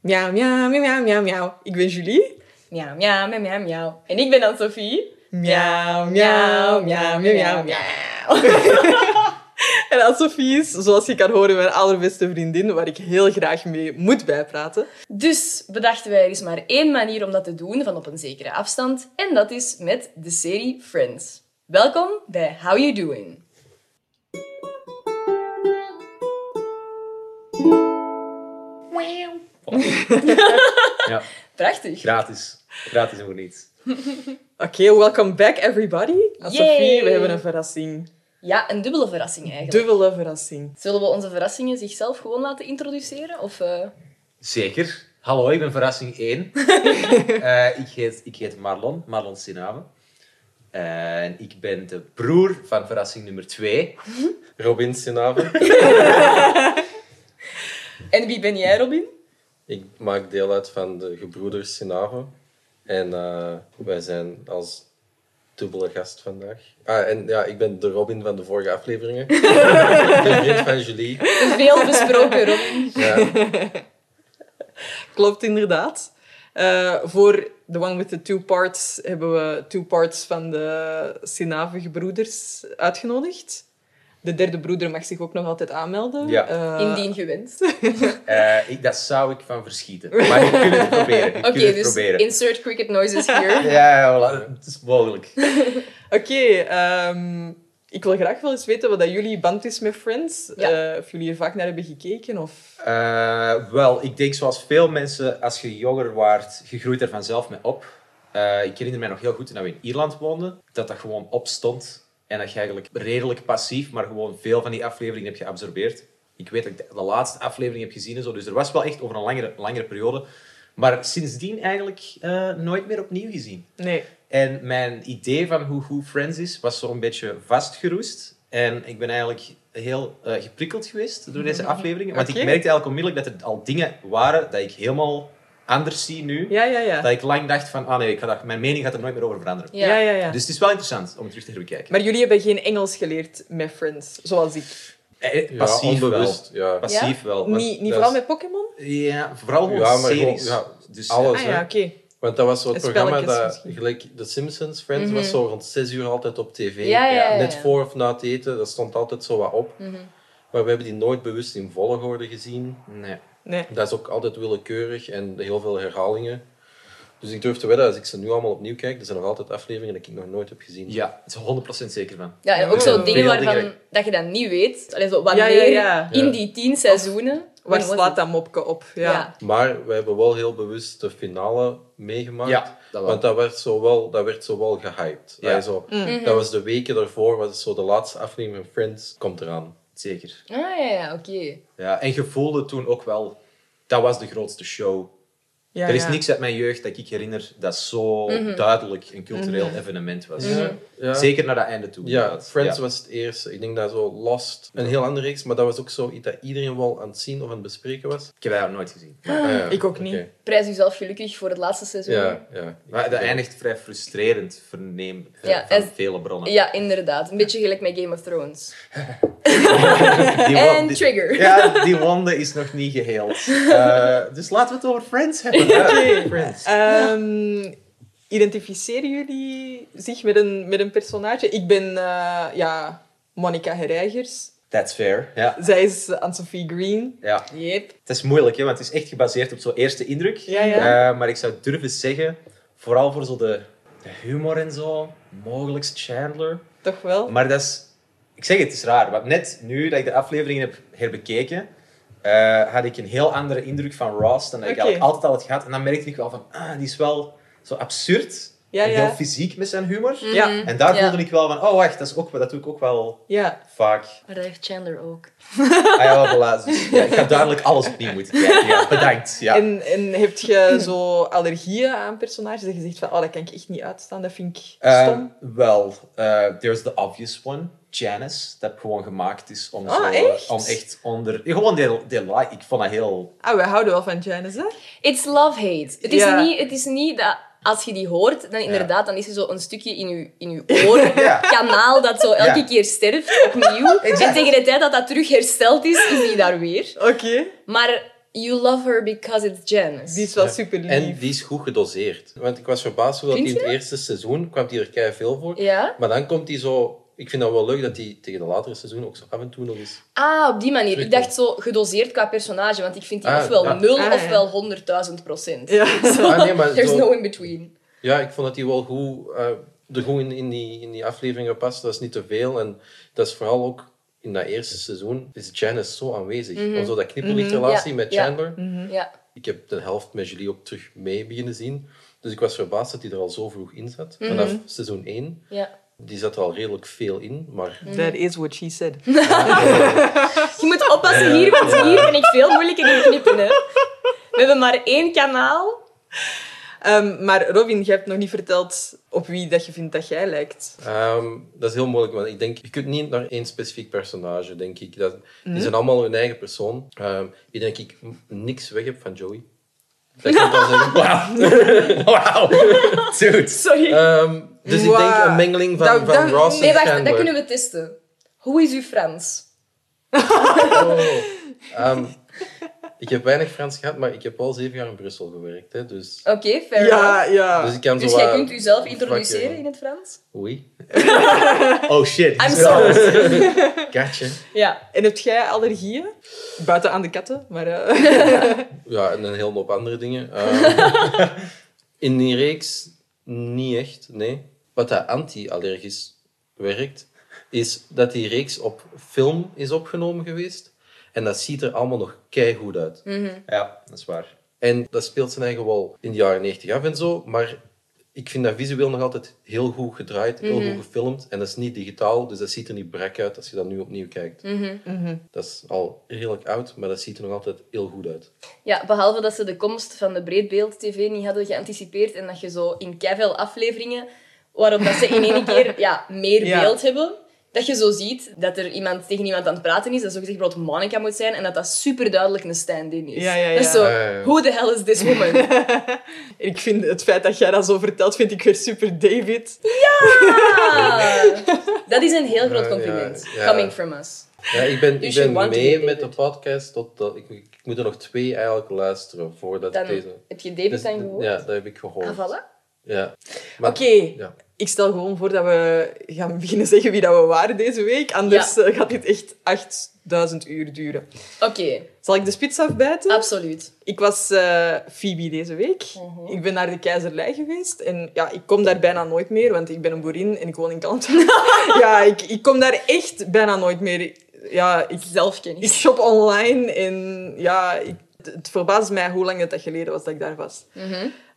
Miauw, miauw, miauw, miauw, miauw, miauw. Ik ben Julie. Miauw, miauw, miauw, miauw, miauw. En ik ben dan Sophie. Miauw, miauw, miauw, miauw, miauw, miauw. En Anne-Sophie is, zoals je kan horen, mijn allerbeste vriendin, waar ik heel graag mee moet bijpraten. Dus bedachten wij, er is maar één manier om dat te doen van op een zekere afstand. En dat is met de serie Friends. Welkom bij How You Doing. Ja, Prachtig. gratis. Gratis en voor niets. Oké, welcome back everybody. Anne-Sophie, we hebben een verrassing. Ja, een dubbele verrassing eigenlijk. Dubbele verrassing. Zullen we onze verrassingen zichzelf gewoon laten introduceren? Of, eh, Zeker. Hallo, ik ben verrassing 1. ik, heet, ik heet Marlon, Marlon Sinave. Eh, En ik ben de broer van verrassing nummer 2. Robin Sinave. En wie ben jij, Robin? Ik maak deel uit van de gebroeders Sinave. En eh, wij zijn als dubbele gast vandaag. Ah, en ja, ik ben de Robin van de vorige afleveringen. de vriend van Julie. Een veel besproken Robin. Ja, Klopt inderdaad. Eh, voor The One with the Two Parts hebben we two parts van de Sinavige broeders uitgenodigd. De derde broeder mag zich ook nog altijd aanmelden. Ja. Eh, Indien gewenst. Eh, ik, dat zou ik van verschieten. Maar je kunt het proberen. Je Oké, kunt het dus proberen. insert cricket noises here. Ja, voilà, het is mogelijk. Oké, ehm, ik wil graag wel eens weten wat dat jullie band is met Friends. Ja. Eh, of jullie er vaak naar hebben gekeken. Of... Eh, wel, ik denk zoals veel mensen, als je jonger waart, je groeit er vanzelf mee op. Eh, ik herinner mij nog heel goed toen we in Ierland woonden, dat dat gewoon opstond. En dat je eigenlijk redelijk passief, maar gewoon veel van die afleveringen hebt geabsorbeerd. Ik weet dat ik de, de laatste aflevering heb gezien en zo, dus er was wel echt over een langere, langere periode. Maar sindsdien eigenlijk eh, nooit meer opnieuw gezien. Nee. En mijn idee van hoe goed Friends is, was zo'n beetje vastgeroest. En ik ben eigenlijk heel eh, geprikkeld geweest door deze afleveringen. Want Oké. ik merkte eigenlijk onmiddellijk dat er al dingen waren dat ik helemaal anders zie nu. Ja, ja, ja. Dat ik lang dacht van, ah nee, ik ga dat, mijn mening gaat er nooit meer over veranderen. Ja. ja, ja, ja. Dus het is wel interessant om terug te herbekijken. Maar jullie hebben geen Engels geleerd met Friends, zoals ik. Eh, ja, passief wel. onbewust. Ja. Passief wel. want- Niet, niet dat vooral is- met Pokémon? ja, vooral gewoon Ja, maar gewoon- series. ja, dus, alles. Ah ja, oké. Want dat was zo'n En programma spelletjes dat, misschien. gelijk The Simpsons, Friends, was zo rond 6 uur altijd op tv. Mhm. Ja, ja, ja, ja. Mhm. Net voor of na het eten, dat stond altijd zo wat op. Maar we hebben die nooit bewust in volgorde gezien. Nee. Nee. Dat is ook altijd willekeurig en heel veel herhalingen. Dus ik durf te wedden, als ik ze nu allemaal opnieuw kijk, er zijn nog altijd afleveringen die ik nog nooit heb gezien. Ja, het is 100% zeker van. Ja, en ook Ja. zo dingen Veel waarvan dingen. dat je dat niet weet. Allee, zo, Ja, wanneer ja, ja. in die tien seizoenen... Waar Wanneer was slaat het? dat mopje op? Ja. Ja. Maar we hebben wel heel bewust de finale meegemaakt. Ja, dat wel. Want dat werd zo wel, dat werd zo wel gehyped. Ja. Mm. Ja. Zo, Mhm. Dat was de weken daarvoor, was het zo de laatste aflevering van Friends komt eraan. Zeker. Ah, ja, ja, oké. Ja, en je voelde toen ook wel, dat was de grootste show Ja, er is ja. niks uit mijn jeugd dat ik herinner dat zo Mhm. duidelijk een cultureel evenement was. Mhm. Ja. Zeker naar dat einde toe. Ja, inderdaad. Friends Ja. was het eerste. Ik denk dat zo Lost, een heel andere reeks, maar dat was ook zo iets dat iedereen wel aan het zien of aan het bespreken was. Ik heb dat nooit gezien. Ah, ja, ik ook oké. niet. Prijs jezelf gelukkig voor het laatste seizoen. Ja, ja. Maar dat eindigt vrij frustrerend, verneem eh, Ja, van en- vele bronnen. Ja, inderdaad. Een beetje gelijk met Game of Thrones. Die won- En die- Trigger. Ja, die wonde is nog niet geheeld. Eh, dus laten we het over Friends hebben. Ja, Friends. Ehm, identificeren jullie zich met een, met een personage? Ik ben eh, ja, Monica Herreigers. That's fair. Ja. Zij is Anne-Sophie Green. Ja. Yep. Het is moeilijk, hè, want het is echt gebaseerd op zo'n eerste indruk. Ja, ja. Eh, maar ik zou durven zeggen, vooral voor zo de, de humor en zo, mogelijk Chandler. Toch wel? Maar dat is... Ik zeg het, het is raar. Want net nu dat ik de afleveringen heb herbekeken, eh, had ik een heel andere indruk van Ross dan dat ik Oké. eigenlijk altijd al had gehad. En dan merkte ik wel van, ah, die is wel zo absurd Ja, en ja. Mm. heel fysiek met zijn humor. Ja. En daar Ja. voelde ik wel van, oh wacht, dat, is ook, dat doe ik ook wel Ja. vaak. Maar dat heeft Chandler ook. Ah ja, voilà. Dus, ja, ik ga duidelijk alles opnieuw moeten kijken. Ja, bedankt. Ja. En, en heb je zo allergieën aan personages? Dat je zegt van, oh, dat kan ik echt niet uitstaan. Dat vind ik Eh, stom. wel, eh, there's the obvious one. Janice, dat gewoon gemaakt is om, Ah, zo, echt? om echt onder... Gewoon de, de like. Ik vond dat heel Ah, wij houden wel van Janice, hè? It's love-hate. Het, is Ja. niet- het is niet dat als je die hoort, dan inderdaad, dan is er zo een stukje in je, in je oor, Ja. kanaal dat zo elke Ja. keer sterft opnieuw. En tegen de tijd dat dat terug hersteld is, is die daar weer. Oké. Maar You love her because it's Janice. Die is wel Ja. super lief. En die is goed gedoseerd. Want ik was verbaasd hoe dat Vind die in het eerste seizoen kwam die er kei veel voor. Ja? Maar dan komt die zo... Ik vind dat wel leuk dat die tegen de latere seizoen ook zo af en toe nog eens... Ah, op die manier. Ik dacht zo gedoseerd qua personage, want ik vind die Ah, ofwel ja. 0 Ah, ja. ofwel 100.000 procent. Ja. Ah, nee, maar There's zo- no in between. Ja, ik vond dat die wel goed, eh, er goed in, in, die, in die afleveringen past. Dat is niet te veel. En dat is vooral ook in dat eerste seizoen is Janice zo aanwezig. Of zo dat knipperlichtrelatie Mhm. Ja, met ja. Mhm. Chandler. Ja. Ik heb de helft met Julie ook terug mee beginnen zien. Dus ik was verbaasd dat hij er al zo vroeg in zat. Vanaf Mhm. seizoen 1. ja. Die zat er al redelijk veel in. Maar Mhm. That is what she said. Je moet oppassen hier, want hier ben ik veel moeilijker in knippen. Hè. We hebben maar één kanaal. Ehm, maar Robin, je hebt nog niet verteld op wie dat je vindt dat jij lijkt. Ehm, dat is heel moeilijk, want ik denk, je kunt niet naar één specifiek personage, denk ik. Dat, Die zijn allemaal hun eigen persoon. Ehm, ik denk dat ik m- niks weg heb van Joey. Dat kan ik wel zeggen. Wauw. Wauw. Dude. Sorry. Ehm, dus ik denk Wow. een mengeling van, Dat- van dat- Ross nee, en wacht, Chandler. dat kunnen we testen. Hoe is uw Frans? Ehm, ik heb weinig Frans gehad, maar ik heb al zeven jaar in Brussel gewerkt. Hè, dus, Oké, fair Ja, enough. ja. dus ik kan Dus zo jij wat kunt uzelf vakje- introduceren in het Frans? Oei, Oh shit. I'm sorry. katje. Ja. En heb jij allergieën? Buiten aan de katten, maar... eh, Ja, en een hele hoop andere dingen. Ehm, in die reeks niet echt, nee. Wat dat anti-allergisch werkt, is dat die reeks op film is opgenomen geweest. En dat ziet er allemaal nog keigoed uit. Ja, dat is waar. En dat speelt zijn eigen wel in de jaren 90 af en zo. Maar ik vind dat visueel nog altijd heel goed gedraaid, heel goed gefilmd. En dat is niet digitaal, dus dat ziet er niet brak uit als je dat nu opnieuw kijkt. Dat is al redelijk oud, maar dat ziet er nog altijd heel goed uit. ja, behalve dat ze de komst van de breedbeeld-tv niet hadden geanticipeerd en dat je zo in keiveel afleveringen, waarop dat ze in één keer ja, meer Ja. beeld hebben, dat je zo ziet dat er iemand tegen iemand aan het praten is, dat zo gezegd bijvoorbeeld Monica moet zijn en dat dat super duidelijk een stand-in is. Ja, ja, ja. Dat is zo, Ja, ja, ja. who the hell is this woman? ik vind het feit dat jij dat zo vertelt, vind ik weer super David. Ah, dat is een heel groot Ja, compliment. ja, ja. Coming from us. Ja, ik ben, You ik should ben want to mee be met de David. podcast. Tot, dat- ik, ik moet er nog twee eigenlijk luisteren voordat Dan deze... heb je David Dus- dan gehoord? Ja, dat heb ik gehoord. Ah, voilà. Ja. Maar- Oké, Ja. ik stel gewoon voor dat we gaan beginnen zeggen wie dat we waren deze week. Anders eh, gaat dit echt 8000 uur duren. Oké, Zal ik de spits afbijten? absoluut. Ik was eh Phoebe deze week. Ik ben naar de Keizerlei geweest. En ja, ik kom daar bijna nooit meer, want ik ben een boerin en ik woon in Kant. ja, ik, ik kom daar echt bijna nooit meer. Ja, ik, ik Zelfkennis. shop online en ja, ik, het- het verbaast mij hoe lang het dat geleden was dat ik daar was.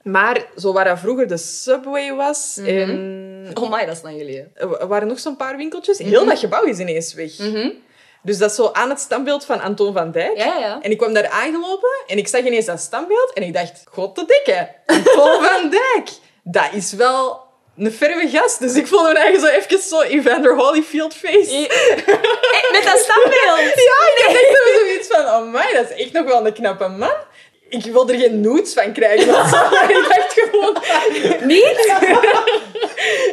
Maar zo waar dat vroeger de Subway was en Oh my, dat is lang geleden. er waren nog zo'n paar winkeltjes. Heel dat gebouw is ineens weg. Dus dat is zo aan het standbeeld van Anton van Dijk. Ja, ja. En ik kwam daar aangelopen en ik zag ineens dat standbeeld en ik dacht, god de dikke, Paul van Dijk. Dat is wel een ferme gast. Dus ik voelde me eigenlijk zo even zo Evander Holyfield face. Ja. Eh, Met dat standbeeld. Ja, ik had echt zo zoiets van, amai, dat is echt nog wel een knappe man. Ik wil er geen nudes van krijgen of zo, maar ik dacht gewoon... Niet?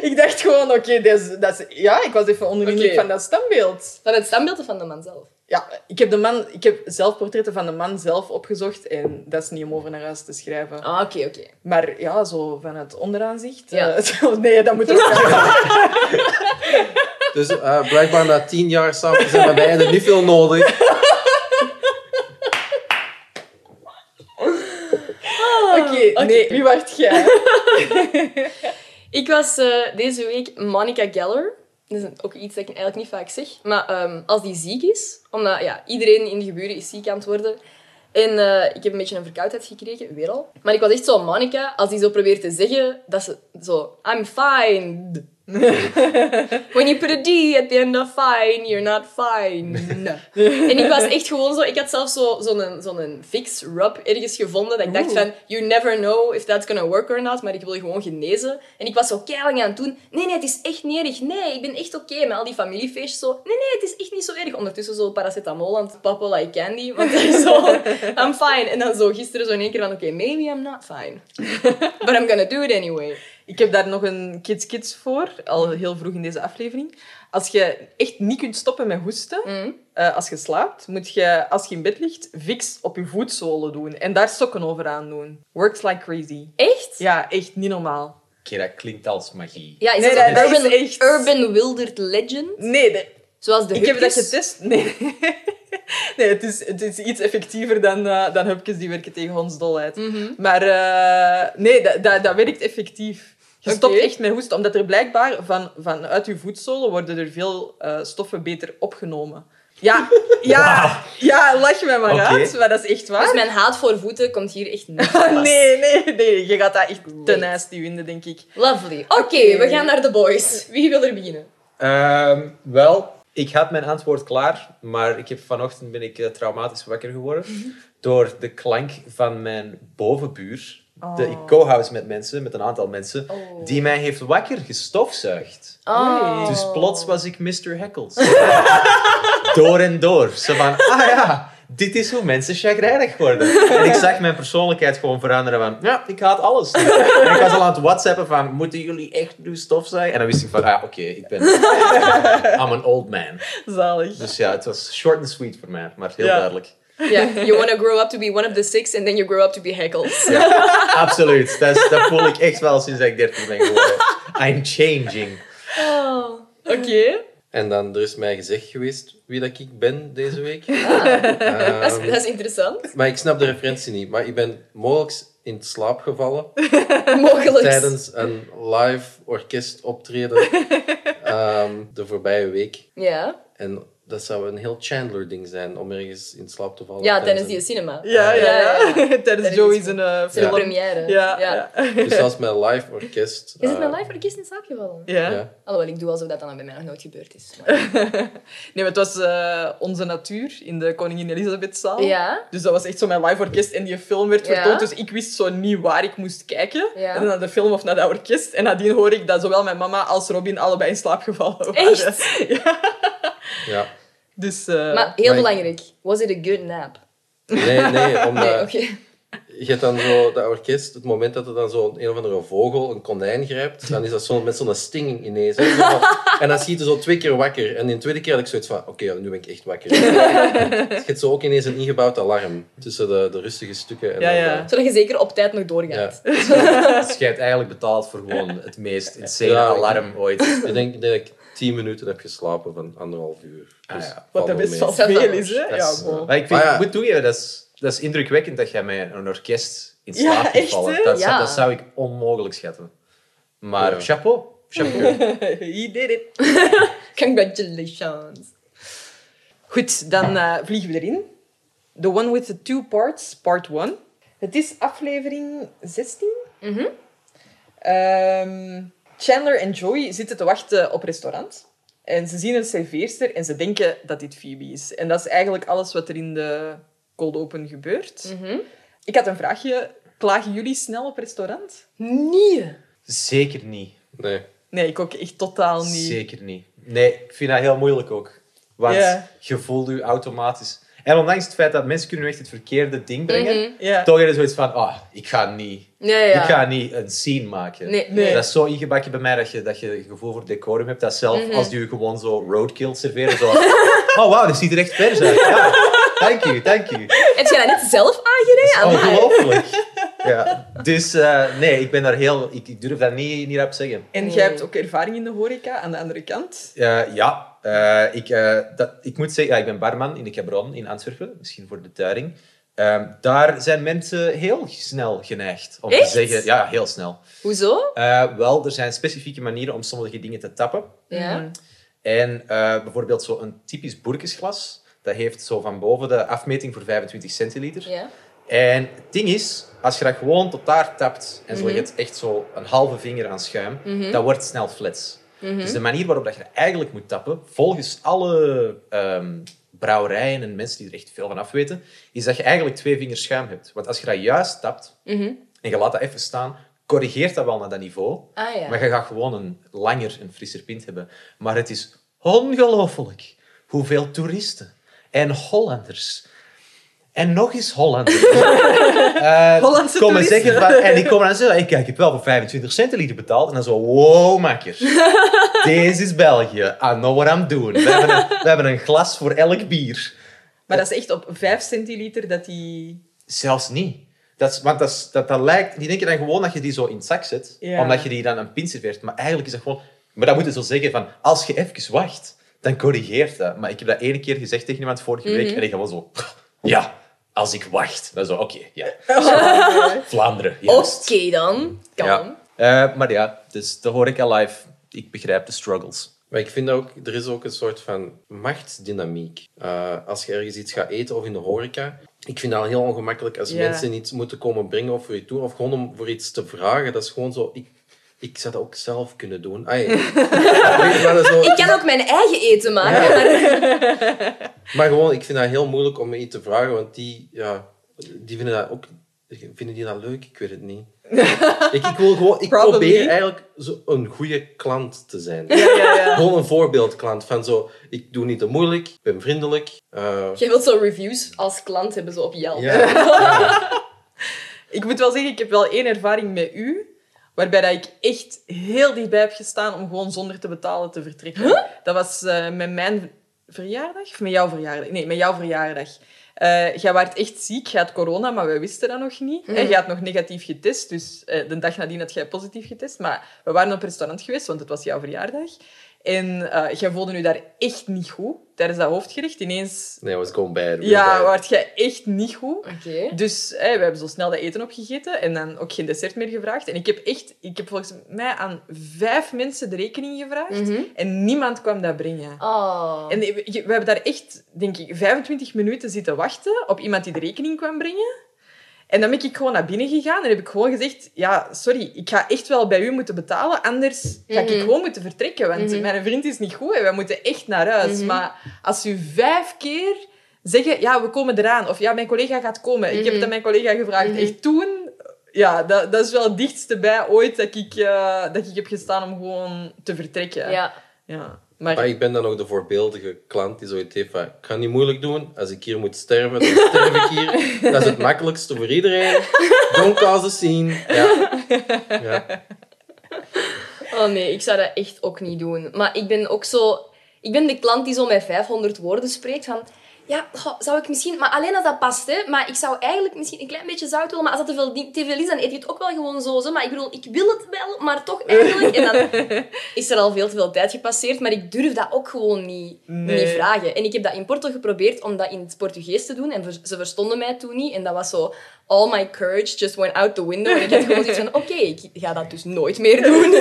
Ik dacht gewoon, oké, dat is- dat is- ja, ik was even onder de indruk Oké. van dat standbeeld. Van het standbeeld of van de man zelf? Ja, ik heb, de man, ik heb zelf portretten van de man zelf opgezocht en dat is niet om over naar huis te schrijven. Ah, oké, oké. Maar ja, zo van het onderaanzicht. Ja. eh, zo, nee, dat moet ook. Dus eh, blijkbaar na tien jaar samen zijn we bij en er niet veel nodig. Oké, nee, wie wacht jij? Ik was eh, deze week Monica Geller. Dat is een- ook iets dat ik eigenlijk niet vaak zeg. Maar ehm, als die ziek is, omdat ja, iedereen in de geburen is ziek aan het worden. En eh, ik heb een beetje een verkoudheid gekregen, weer al. Maar ik was echt zo Monica, als die zo probeert te zeggen dat ze zo, I'm fine. When you put a D at the end of fine, you're not fine. en ik was echt gewoon zo, ik had zelf zo'n zo zo'n- zo'n fix rub ergens gevonden. Dat ik dacht Oeh. van, you never know if that's gonna work or not, maar ik wil gewoon genezen. En ik was zo keilang aan het doen. Nee, nee, het is echt niet erg. Nee, ik ben echt oké met al die familiefeestjes. Zo. Nee, nee, het is echt niet zo erg. Ondertussen zo paracetamol aan het pappen like candy. Want ik zo, I'm fine. En dan zo gisteren zo in één keer van, oké, maybe I'm not fine. But I'm gonna do it anyway. Ik heb daar nog een kids kids voor, al heel vroeg in deze aflevering. Als je echt niet kunt stoppen met hoesten, Mhm. eh, als je slaapt, moet je, als je in bed ligt, fix op je voetzolen doen. En daar sokken over aan doen. Works like crazy. Echt? Ja, echt niet normaal. Oké, dat klinkt als magie. Ja, is Nee, dat, dat een is urban, echt- urban Wilderd Legend? Nee, de- Zoals de ik heb dat hupjes? getest. Nee, nee het, is, het is iets effectiever dan, eh, dan hupjes die werken tegen ons dolheid. Mhm. Maar eh, nee, dat, dat, dat werkt effectief. Je Oké. stopt echt met hoesten, omdat er blijkbaar van, vanuit je voetzolen worden er veel eh, stoffen beter opgenomen. Ja, ja, ja, lach mij maar Oké. uit, maar dat is echt waar. Dus mijn haat voor voeten komt hier echt niet van pas. nee, nee, nee, je gaat dat echt ten Wait. ijs die winden, denk ik. Lovely. Oké, Oké. we gaan naar de boys. Wie wil er beginnen? Ehm, wel, ik had mijn antwoord klaar, maar ik heb, vanochtend ben ik eh, traumatisch wakker geworden Mhm. door de klank van mijn bovenbuur. De, ik co-house met mensen, met een aantal mensen, Oh. die mij heeft wakker gestofzuigd. Oh. Dus plots was ik Mr. Heckles. door en door. Ze van, ah ja, dit is hoe mensen chagrijnig worden. En ik zag mijn persoonlijkheid gewoon veranderen van, ja, ik haat alles. En ik was al aan het whatsappen van, moeten jullie echt nu stof zijn? En dan wist ik van, ah oké, ik ben... I'm an old man. Zalig. Dus ja, het was short and sweet voor mij, maar heel Ja. duidelijk. Ja, you wanna grow up to be one of the six and then you grow up to be heckles. Absoluut, dat, is- dat voel ik echt wel sinds dat ik 13 ben geworden. I'm changing. Oh. Oké. En dan, er is mij gezegd geweest wie dat ik ben deze week. Ah. Dat, is, Ehm, dat is interessant. maar ik snap de referentie niet. Maar ik ben mogelijk in slaap gevallen Mogelijk. tijdens een live orkestoptreden ehm, de voorbije week. Ja, En dat zou een heel Chandler-ding zijn om ergens in slaap te vallen. ja tijdens die een- cinema. Ja, ja, ja. Tijdens Tijdens Joey's een eh, Zijn film. Ja. première. Ja, ja. Dus zelfs met live orkest. Is het eh, mijn live orkest in slaap gevallen? Ja. Ja. Alhoewel, ik doe alsof dat dan bij mij nog nooit gebeurd is. Maar- Nee, maar het was eh, Onze Natuur in de Koningin Elisabethzaal. Ja, Dus dat was echt zo mijn live orkest en die film werd Ja. vertoond. Dus ik wist zo niet waar ik moest kijken. Ja. En naar de film of naar dat orkest. En nadien hoor ik dat zowel mijn mama als Robin allebei in slaap gevallen waren. Echt? Ja. ja. Dus... eh, maar heel maar- belangrijk. Was it a good nap? Nee, nee, omdat... Nee, oké. Je hebt dan zo dat orkest, het moment dat er dan zo'n een of andere vogel een konijn grijpt, dan is dat zo met zo'n stinging ineens. hè. Zo van- En dan schiet je zo twee keer wakker. En in de tweede keer had ik zoiets van, oké, ja, nu ben ik echt wakker. Dus je hebt zo ook ineens een ingebouwd alarm tussen de, de rustige stukken. En Ja, dan, ja. eh, Zodat je zeker op tijd nog doorgaat. Dus je hebt eigenlijk betaald voor gewoon het meest insane Ja, ik- alarm ooit. Ik denk, ik denk dat ik tien minuten heb geslapen van anderhalf uur. Dus Ah, ja. Wat dat valt wel best wel mee. veel is, hè? Dat Ja, is, wow. maar ik, vind, Ah, ja. ik moet toegeven, dat is, dat is indrukwekkend dat jij met een orkest in Ja, slaap kunt echt, vallen. hè? Dat, zou- Ja. dat zou ik onmogelijk schatten. Maar Ja. chapeau. chapeau. He did it. Congratulations. Goed, dan eh, vliegen we erin. The one with the two parts, part one. Het is aflevering 16. Mhm. Ehm, Chandler en Joey zitten te wachten op restaurant. En ze zien een serveerster en ze denken dat dit Phoebe is. En dat is eigenlijk alles wat er in de cold open gebeurt. Mhm. Ik had een vraagje. Klagen jullie snel op restaurant? Nee. Zeker niet. Nee. Nee, ik ook echt totaal niet. Zeker niet. Nee, ik vind dat heel moeilijk ook. Want Ja. je voelt je automatisch... En ondanks het feit dat mensen kunnen nu echt het verkeerde ding brengen, Mhm. Ja. toch is er zoiets van, ah, ik ga niet... Ja, ja. Ik ga niet een scene maken. Nee, Nee. nee. Dat is zo ingebakken bij mij dat je, dat je een gevoel voor decorum hebt. Dat zelf Mhm. als die je gewoon zo roadkill serveren. Zo, oh wauw, dit ziet er echt vers uit. Ja, thank you, thank you. Heb jij dat net zelf aangereden? Amai. Ongelooflijk. Ja. Dus eh, nee, ik ben daar heel... Ik, ik durf dat niet, niet rap zeggen. En Nee. jij hebt ook ervaring in de horeca aan de andere kant. Eh, ja, Eh, ik, eh, dat, ik moet zeggen, ja, ik ben barman in de Cabron in Antwerpen, misschien voor de duiding. Ehm, daar zijn mensen heel snel geneigd om Echt? te zeggen... Ja, heel snel. Hoezo? Eh, wel, er zijn specifieke manieren om sommige dingen te tappen. Ja. Mhm. En eh, bijvoorbeeld zo'n typisch boerkesglas, dat heeft zo van boven de afmeting voor 25 centiliter. Ja. En het ding is, als je dat gewoon tot daar tapt en zo je het echt zo een halve vinger aan schuim, dat wordt snel flats. Dus de manier waarop dat je dat eigenlijk moet tappen, volgens alle ehm, brouwerijen en mensen die er echt veel van afweten, is dat je eigenlijk twee vingers schuim hebt. Want als je dat juist tapt Mhm. en je laat dat even staan, corrigeert dat wel naar dat niveau. Ah ja. Maar je gaat gewoon een langer en frisser pint hebben. Maar het is ongelooflijk hoeveel toeristen en Hollanders En nog eens Holland. Eh, Hollandse komen toeristen. zeggen van- En die komen aan zeggen, ik, ik heb wel voor 25 cent een liter betaald. En dan zo, wow, makker. Deze is België. I know what I'm doing. We hebben een, we hebben een glas voor elk bier. Maar dat is echt op 5 centiliter dat die... Zelfs niet. Dat is, want dat, is- dat, dat lijkt... Die denken dan gewoon dat je die zo in het zak zet. Ja. Omdat je die dan een pin serveert. Maar eigenlijk is dat gewoon... Maar dat moet je zo zeggen van... Als je even wacht, dan corrigeert dat. Maar ik heb dat ene keer gezegd tegen iemand vorige week. En ik was zo... Ja, als ik wacht. Dan zo, oké, ja. Vlaanderen, Oké juist. dan. Kan. Ja. Eh, maar ja, dus dat hoor ik al live. Ik begrijp de struggles. Maar ik vind ook, er is ook een soort van machtsdynamiek. Eh, als je ergens iets gaat eten of in de horeca. Ik vind dat heel ongemakkelijk als Ja. mensen iets moeten komen brengen of voor je toe. Of gewoon om voor iets te vragen. Dat is gewoon zo... Ik, ik zou dat ook zelf kunnen doen. Ah, ja. Weet je, maar, dat is zo- Ik kan ook mijn eigen eten maken. maar- maar gewoon, ik vind dat heel moeilijk om iets te vragen. Want die, ja, die vinden dat ook... Vinden die dat leuk? Ik weet het niet. ik, ik wil gewoon... Ik Probably. probeer eigenlijk zo een goede klant te zijn. Ja, ja. Gewoon een voorbeeldklant van zo, ik doe niet te moeilijk, ik ben vriendelijk. eh, Jij wilt zo reviews als klant hebben, zo op Yelp. Ik moet wel zeggen, ik heb wel één ervaring met u, waarbij dat ik echt heel dichtbij heb gestaan om gewoon zonder te betalen te vertrekken. Dat was eh, met mijn verjaardag? Of met jouw verjaardag? Nee, met jouw verjaardag. Eh, jij waart echt ziek, jij had corona, maar wij wisten dat nog niet. En jij had nog negatief getest, dus eh, de dag nadien had jij positief getest. Maar we waren op restaurant geweest, want het was jouw verjaardag. En eh, jij voelde je daar echt niet goed tijdens dat hoofdgerecht. Ineens nee, I was gewoon bij. ja, waart jij echt niet goed. Oké. Dus hè, we hebben zo snel dat eten opgegeten en dan ook geen dessert meer gevraagd. En ik heb echt, ik heb volgens mij aan vijf mensen de rekening gevraagd Mhm. en niemand kwam dat brengen. Oh. En we, je- we hebben daar echt, denk ik, 25 minuten zitten wachten op iemand die de rekening kwam brengen. En dan ben ik gewoon naar binnen gegaan en heb ik gewoon gezegd, ja, sorry, ik ga echt wel bij u moeten betalen, anders ga ik Mhm. gewoon moeten vertrekken, want Mhm. mijn vriend is niet goed en wij moeten echt naar huis. Mhm. Maar als u vijf keer zeggen, ja, we komen eraan, of ja, mijn collega gaat komen. Ik heb het Mhm. aan mijn collega gevraagd. Mhm. Echt toen, ja, dat, dat is wel het dichtste bij ooit dat ik, eh, dat ik heb gestaan om gewoon te vertrekken. ja. Ja. Maar Maar ik ben dan ook de voorbeeldige klant die zoiets heeft van, ik ga niet moeilijk doen, als ik hier moet sterven, dan sterf ik hier. Dat is het makkelijkste voor iedereen. Don't cause a scene. Ja. Ja. Oh nee, ik zou dat echt ook niet doen. Maar ik ben ook zo... Ik ben de klant die zo met 500 woorden spreekt van... Ja, goh, zou ik misschien... Maar alleen als dat past, hè. Maar ik zou eigenlijk misschien een klein beetje zout willen. Maar als dat te veel, di- te veel is, dan eet je het ook wel gewoon zo. zo. Maar ik bedoel, ik wil het wel, maar toch eigenlijk... En dan is er al veel te veel tijd gepasseerd. Maar ik durf dat ook gewoon niet, Nee. niet vragen. En ik heb dat in Porto geprobeerd om dat in het Portugees te doen. En ver- ze verstonden mij toen niet. En dat was zo... All my courage just went out the window. En ik had gewoon zoiets van... Oké, ik ga dat dus nooit meer doen.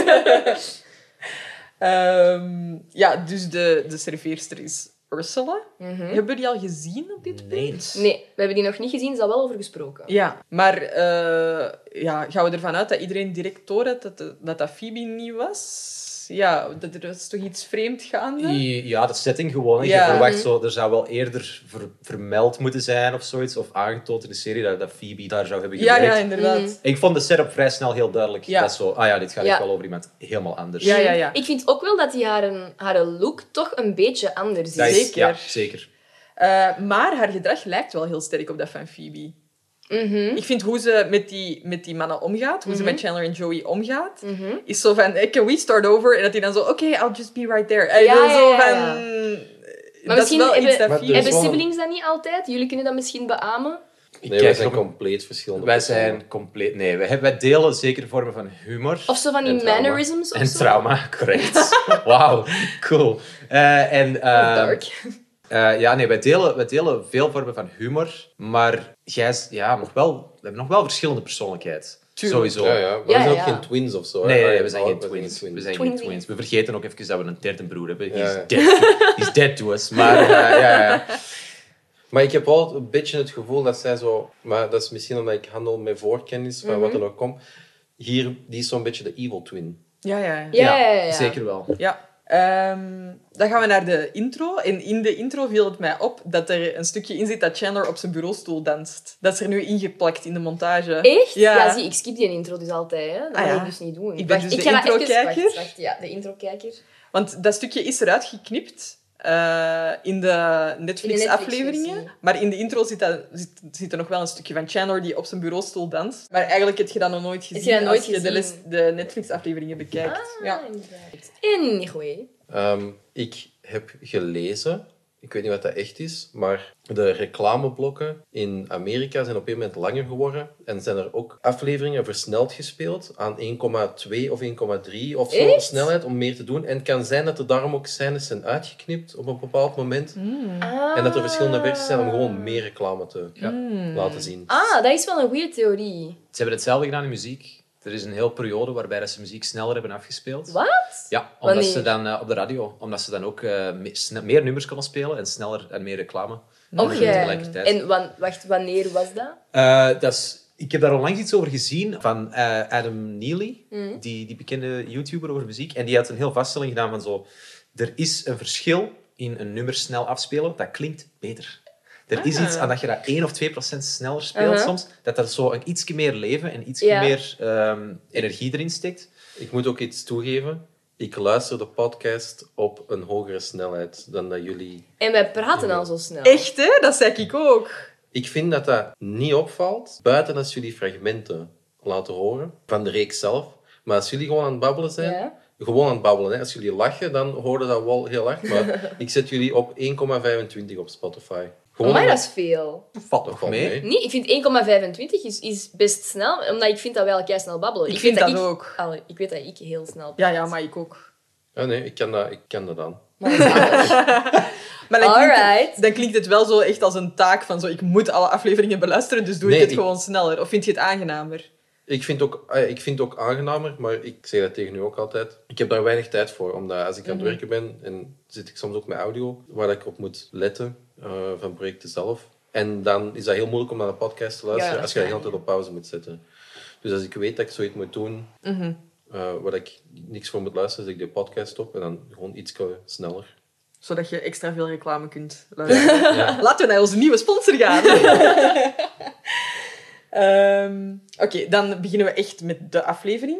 Ehm, ja, dus de, de serveerster is Ursula. Hebben we die al gezien op dit punt? Nee, we hebben die nog niet gezien, is al wel over gesproken. Ja, maar eh, ja, gaan we ervan uit dat iedereen direct door had dat de- dat, dat Phoebe niet was? Ja, dat er was toch iets vreemd gaande? I- Ja, dat setting gewoon. hè. Ja. Je Mhm. verwacht zo, er zou wel eerder ver- vermeld moeten zijn of zoiets. Of aangetoond in de serie dat, dat Phoebe daar zou hebben Ja, gewerkt. ja, inderdaad. Ik vond de setup vrij snel heel duidelijk. Ja. Dat is zo, ah ja, dit gaat Ja. echt wel over iemand helemaal anders. Ja, ja, ja. Ik vind ook wel dat die haar, haar look toch een beetje anders is. Dat is- Zeker. Ja, zeker. Eh, maar haar gedrag lijkt wel heel sterk op dat van Phoebe. Mhm, Ik vind hoe ze met die, met die mannen omgaat, hoe Mhm. ze met Chandler en Joey omgaat, mhm. is zo van, eh, can we start over? En dat hij dan zo, oké, I'll just be right there. En Ja, dan zo ja, ja, van... ja. dat is misschien wel hebben- iets dat Maar Phoebe... Er is Hebben wel een- siblings dat niet altijd? Jullie kunnen dat misschien beamen. Nee, wij kijk zijn erop- compleet verschillende Wij personen. zijn compleet... Nee, wij, hebben- wij delen zekere vormen van humor. Of zo van die En trauma. mannerisms of en zo. trauma, correct. Wauw, cool. Eh, en, eh, Dark. eh, ja, nee, wij delen, wij delen veel vormen van humor. Maar jij is- ja, nog wel, we hebben nog wel verschillende persoonlijkheid. Tuurlijk. Sowieso. Ja, ja. Maar Ja, we zijn ook ja. geen twins of zo. hè? Nee, Ah, nee, ja, we zijn oh, geen twins. We zijn geen Twinsies. twins. We vergeten ook even dat we een derde broer hebben. He's, Ja, ja. dead, to, he's dead to us. Maar eh, ja, ja. Maar ik heb wel een beetje het gevoel dat zij zo... Maar dat is misschien omdat ik handel met voorkennis, van Mhm. wat er ook komt. Hier, die is zo'n beetje de evil twin. Ja, ja, ja. Ja, ja, ja. Zeker wel. Ja. Ehm, dan gaan we naar de intro. En in de intro viel het mij op dat er een stukje in zit dat Chandler op zijn bureaustoel danst. Dat is er nu ingeplakt in de montage. Echt? Ja. Ja. zie, ik skip die intro dus altijd. Hè. Dat Ah, ga ja. ik dus niet doen. Ik ben Wacht, dus ik de ga dat even- intro-kijker. Wacht, wacht, ja, de intro-kijker. Want dat stukje is eruit geknipt. eh, in de Netflix-afleveringen. Netflix-versie. maar in de intro zit, dat, zit, zit er nog wel een stukje van Chandler die op zijn bureaustoel danst. Maar eigenlijk heb je dat nog nooit je gezien dat nooit als je de, gezien? les- de Netflix-afleveringen bekijkt. Ah, ja. inderdaad. Anyway. Ehm, ik heb gelezen, ik weet niet wat dat echt is, maar de reclameblokken in Amerika zijn op een moment langer geworden. En zijn er ook afleveringen versneld gespeeld aan 1,2 of 1,3 of zo Echt? snelheid om meer te doen. En het kan zijn dat er daarom ook scènes zijn uitgeknipt op een bepaald moment. En dat er verschillende versies zijn om gewoon meer reclame te laten zien. Nou. Ah, dat is wel een weird theorie. Ze hebben hetzelfde gedaan in muziek. Er is een hele periode waarbij dat ze muziek sneller hebben afgespeeld. Wat? Ja, omdat Wanneer? ze dan eh, op de radio, omdat ze dan ook eh, me- sne- meer nummers konden spelen en sneller en meer reclame. Oké. Tegelijkertijd. En wan- wacht, wanneer was dat? Eh, dat is, ik heb daar onlangs iets over gezien van eh, Adam Neely, Mm. die, die bekende YouTuber over muziek. En die had een heel vaststelling gedaan van zo... Er is een verschil in een nummer snel afspelen. Dat klinkt beter. Er is iets aan dat je dat 1 of 2 procent sneller speelt Ah. Uh-huh. soms. Dat er zo een ietsje meer leven en ietsje Ja. meer ehm, energie erin steekt. Ik moet ook iets toegeven. Ik luister de podcast op een hogere snelheid dan dat jullie En wij praten al zo snel. Echt, hè? Dat zei ik ook. Ik vind dat dat niet opvalt, buiten als jullie fragmenten laten horen van de reeks zelf. Maar als jullie gewoon aan het babbelen zijn, Ja. gewoon aan het babbelen, hè. als jullie lachen, dan horen dat wel heel hard. Maar ik zet jullie op 1,25 op Spotify. Gewoon Oh. Maar dat omdat- is veel. Valt Dat nog valt mee. mee. Nee, ik vind 1,25 is, is best snel, omdat ik vind dat wij elkaar snel babbelen. Ik vind dat ik, ook. Allee, ik weet dat ik heel snel Ja, ja, maar ik ook. Ah, nee, ik kan dat, ik kan dat dan. Maar dan klinkt, Alright. het, dan klinkt het wel zo echt als een taak van zo, ik moet alle afleveringen beluisteren, dus doe Nee, ik het ik- gewoon sneller. Of vind je het aangenamer? Ik vind, ook, ah, ik vind het ook aangenamer, maar ik zeg dat tegen u ook altijd. Ik heb daar weinig tijd voor, omdat als ik Mhm. aan het werken ben, en zit ik soms ook met audio, waar ik op moet letten eh, van projecten zelf. En dan is dat heel moeilijk om naar een podcast te Ja, luisteren dat als je de hele tijd op pauze moet zetten. Dus als ik weet dat ik zoiets moet doen, Mhm. eh, waar ik niks voor moet luisteren, zet ik de podcast op en dan gewoon iets sneller. Zodat je extra veel reclame kunt luisteren. Ja. Laten we naar onze nieuwe sponsor gaan. Ehm, Oké, dan beginnen we echt met de aflevering.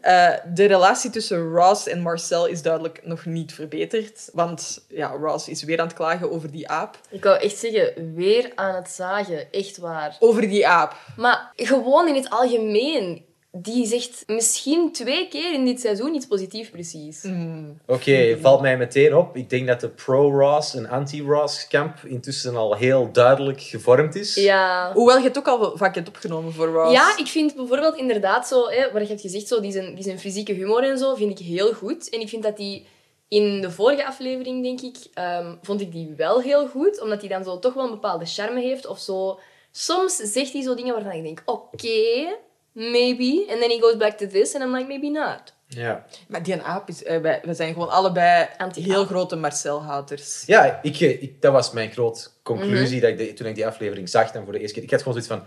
Eh, de relatie tussen Ross en Marcel is duidelijk nog niet verbeterd. Want ja, Ross is weer aan het klagen over die aap. Ik wou echt zeggen, weer aan het zagen. Echt waar. Over die aap. Maar gewoon in het algemeen. Die zegt misschien twee keer in dit seizoen iets positiefs, precies. Mm. Oké, valt mij meteen op. Ik denk dat de pro-Ross en anti-Ross kamp intussen al heel duidelijk gevormd is. Ja. Hoewel je het ook al vaak hebt opgenomen voor Ross. Ja, ik vind bijvoorbeeld inderdaad zo, hè, waar je hebt gezegd, zo, die, zijn, die zijn fysieke humor en zo, vind ik heel goed. En ik vind dat die in de vorige aflevering, denk ik, ehm, vond ik die wel heel goed. Omdat die dan zo toch wel een bepaalde charme heeft of zo. Soms zegt hij zo dingen waarvan ik denk, oké, maybe. And then he goes back to this and I'm like, maybe not. Ja. Maar die en aap is... eh, wij, wij zijn gewoon allebei Anti-aap. heel grote Marcel-haters. Ja, ik, eh, ik, dat was mijn grote conclusie Mhm. dat ik de- toen ik die aflevering zag dan voor de eerste keer. Ik had gewoon zoiets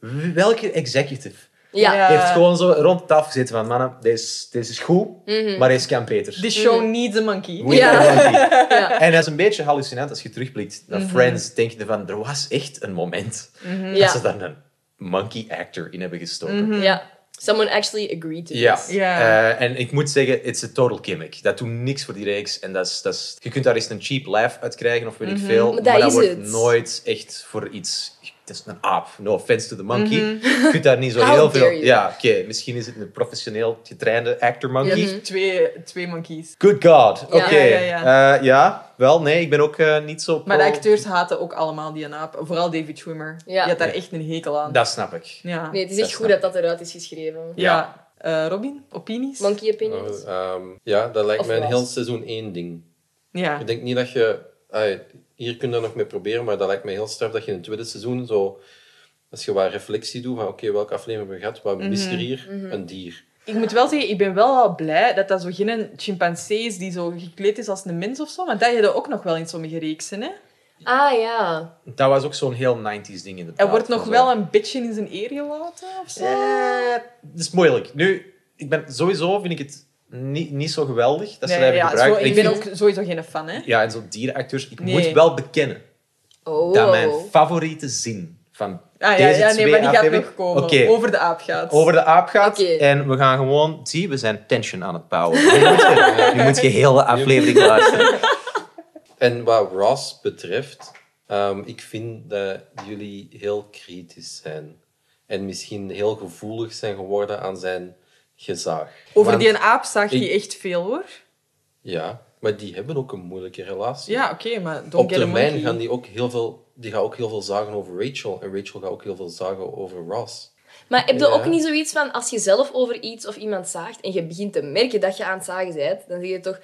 van, w- welke executive Ja. Ja. heeft gewoon zo rond de tafel gezeten van, mannen, deze, deze is goed, maar deze kan beter. The show needs a monkey. Moet je Mhm. Ja. dat wel zien. Ja. Mhm. En dat is een beetje hallucinant als je terugblikt naar Friends, denk je van, er was echt een moment dat ze Ja. daar een monkey actor in hebben gestoken. ja. Someone actually agreed to Ja. this. Ja. Eh, en ik moet zeggen, it's a total gimmick. Dat doet niks voor die reeks. En dat is, dat is, je kunt daar eens een cheap laugh uit krijgen of weet Mhm. ik veel. Maar dat is wordt het. nooit echt voor iets... Het is een aap. No offense to the monkey. Mhm. Je kunt daar niet zo How heel dare veel... you. Ja, oké. Misschien is het een professioneel getrainde actor monkey. Hier twee, twee monkeys. Good God. Oké. Ja. Mhm. Ja, ja, Eh, ja, wel, nee. Ik ben ook eh, niet zo... Maar de pro- acteurs haten ook allemaal die naap. Vooral David Schwimmer. Ja. Die had daar echt een hekel aan. Dat snap ik. Ja. Nee, het is Dat echt snap goed dat dat eruit is geschreven. ja. Ja. Eh, Robin, opinies? Monkey opinions. Oh. Nou, ehm, ja, dat lijkt Of mij een heel was. seizoen één ding. Ja. Ik denk niet dat je... ah, hier kun je dat nog mee proberen, maar dat lijkt me heel straf dat je in het tweede seizoen zo... Als je wat reflectie doet van, oké, welke aflevering hebben we gehad? Wat mist Mhm, er hier? Een dier. Ik moet wel zeggen, ik ben wel al blij dat dat zo geen chimpansee is die zo gekleed is als een mens of zo. Want dat heb je ook nog wel in sommige reeksen, hè. Ah ja. Dat was ook zo'n heel 90s ding inderdaad. Hij wordt nog Zo. wel een beetje in zijn eer gelaten of zo. Eh, dat is moeilijk. Nu, ik ben, sowieso vind ik het niet, niet zo geweldig dat ze dat Nee, hebben ja, zo, gebruikt. ik Ik ben vind- ook sowieso geen fan, hè. Ah, Ja, en zo'n dierenacteurs. Ik Nee. moet wel bekennen Oh. dat mijn favoriete zin van Ah ja, deze ja twee nee, maar die gaat afleveringen- nog komen. Oké, Over de aap gaat. over de aap gaat. Oké. En we gaan gewoon... Zie, we zijn tension aan het bouwen. Nu moet je, nu moet je heel de aflevering luisteren. En wat Ross betreft, ehm, ik vind dat jullie heel kritisch zijn. En misschien heel gevoelig zijn geworden aan zijn gezaag. Over Want- die een aap zag je ik- echt veel, hoor. Ja, maar die hebben ook een moeilijke relatie. Ja, oké, maar don't Op get a termijn monkey. gaan die ook heel veel... Die gaan ook heel veel zagen over Rachel. En Rachel gaat ook heel veel zagen over Ross. Maar heb je Ja. ook niet zoiets van, als je zelf over iets of iemand zaagt en je begint te merken dat je aan het zagen bent, dan zeg je toch,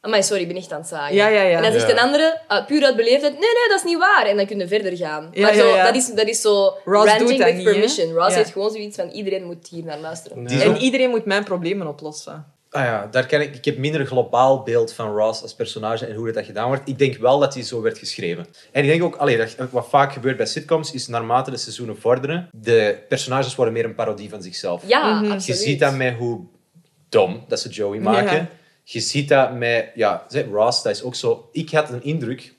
amai, sorry, ik ben echt aan het zagen. Ja, ja, ja. En dan zegt Ja. een andere, ah, puur uit beleefdheid, nee, nee, dat is niet waar. En dan kunnen we verder gaan. Ja, maar zo, ja, ja. Dat, is, dat is zo Ross ranting doet dat with niet, hè? permission. Ross Ja. heeft gewoon zoiets van, iedereen moet hier naar luisteren. Ja. Die is En ook- iedereen moet mijn problemen oplossen. Ah ja, daar ken ik, ik heb minder globaal beeld van Ross als personage en hoe dat, dat gedaan wordt. Ik denk wel dat hij zo werd geschreven. En ik denk ook, allee, dat, wat vaak gebeurt bij sitcoms, is naarmate de seizoenen vorderen, de personages worden meer een parodie van zichzelf. Ja, Mhm. absoluut. Je ziet dat met hoe dom dat ze Joey maken. Ja. Je ziet dat met, ja, zeg, Ross, dat is ook zo. Ik had een indruk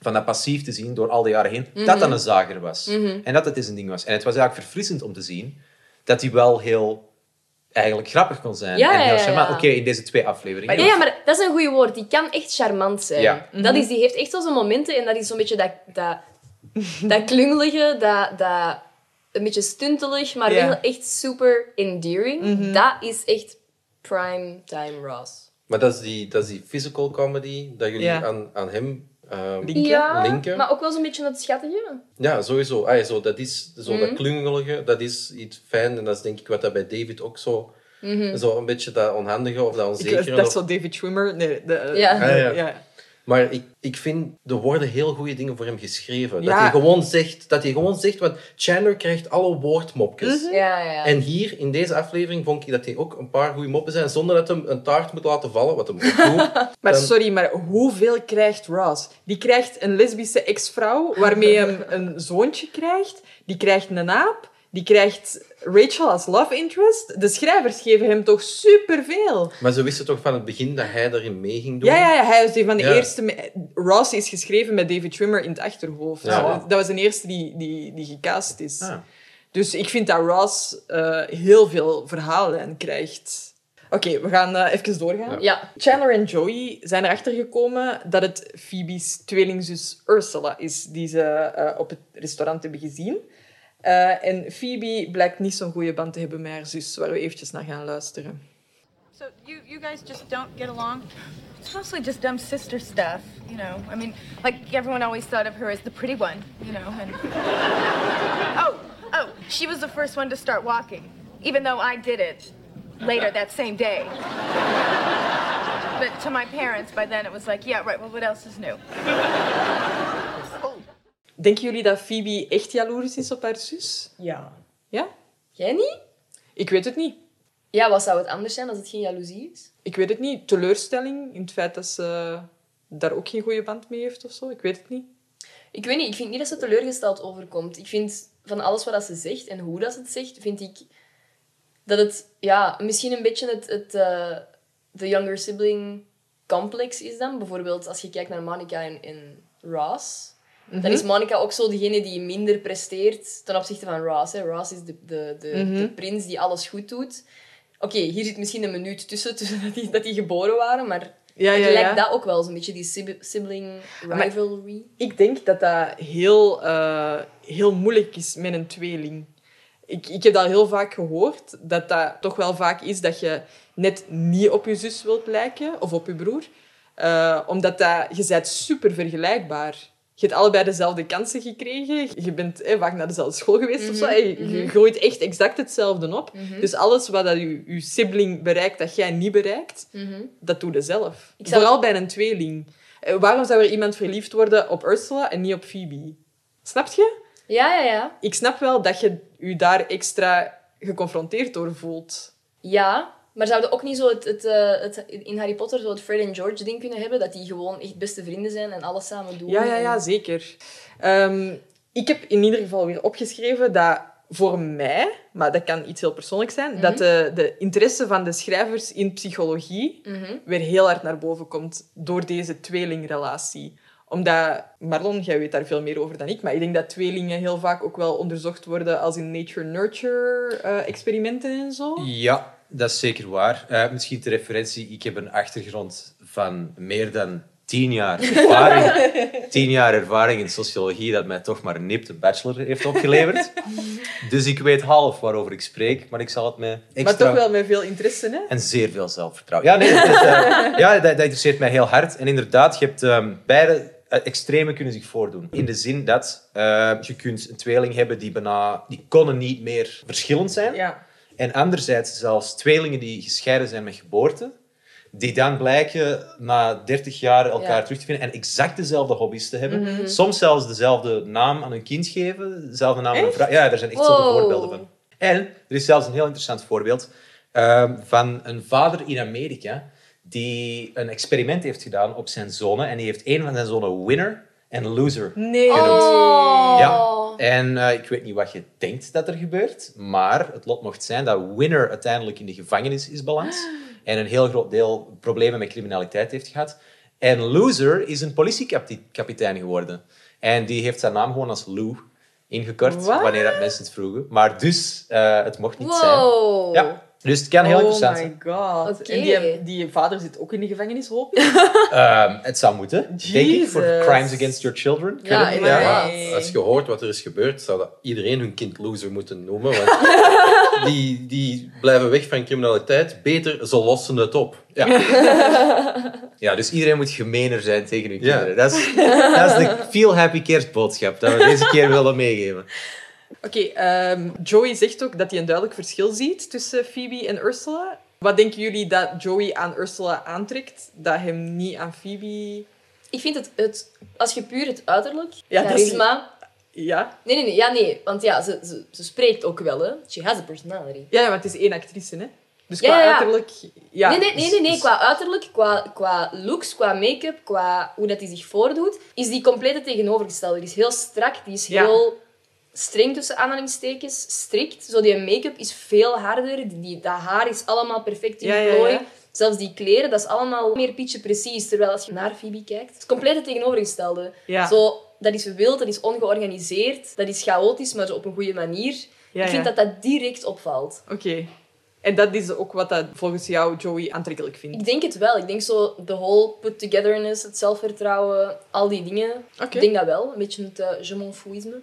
van dat passief te zien door al die jaren heen, Mhm. dat dat een zager was. En dat het eens een ding was. En het was eigenlijk verfrissend om te zien dat hij wel heel eigenlijk grappig kon zijn. Ja, en heel ja, charmant. ja. Oké, in deze twee afleveringen. Ja, ja, maar dat is een goede woord. Die kan echt charmant zijn. Ja. Dat is, die heeft echt wel zo'n momenten en dat is zo'n beetje dat, dat, dat klungelige, dat, dat een beetje stuntelig, maar Ja. wel echt super endearing. Dat is echt prime time Ross. Maar dat is die, dat is die physical comedy dat jullie Ja. aan, aan hem... ehm, Die- Linker. Ja, Linker. maar ook wel zo'n beetje het schattige. Ja, sowieso. Ah, ja, zo, dat is zo dat Mhm. klungelige, dat is iets fijn. En dat is denk ik wat dat bij David ook zo... Zo een beetje dat onhandige of dat Mhm. Ik eh, onzekere. dacht of- zo David Schwimmer. Nee, de, eh, Ja. Ah, ja. ja. Maar ik, ik vind, er worden heel goede dingen voor hem geschreven. Ja. Dat, hij gewoon zegt, dat hij gewoon zegt, want Chandler krijgt alle woordmopjes. Mhm. Ja, ja. En hier, in deze aflevering, vond ik dat hij ook een paar goede moppen zijn, zonder dat hem een taart moet laten vallen, wat hem ook doet. Maar Dan- sorry, maar hoeveel krijgt Ross? Die krijgt een lesbische ex-vrouw, waarmee hem een zoontje krijgt. Die krijgt een aap. Die krijgt Rachel als love interest. De schrijvers geven hem toch superveel. Maar ze wisten toch van het begin dat hij daarin mee ging doen? Ja, ja, ja, hij is een van de Ja. eerste... me- Ross is geschreven met David Schwimmer in het achterhoofd. Dus Ja. Dat was de eerste die, die, die gecast is. Ah. Dus ik vind dat Ross eh, heel veel verhalen krijgt. Oké, we gaan eh, even doorgaan. ja. Chandler en Joey zijn erachter gekomen dat het Phoebe's tweelingzus Ursula is die ze eh, op het restaurant hebben gezien. Eh, en Phoebe blijkt niet zo'n goede band te hebben met haar zus, waar we eventjes naar gaan luisteren. So you you guys just don't get along? It's mostly just dumb sister stuff, you know. I mean, like everyone always thought of her as the pretty one, you know, and Oh, oh, she was the first one to start walking, even though I did it later that same day. But to my parents, by then it was like, yeah, right, well what else is new? Denken jullie dat Phoebe echt jaloers is op haar zus? Ja. Ja? Jij niet? Ik weet het niet. Ja, wat zou het anders zijn als het geen jaloezie is? Ik weet het niet. Teleurstelling in het feit dat ze daar ook geen goede band mee heeft of zo. Ik weet het niet. Ik weet niet, ik vind niet dat ze teleurgesteld overkomt. Ik vind van alles wat dat ze zegt en hoe dat ze het zegt, vind ik dat het ja, misschien een beetje het, het eh, de younger sibling complex is dan. Bijvoorbeeld als je kijkt naar Monica en, en Ross. Mhm. Dan is Monica ook zo degene die minder presteert ten opzichte van Ross. Hè. Ross is de, de, de, Mhm. de prins die alles goed doet. Oké, hier zit misschien een minuut tussen, tussen dat, die, dat die geboren waren, maar Ja, het ja, ja. lijkt dat ook wel zo'n beetje, die sib- sibling rivalry. Ik denk dat dat heel, eh, heel moeilijk is met een tweeling. Ik, ik heb dat heel vaak gehoord, dat dat toch wel vaak is dat je net niet op je zus wilt lijken, of op je broer. Eh, omdat dat, je bent super vergelijkbaar. Je hebt allebei dezelfde kansen gekregen. Je bent eh, vaak naar dezelfde school geweest of zo. Mhm, Eh, Je, je groeit echt exact hetzelfde op. Dus alles wat dat je, je sibling bereikt dat jij niet bereikt, dat doe je zelf. Mhm. Ik zou- Vooral bij een tweeling. Eh, Waarom zou er iemand verliefd worden op Ursula en niet op Phoebe? Snap je? Ja, ja, ja. Ik snap wel dat je je daar extra geconfronteerd door voelt. Ja, maar zouden ook niet zo het, het, eh, het, in Harry Potter zo het Fred en George ding kunnen hebben? Dat die gewoon echt beste vrienden zijn en alles samen doen. Ja, ja, en- ja, zeker. Ehm, ik heb in ieder geval weer opgeschreven dat voor mij, maar dat kan iets heel persoonlijks zijn, dat de, de interesse van de schrijvers in psychologie Mhm. weer heel hard naar boven komt door deze tweelingrelatie. Omdat, Marlon, jij weet daar veel meer over dan ik, maar ik denk dat tweelingen heel vaak ook wel onderzocht worden als in nature-nurture eh, experimenten en zo. Ja, dat is zeker waar. Eh, misschien ter referentie, ik heb een achtergrond van meer dan tien jaar ervaring, tien jaar ervaring in sociologie dat mij toch maar nipt een bachelor heeft opgeleverd. Dus ik weet half waarover ik spreek, maar ik zal het met extra... Maar toch wel met veel interesse, hè? En zeer veel zelfvertrouwen. Ja, nee, dat, is, eh, ja, dat, dat interesseert mij heel hard. En inderdaad, je hebt ehm, beide eh, extremen kunnen zich voordoen. In de zin dat eh, je kunt een tweeling hebben die bijna... Die konden niet meer verschillend zijn. Ja. En anderzijds zelfs tweelingen die gescheiden zijn met geboorte, die dan blijken na 30 jaar elkaar Ja. Mhm. terug te vinden en exact dezelfde hobby's te hebben. Soms zelfs dezelfde naam aan hun kind geven, dezelfde naam aan een vrouw. Ja, daar zijn echt zoveel Wow. voorbeelden van. En er is zelfs een heel interessant voorbeeld ehm, van een vader in Amerika die een experiment heeft gedaan op zijn zonen en die heeft een van zijn zonen winner en loser Nee. genoemd. Oh. Ja, en eh, ik weet niet wat je denkt dat er gebeurt, maar het lot mocht zijn dat Winner uiteindelijk in de gevangenis is beland en een heel groot deel problemen met criminaliteit heeft gehad. En Loser is een politiekapitein geworden. En die heeft zijn naam gewoon als Lou ingekort, Wat? wanneer dat mensen het vroegen. Maar dus, eh, het mocht niet zijn. Wow. Ja, dus het kan heel Oh interessant zijn. my god. Oké. En die, die vader zit ook in de gevangenis, hoop ik? Ehm, het zou moeten, denk ik, voor Jesus. crimes against your children. Ja, Kunnen- inderdaad. Nee. maar als je hoort wat er is gebeurd, zou dat iedereen hun kind loser moeten noemen. Want die, die blijven weg van criminaliteit. Beter, ze lossen het op. Ja, dus iedereen moet gemener zijn tegen hun Ja. kinderen. Dat is, dat is de Feel Happy Kerstboodschap dat we deze keer willen meegeven. Oké, ehm, Joey zegt ook dat hij een duidelijk verschil ziet tussen Phoebe en Ursula. Wat denken jullie dat Joey aan Ursula aantrekt, dat hem niet aan Phoebe... Ik vind het, het, als je puur het uiterlijk, Ja, dat is- charisma... Ja, Nee, nee, nee. Ja, nee. Want ja, ze, ze, ze spreekt ook wel, hè. She has a personality. ja, ja, maar het is één actrice, hè? Dus Ja, qua ja, ja. uiterlijk... Ja. nee, nee, nee, nee, nee. dus- Qua uiterlijk, qua, qua looks, qua make-up, qua hoe dat hij zich voordoet, is die compleet het tegenovergestelde. Die is heel strak, die is Ja. heel streng tussen aanhalingstekens, strikt. Zo die make-up is veel harder, die, dat haar is allemaal perfect in Ja, ja, plooi. ja. Zelfs die kleren, dat is allemaal meer pietje precies. Terwijl als je naar Phoebe kijkt, het is compleet het tegenovergestelde. Ja. Zo, dat is wild, dat is ongeorganiseerd, dat is chaotisch, maar zo op een goede manier. Ja, Ik vind ja. dat dat direct opvalt. Oké. En dat is ook wat dat volgens jou Joey aantrekkelijk vindt. Ik denk het wel. Ik denk zo de whole put togetherness, het zelfvertrouwen, al die dingen. Oké. Ik denk dat wel. Een beetje het uh, je m'en fouisme.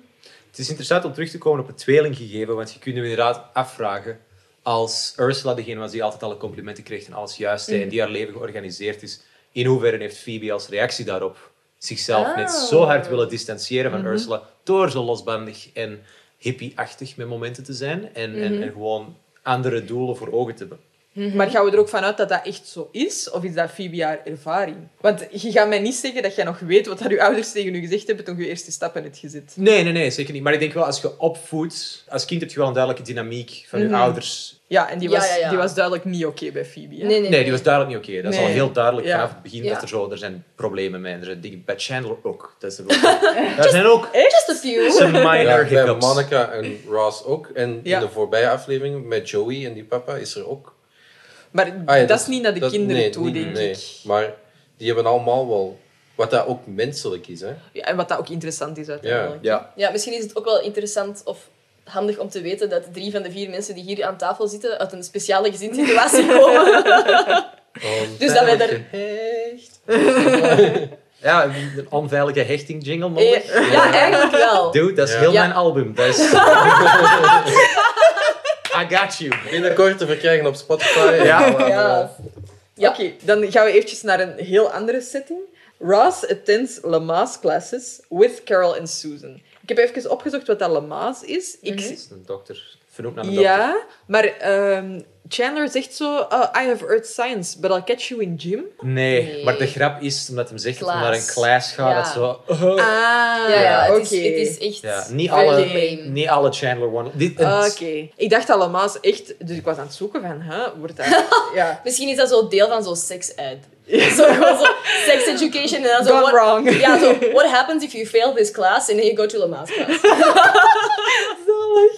Het is interessant om terug te komen op het tweelinggegeven, want je kunt je inderdaad afvragen als Ursula degene was die altijd alle complimenten kreeg en alles juist deed en die haar leven georganiseerd is, in hoeverre heeft Phoebe als reactie daarop zichzelf Ah. net zo hard willen distancieren van Ursula door zo losbandig en hippie-achtig met momenten te zijn en, en, en gewoon andere doelen voor ogen te hebben. Maar gaan we er ook vanuit dat dat echt zo is? Of is dat Phoebe haar ervaring? Want je gaat mij niet zeggen dat jij nog weet wat dat je ouders tegen je gezegd hebben toen je je eerste stappen hebt gezet. Nee, nee, nee, zeker niet. Maar ik denk wel, als je opvoedt... Als kind heb je wel een duidelijke dynamiek van Mhm. je ouders. Ja, en die Ja, was, ja, ja. Die was duidelijk niet oké bij Phoebe. Hè? Nee, nee, Nee, die was duidelijk niet oké. Dat is al Nee. heel duidelijk Ja. vanaf het begin Ja. dat er zo... Er zijn problemen mee. Er zijn dingen... Bij Chandler ook. Dat is er ook. Daar zijn ook Just a few. zijn minor Ja, bij hiccups. Monica en Ross ook. En Ja. in de voorbije aflevering met Joey en die papa is er ook. Maar Ah ja, dat, is niet naar de dat- kinderen nee, toe, niet- denk nee. ik. Maar die hebben allemaal wel... Wat dat ook menselijk is, hè. Ja, en wat dat ook interessant is uiteindelijk. Ja. Ja, misschien is het ook wel interessant of handig om te weten dat drie van de vier mensen die hier aan tafel zitten uit een speciale gezinssituatie komen. Dus dat wij daar... Ja, een onveilige hechting jingle nodig. Eh, Ja, eigenlijk wel. Dude, dat is Ja. heel Ja. mijn album. Dat is... I got you. Binnenkort te verkrijgen op Spotify. Ja. Ja. Ja. Oké, dan gaan we eventjes naar een heel andere setting. Ross attends Lama's classes with Carol en Susan. Ik heb even opgezocht wat dat Lama's is. Ik Mhm. Dat is een dokter. Vernoemd naar een dokter. Ja, maar ehm, Chandler zegt zo... "Oh, I have earth science, but I'll catch you in gym. Nee, Nee. maar de grap is, omdat hem zegt dat Class. hij naar een klas gaat, Ja. dat zo... "Oh, Ah, Ja, ja, het, oké. is, het is echt... Ja, niet very alle, lame. niet alle Chandler One. Dit, Ah, Oké. het- Ik dacht dat Lama's echt... Dus ik was aan het zoeken van... Huh, wordt dat... ja. Misschien is dat zo deel van zo'n sex-ed. Zo, gewoon zo sex education en dan zo... Gone what- wrong. Ja, zo, what happens if you fail this class and then you go to Lama's class? Zalig.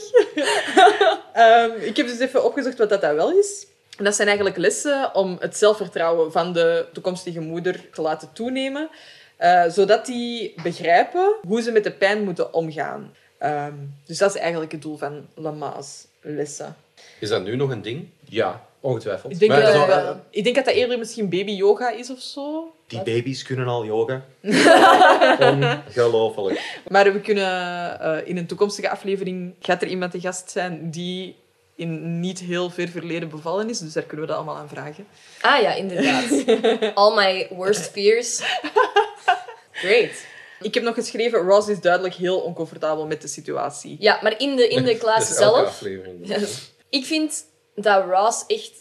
Ehm, ik heb dus even opgezocht wat dat dan wel is. En dat zijn eigenlijk lessen om het zelfvertrouwen van de toekomstige moeder te laten toenemen. eh, zodat die begrijpen hoe ze met de pijn moeten omgaan. Ehm, dus dat is eigenlijk het doel van Lama's lessen. Is dat nu nog een ding? Ja, ongetwijfeld. Ik denk, Maar dat, zo- ik denk dat dat eerder misschien baby yoga is of zo. Die baby's kunnen al yoga. Ongelooflijk. Maar we kunnen eh, in een toekomstige aflevering gaat er iemand te gast zijn die in niet heel ver verleden bevallen is. Dus daar kunnen we dat allemaal aan vragen. Ah ja, inderdaad. All my worst fears. Great. Ik heb nog geschreven, Ross is duidelijk heel oncomfortabel met de situatie. Ja, maar in de, in de Dat klas is Dus elke zelf... aflevering. Ja. Ik vind dat Ross echt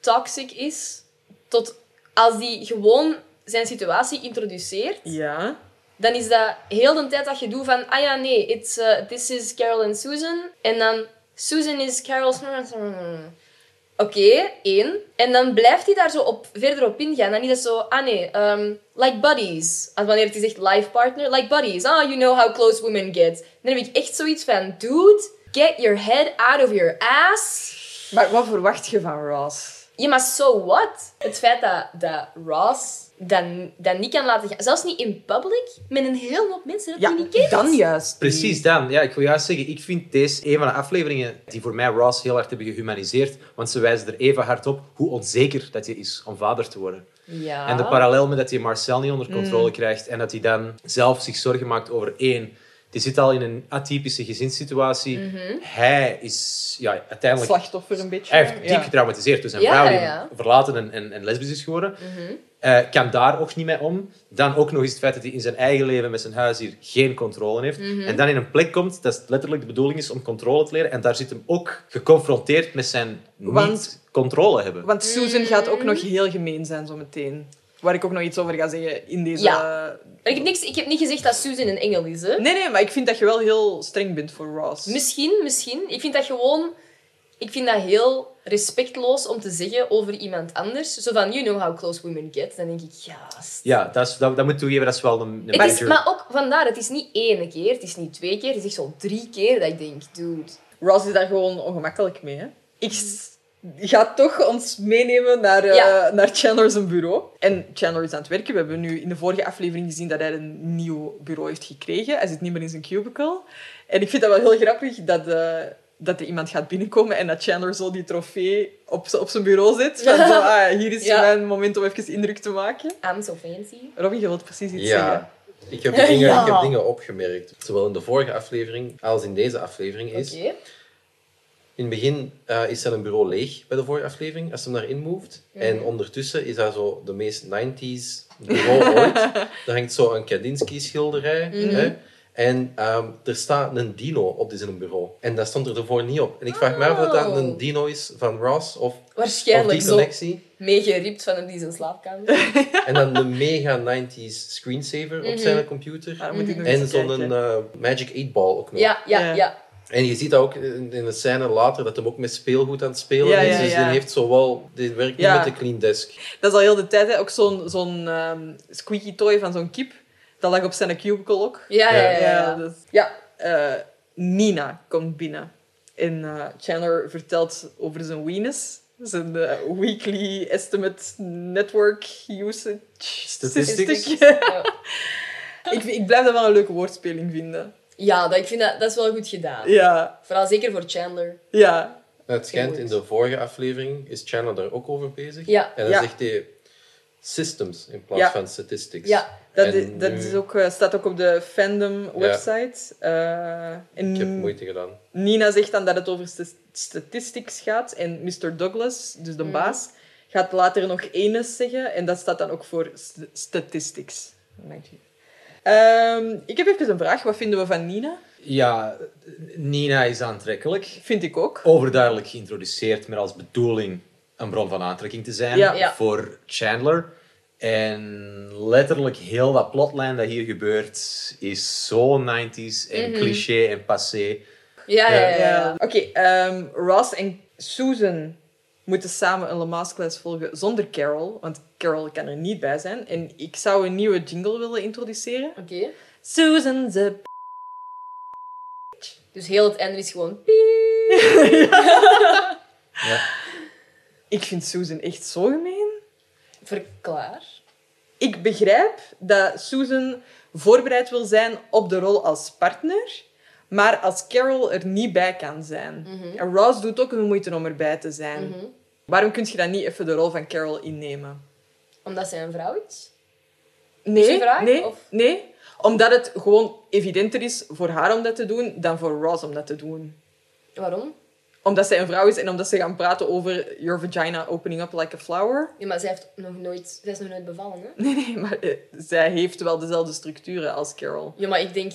toxic is. Tot als hij gewoon zijn situatie introduceert, Ja. dan is dat heel de tijd dat je doet van... Ah ja, nee, it's, eh, this is Carol en Susan. En dan... Susan is Carol's... Oké, één. En dan blijft hij daar zo op, verder op ingaan. Dan is dat zo... Ah nee, ehm, like buddies. Als wanneer hij zegt life partner. Like buddies. Ah, you know how close women get. Dan heb ik echt zoiets van... Dude, get your head out of your ass. Maar wat verwacht je van Ross? Ja, maar so what? Het feit dat, dat Ross dat, dat niet kan laten gaan, zelfs niet in public, met een hele hoop mensen dat hij Ja, niet kent. dan juist. Precies dan. Ja, ik wil juist zeggen, ik vind deze een van de afleveringen die voor mij Ross heel hard hebben gehumaniseerd. Want ze wijzen er even hard op hoe onzeker dat je is om vader te worden. Ja. Ah. En de parallel met dat hij Marcel niet onder controle Mm. krijgt en dat hij dan zelf zich zorgen maakt over één. Die zit al in een atypische gezinssituatie. Hij is ja, uiteindelijk. Mhm. Slachtoffer een beetje. Hij heeft diep Ja. getraumatiseerd toen zijn Ja, vrouw die ja, hem ja. verlaten en, en, en lesbisch is geworden. Eh, kan daar ook niet mee om. Dan ook nog eens het feit dat hij in zijn eigen leven met zijn huis hier geen controle heeft. Mhm. En dan in een plek komt dat letterlijk de bedoeling is om controle te leren. En daar zit hem ook geconfronteerd met zijn Want- niet-controle hebben. Want Susan gaat ook Mm. nog heel gemeen zijn zometeen. Waar ik ook nog iets over ga zeggen in deze... Ja. Maar ik, heb niks, ik heb niet gezegd dat Susan een engel is, hè. Nee, nee, maar ik vind dat je wel heel streng bent voor Ross. Misschien, misschien. Ik vind dat gewoon... Ik vind dat heel respectloos om te zeggen over iemand anders. Zo van, you know how close women get. Dan denk ik, ja... st- Ja, dat, is, dat, dat moet toegeven, dat is wel een, een Het is, major. maar ook vandaar, het is niet één keer, het is niet twee keer, het is echt zo'n drie keer dat ik denk, dude... Ross is daar gewoon ongemakkelijk mee. Hè? Ik s- ga toch ons meenemen naar, eh, Ja. naar Chandler zijn bureau. En Chandler is aan het werken. We hebben nu in de vorige aflevering gezien dat hij een nieuw bureau heeft gekregen. Hij zit niet meer in zijn cubicle. En ik vind dat wel heel grappig dat, eh, dat er iemand gaat binnenkomen en dat Chandler zo die trofee op, z- op zijn bureau zet. Van Ja. zo, ah, hier is Ja. mijn moment om even indruk te maken. I'm so fancy. Robin, je wilt precies iets zeggen. Ja. Ik heb, dingen, Ja. ik heb dingen opgemerkt. Zowel in de vorige aflevering als in deze aflevering is... Oké. In het begin eh, is zijn bureau leeg bij de vorige aflevering, als ze hem daarin moved. En ondertussen is dat zo de meest 90s bureau ooit. Daar hangt zo een Kandinsky-schilderij. Mhm. hè. En ehm, er staat een dino op dit zijn bureau. En dat stond er ervoor niet op. En ik vraag me af of dat Oh. een dino is van Ross of, of Waarschijnlijk die zo connectie. meegeript van hem die zijn slaapkamer. En dan de mega 90s screensaver Mhm. op zijn Maar computer. dan moet ik nog En eens zo'n kijken. eh, Magic 8-ball ook Ah, nog. ja, ja, Ja. ja. En je ziet dat ook in in de scène later, dat hem ook met speelgoed aan het spelen Ja, is. ja, Dus ja. die heeft zowel... Die werkt niet Ja. met de clean desk. Dat is al heel de tijd, hè. ook zo'n zo'n ehm, squeaky toy van zo'n kip. Dat lag op zijn cubicle ook. Ja, ja, ja. Ja, ja. dus, ja eh, Nina komt binnen. En eh, Chandler vertelt over zijn weenus. Zijn eh, weekly estimate network usage Statistics. ik, ik blijf dat wel een leuke woordspeling vinden. Ja, dat, ik vind dat, dat is wel goed gedaan. Ja, Vooral zeker voor Chandler. ja. Nou, het schijnt in Goed. de vorige aflevering is Chandler daar ook over bezig. Ja. En dan Ja. zegt hij systems in plaats Ja. van statistics. Ja. Dat, En is, dat nu- is ook, eh, staat ook op de fandom website. Eh, en Ik heb moeite gedaan. Nina zegt dan dat het over st- statistics gaat. En Mr. Douglas, dus de baas, gaat later nog enes zeggen. En dat staat dan ook voor st- statistics. Dank je. Ehm, ik heb even een vraag. Wat vinden we van Nina? Ja, Nina is aantrekkelijk. Vind ik ook. Oh, overduidelijk geïntroduceerd met als bedoeling een bron van aantrekking te zijn Ja. Ja. voor Chandler. En letterlijk heel dat plotline dat hier gebeurt is zo 90s en Mhm. cliché en passé. Ja, ja, ja. Ja. ja. Oké, ehm, Ross en Susan moeten samen een Le Mans-class volgen zonder Carol. Want Carol kan er niet bij zijn. En ik zou een nieuwe jingle willen introduceren. Oké. Susan ze Dus heel het einde is gewoon... piep. Ik vind Susan echt zo gemeen. Verklaar. ik begrijp dat Susan voorbereid wil zijn op de rol als partner, maar als Carol er niet bij kan zijn. Mhm. En Ross doet ook een moeite om erbij te zijn. Waarom kun je dan niet even de rol van Carol innemen? Omdat zij een vrouw is. Is die Nee, vraag? nee, Of- nee. Omdat het gewoon evidenter is voor haar om dat te doen dan voor Ross om dat te doen. Waarom? Omdat zij een vrouw is en omdat ze gaan praten over your vagina opening up like a flower. Ja, maar zij, heeft nog nooit, zij is nog nooit bevallen, hè? Nee, nee, maar eh, zij heeft wel dezelfde structuren als Carol. Ja, maar ik denk...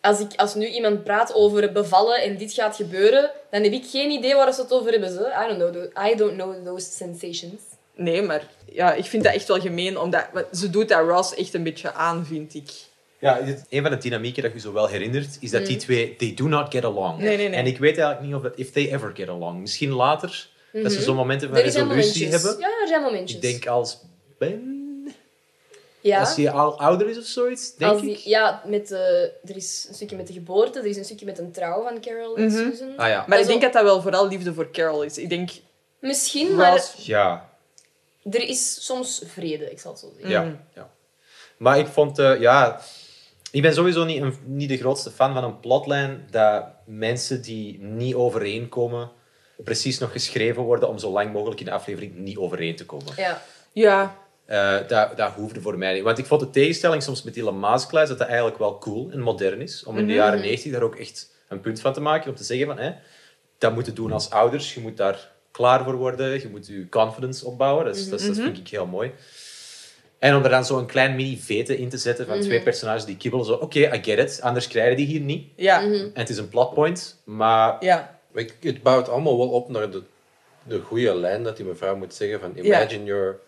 Als, ik, als nu iemand praat over bevallen en dit gaat gebeuren, dan heb ik geen idee waar ze het over hebben. Ze. I, don't know, tho- I don't know those sensations. Nee, maar ja, ik vind dat echt wel gemeen, omdat want ze doet dat Ross echt een beetje aan, vind ik. Ja, dit- een van de dynamieken dat je zo wel herinnert, is dat die Mhm. twee, they do not get along. Nee, nee, nee. En ik weet eigenlijk niet of dat, if they ever get along. Misschien later, dat ze zo'n momenten van Mhm. Er zijn resolutie momentjes. hebben. Ja, er zijn momentjes. Ik denk als Ben, ja. als hij al ouder is of zoiets, denk Als die- ik. Ja, met de, er is een stukje met de geboorte, er is een stukje met een trouw van Carol en Susan. Ah ja. Maar ik Also- denk dat dat wel vooral liefde voor Carol is. Ik denk, Misschien, maar Ross... Ja, er is soms vrede, ik zal het zo zeggen. Ja, ja. Maar ik vond, eh, ja, ik ben sowieso niet, een, niet de grootste fan van een plotlijn dat mensen die niet overeenkomen, precies nog geschreven worden om zo lang mogelijk in de aflevering niet overeen te komen. Ja. Ja, Eh, dat, dat hoefde voor mij niet. Want ik vond de tegenstelling soms met die Lamaasklaas dat dat eigenlijk wel cool en modern is. Om in de jaren 90 daar ook echt een punt van te maken. Om te zeggen van, hè, dat moet je doen als ouders. Je moet daar klaar voor worden. Je moet je confidence opbouwen. Dat, is- dat, is- dat vind ik heel mooi. En om er dan zo'n klein mini-vete in te zetten van twee personages die kibbelen. Zo, oké, I get it. Anders krijgen die hier niet. ja, Mhm. En het is een plotpoint. Maar ja. Maar ik- het bouwt allemaal wel op naar de, de goede lijn dat die mevrouw moet zeggen van imagine your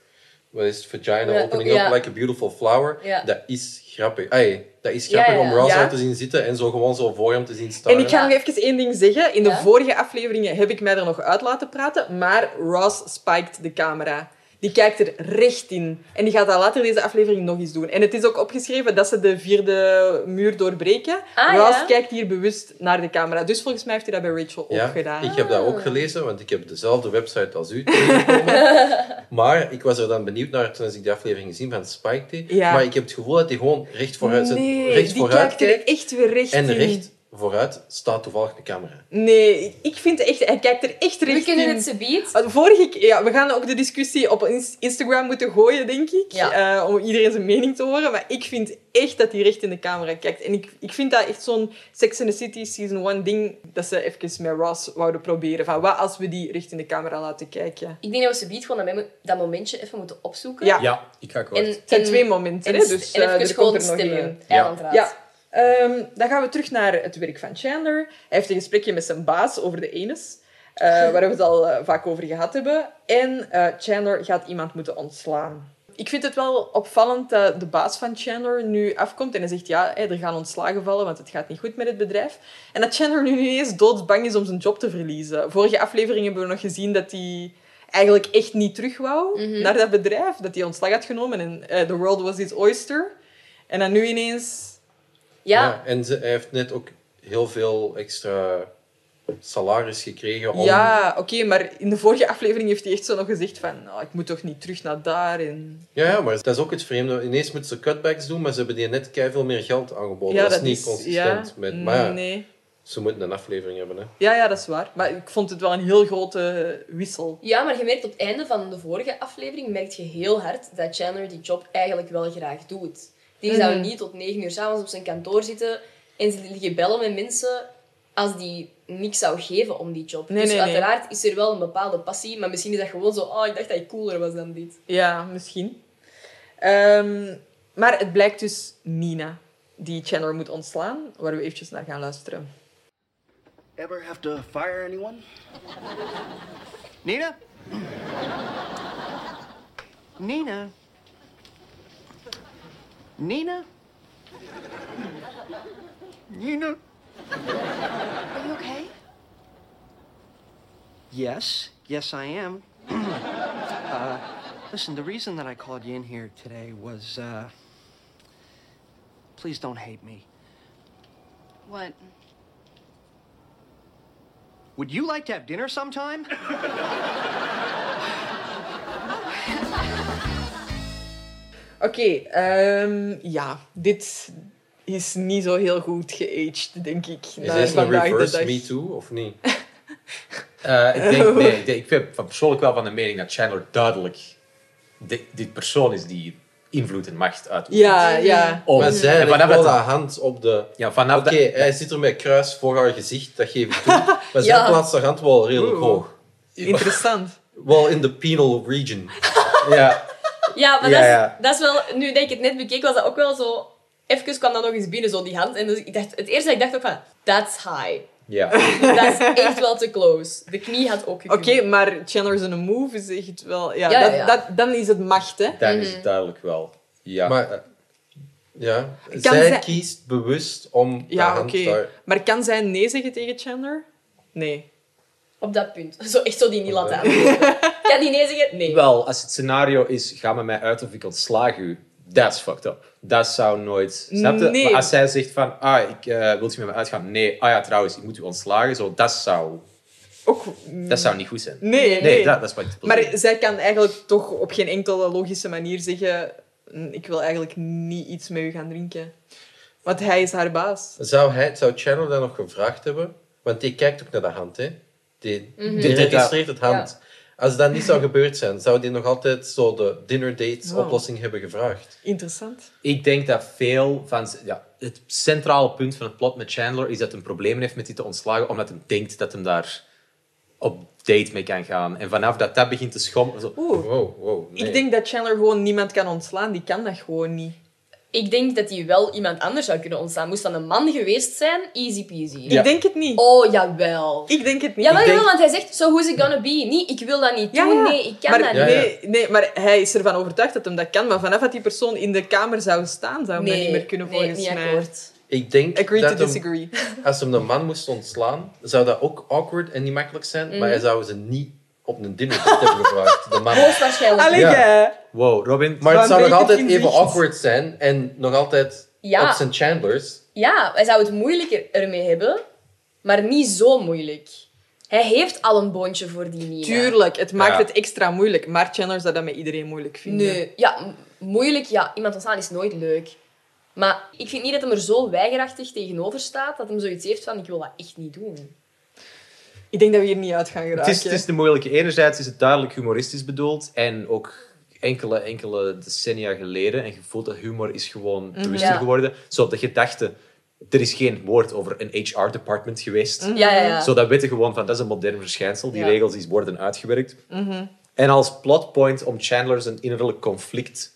wat is het, vagina Ja, opening ja. up like a beautiful flower. Ja. Dat is grappig. Ay, dat is Ja, grappig ja, ja. om Ross Ja. uit te zien zitten en zo gewoon zo voor hem te zien staan. En ik ga nog even één ding zeggen. In de Ja? vorige afleveringen heb ik mij er nog uit laten praten, maar Ross spiked de camera. Die kijkt er recht in. En die gaat dat later deze aflevering nog eens doen. En het is ook opgeschreven dat ze de vierde muur doorbreken. Ah, Ross ja. kijkt hier bewust naar de camera. Dus volgens mij heeft hij dat bij Rachel Ja, ook gedaan. ik heb dat ook gelezen, want ik heb dezelfde website als u tegengekomen. maar ik was er dan benieuwd naar toen ik die aflevering gezien van Spike Tea. Ja. Maar ik heb het gevoel dat hij gewoon recht vooruit, zit- nee, recht die vooruit kijkt er kijkt. echt weer recht En in. recht vooruit staat toevallig de camera. Nee, ik vind echt... Hij kijkt er echt recht We kunnen in. het ze biedt. Uh, Vorige keer, ja, we gaan ook de discussie op ins- Instagram moeten gooien, denk ik. Ja. eh, om iedereen zijn mening te horen. Maar ik vind echt dat hij recht in de camera kijkt. En ik, ik vind dat echt zo'n Sex and the City Season 1 ding. Dat ze even met Ross wouden proberen. Van wat als we die recht in de camera laten kijken? Ik denk dat we ze biedt gewoon dat, mem- dat momentje even moeten opzoeken. Ja, ja, ik ga kort. En, het zijn en- twee momenten. en, hè, dus en eh, even er gewoon komt er nog één. stemmen. Ja. Eilandraad. Ja. Ehm, dan gaan we terug naar het werk van Chandler. Hij heeft een gesprekje met zijn baas over de enes, eh, waar we het al eh, vaak over gehad hebben. En eh, Chandler gaat iemand moeten ontslaan. Ik vind het wel opvallend dat de baas van Chandler nu afkomt en hij zegt ja, hè, er gaan ontslagen vallen, want het gaat niet goed met het bedrijf. En dat Chandler nu ineens doodsbang is om zijn job te verliezen. Vorige aflevering hebben we nog gezien dat hij eigenlijk echt niet terug wou naar dat bedrijf. Dat hij ontslag had genomen en eh, the world was his oyster. En dan nu ineens Ja, en ze, hij heeft net ook heel veel extra salaris gekregen om... Ja, oké, maar in de vorige aflevering heeft hij echt zo nog gezegd van, "Nou, ik moet toch niet terug naar daar. En... Ja, ja, maar dat is ook het vreemde. Ineens moeten ze cutbacks doen, maar ze hebben die net veel meer geld aangeboden. Oh, dat, is niet consistent. ja, met, maar ja, nee. ze moeten een aflevering hebben. Hè. Ja, ja, dat is waar. Maar ik vond het wel een heel grote wissel. Ja, maar je merkt op het einde van de vorige aflevering merk je heel hard dat Chandler die job eigenlijk wel graag doet. Die Mhm. zou niet tot negen uur s'avonds op zijn kantoor zitten en ze liggen bellen met mensen als die niks zou geven om die job. Nee, dus nee, nee. uiteraard is er wel een bepaalde passie, maar misschien is dat gewoon zo, oh, ik dacht dat ik cooler was dan dit. Ja, misschien. Ehm, maar het blijkt dus Nina die Chandler moet ontslaan, waar we eventjes naar gaan luisteren. Ever have to fire anyone? Nina? Nina? Nina? Nina? Are you okay? Yes, yes, I am. uh, listen, the reason that I called you in here today was, uh, please don't hate me. What? Would you like to have dinner sometime? Oké, ehm, ja, dit is niet zo heel goed geaged, denk ik. Is naar dit een vandaag de reverse dag. Me Too of niet? Eh, ik, denk, nee, ik, denk, ik ben van persoonlijk wel van de mening dat Chandler duidelijk de- dit persoon is die invloed en macht uitoefent. Ja, ja. Om- Maar zij en legt vanaf wel dat, de hand op de... ja, vanaf Oké, dat- hij zit er met kruis voor haar gezicht, dat geef ik toe. Maar zij Ja. plaatst haar hand wel redelijk Oeh. hoog. Interessant. Wel in de penal region. ja. Ja, maar Ja, dat, is, ja. dat is wel... Nu dat ik het net bekeek, was dat ook wel zo... Even kwam dat nog eens binnen, zo die hand. En dus ik dacht, het eerste dat ik dacht ook van... That's high. ja. Dat is echt wel te close. De knie had ook Oké, gekund. maar Chandler's in a Move is echt wel... Ja, Ja, ja, dat, ja. Dat, dan is het macht, hè. Dan is het duidelijk wel. Ja. Maar eh, ja, zij zij- kiest bewust om de Ja, hand oké. daar... Maar kan zij nee zeggen tegen Chandler? Nee. Op dat punt. Zo, echt zo die niet laten antwoorden. Kan die nee zeggen? Nee. Wel, als het scenario is, ga met mij uit of ik ontslaag u. That's fucked up. Dat zou nooit... Snap je? Nee. Maar als zij zegt van, ah, ik, eh wilt u met mij uitgaan? Nee. Ah ja, trouwens, ik moet u ontslagen. Zo, dat, zou, Ook... dat zou niet goed zijn. Nee, Nee, nee. dat, dat is wat ik bedoel. Maar zij kan eigenlijk toch op geen enkele logische manier zeggen... "Mm, Ik wil eigenlijk niet iets met u gaan drinken. Want hij is haar baas. Zou, hij, zou Channel dat nog gevraagd hebben? Want die kijkt ook naar de hand, hè? Die, Mhm. die Die doet registreert het hand. Als dat niet zou gebeurd zijn, zou die nog altijd zo de dinner dates Wow. oplossing hebben gevraagd? Interessant. Ik denk dat veel van... z- Ja, het centrale punt van het plot met Chandler is dat hij problemen heeft met die te ontslagen, omdat hij denkt dat hij daar op date mee kan gaan. En vanaf dat dat begint te schommelen... zo- Oeh. Wow, wow. nee. Ik denk dat Chandler gewoon niemand kan ontslaan. Die kan dat gewoon niet. Ik denk dat die wel iemand anders zou kunnen ontstaan. Moest dan een man geweest zijn, easy peasy. Ja. Ik denk het niet. Oh, jawel. Ik denk het niet. Jawel, Ik denk- jawel, want hij zegt, so who's it gonna be? Nee, ik wil dat niet Ja, doen. ja. Nee, ik kan maar, dat niet. Ja, ja. nee, nee, maar hij is ervan overtuigd dat hem dat kan. Maar vanaf dat die persoon in de kamer zou staan, zou hem dat niet meer kunnen nee, volgens niet mij. akkoord. Ik denk Agree dat to hem- disagree. als hem de man moest ontslaan, zou dat ook awkward en niet makkelijk zijn. Maar hij zou ze niet op een dinner date hebben gevraagd, de man. Hoogstwaarschijnlijk. Allee, Ja. jij. Wow, Robin. Maar het Waarom zou ben nog je het altijd in even zicht? awkward zijn en nog altijd Ja. op zijn Chandler's. Ja, hij zou het moeilijker ermee hebben, maar niet zo moeilijk. Hij heeft al een boontje voor die Nina. Tuurlijk, het maakt Ja. het extra moeilijk. Maar Chandler zou dat met iedereen moeilijk vinden. Nee, ja, m- moeilijk. Ja, iemand ontstaan is nooit leuk. Maar ik vind niet dat hem er zo weigerachtig tegenover staat dat hem zoiets heeft van ik wil dat echt niet doen. Ik denk dat we hier niet uit gaan Het geraken. is, het is de moeilijke. Enerzijds is het duidelijk humoristisch bedoeld. En ook enkele, enkele decennia geleden. En je voelt dat humor is gewoon Mhm. bewuster Ja. geworden. Zo de gedachte... Er is geen woord over een HR-department geweest. Mhm. Ja, ja, ja. Mm-hmm. Zo dat weten gewoon van, dat is een modern verschijnsel. Die Ja. regels die worden uitgewerkt. Mhm. En als plotpoint om Chandler zijn innerlijk conflict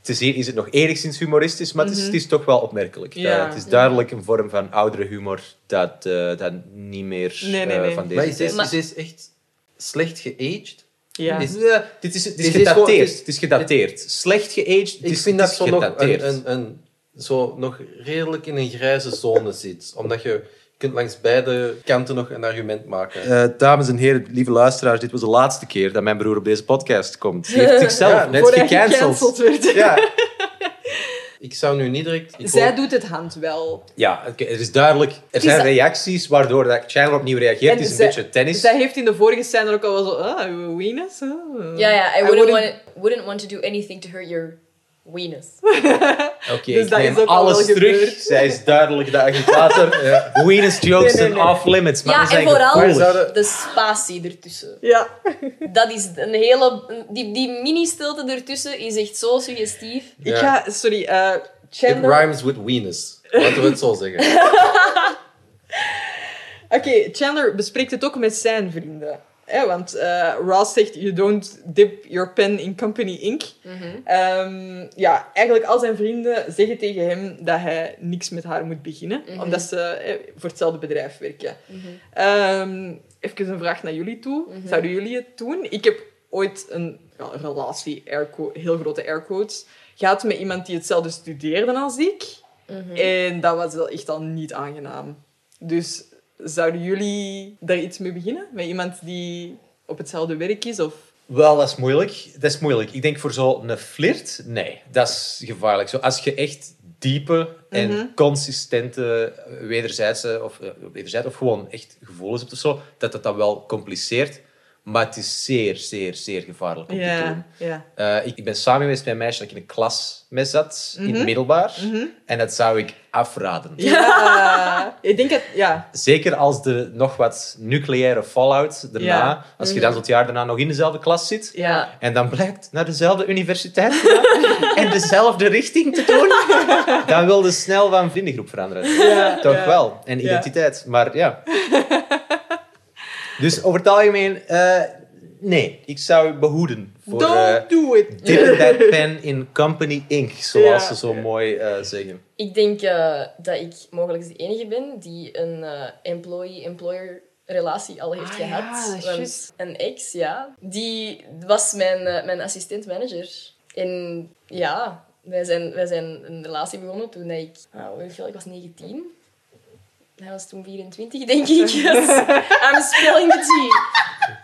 te zien, is het nog enigszins humoristisch, maar het, is, het is toch wel opmerkelijk. Mhm. Ja. Dat- het is duidelijk een vorm van oudere humor dat, eh, dat niet meer Nee, nee, eh, nee. van deze Maar is deze, tijd Maar- is deze echt slecht geaged? Ja. Is- ja, dit is, dit is Dit is gewoon- gedateerd. dit- Het is gedateerd. Slecht geaged. Het Ik is, vind het dat zo is nog, gedateerd. een, een, een, zo nog redelijk in een grijze zone zit. Omdat je kunt langs beide kanten nog een argument maken. Eh, dames en heren, lieve luisteraars, dit was de laatste keer dat mijn broer op deze podcast komt. Hij heeft zichzelf Ja, net Voor hij gecanceld. gecanceld werd. Ja, Ik zou nu niet direct... Ik Zij hoop- doet het hand wel. ja oké, er is duidelijk. Er zijn dat- reacties waardoor dat Chandler opnieuw reageert. En Het is een zij- beetje tennis. Zij Dus heeft in de vorige scène ook al wel zo... Ah, Venus? ah. Ja, ja. I I wouldn't, wouldn't- Want, wouldn't want to do anything to hurt your weenus. Oké, Dus ik dat neem is ook al alles wel terug. gebeurd. Zij is duidelijk de agitator. Eh, Ja. Venus jokes Nee, nee, zijn nee. off limits. Maar ja, we zijn en vooral gevoelig. zouden- de spatie ertussen. Ja. Dat is een hele... Die, die mini-stilte ertussen is echt zo suggestief. Ik ga... Sorry. eh, It Chandler... rhymes with weenus. Laten we het zo zeggen. Oké, Chandler bespreekt het ook met zijn vrienden. Hè? Want eh, Ross zegt, you don't dip your pen in company ink. Ehm, ja, eigenlijk al zijn vrienden zeggen tegen hem dat hij niks met haar moet beginnen. Omdat ze eh, voor hetzelfde bedrijf werken. Ehm, even een vraag naar jullie toe. Zouden jullie het doen? Ik heb ooit een ja, een relatie, air quo- heel grote airquotes, gehad met iemand die hetzelfde studeerde als ik. En dat was wel echt al niet aangenaam. Dus zouden jullie daar iets mee beginnen? Met iemand die op hetzelfde werk is? Of... Wel, dat is moeilijk. Dat is moeilijk. Ik denk voor zo'n flirt, nee, dat is gevaarlijk. Zo, als je echt diepe en Mhm. consistente eh, wederzijdse of, eh, wederzijds, of gewoon echt gevoelens hebt of zo, dat dat dan wel compliceert. Maar het is zeer, zeer, zeer gevaarlijk om te doen. Ja, ja. Eh, ik, ik ben samen geweest met een meisje dat ik in een klas mee zat, Mhm. in het middelbaar. En dat zou ik afraden. Ja, ik denk dat... Ja, Zeker als de nog wat nucleaire fallout daarna, Ja. Mhm. als je dan tot het jaar daarna nog in dezelfde klas zit. ja. En dan blijkt naar dezelfde universiteit te gaan en dezelfde richting te doen. Dan wil je snel van vriendengroep veranderen. ja Toch ja. wel. En Ja. identiteit. Maar ja. Dus over het algemeen, eh, nee. Ik zou u behoeden voor eh, Don't do it. dipping that pen in company ink. Zoals Ja. ze zo mooi eh, zeggen. Ik denk eh, dat ik mogelijk de enige ben die een eh, employee-employer relatie al heeft Ah, gehad. ja, dat is Want juist. Een ex, ja. Die was mijn, eh, mijn assistent-manager. En ja, wij zijn, wij zijn een relatie begonnen toen dat ik... Nou, weet ik veel, ik was 19. Hij was toen 24, denk ik. Yes. I'm spelling the G.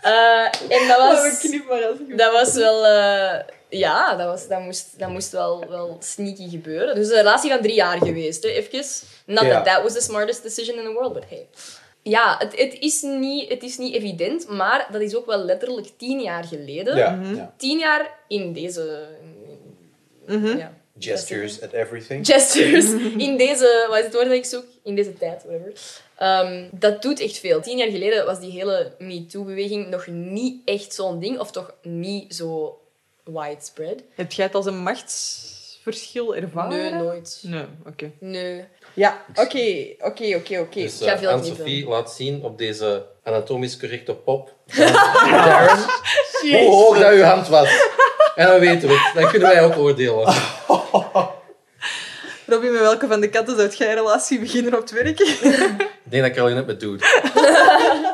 Eh, en dat was... Oh, knip maar als ik- Dat was wel... eh, ja, dat, was, dat moest, dat moest wel, wel sneaky gebeuren. Dus een relatie van drie jaar geweest, hè, even. Not Ja. that that was the smartest decision in the world, but hey. Ja, het, het, is niet, het is niet evident, maar dat is ook wel letterlijk tien jaar geleden. ja. Tien jaar in deze... ja. Gestures at everything. Gestures. In deze... Wat is het woord dat ik zoek? In deze tijd, whatever. Ehm, dat doet echt veel. Tien jaar geleden was die hele MeToo-beweging nog niet echt zo'n ding. Of toch niet zo widespread. Heb jij het als een machtsverschil ervaren? Nee, nooit. Nee, oké. Nee. Ja, oké, oké, oké, oké. Dus ga veel eh niet Anne-Sophie doen. laat zien op deze anatomisch correcte pop. Darren, hoe hoog dat uw hand was. En dan weten we het. Dan kunnen wij ook oordelen. Robin, met welke van de katten zou jij een relatie beginnen op het werk? Ik denk dat ik er alleen het met doe.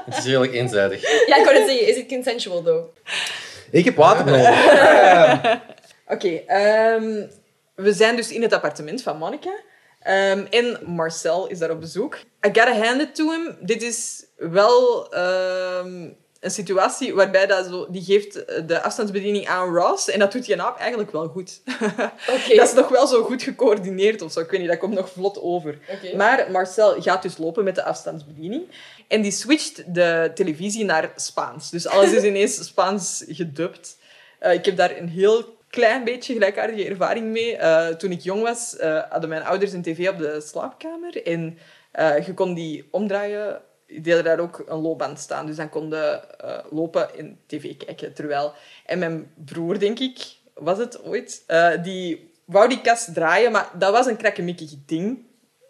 Het is redelijk eenzijdig. Ja, ik wou net zeggen, is it consensual though? Ik heb water nodig. Oké, ehm, we zijn dus in het appartement van Monica. Ehm, en Marcel is daar op bezoek. I gotta hand it to him. Dit is wel ehm, een situatie waarbij dat zo, die geeft de afstandsbediening aan Ross. En dat doet die naap eigenlijk wel goed. Oké. Dat is nog wel zo goed gecoördineerd of zo. Ik weet niet, dat komt nog vlot over. Oké. Maar Marcel gaat dus lopen met de afstandsbediening. En die switcht de televisie naar Spaans. Dus alles is ineens Spaans gedubt. Eh, ik heb daar een heel klein beetje gelijkaardige ervaring mee. Eh, toen ik jong was, eh, hadden mijn ouders een tv op de slaapkamer. En eh, je kon die omdraaien. Die hadden daar ook een loopband staan. Dus dan konden eh lopen en tv kijken. Terwijl... En mijn broer, denk ik, was het ooit, eh, die wou die kast draaien. Maar dat was een krakkemikkig ding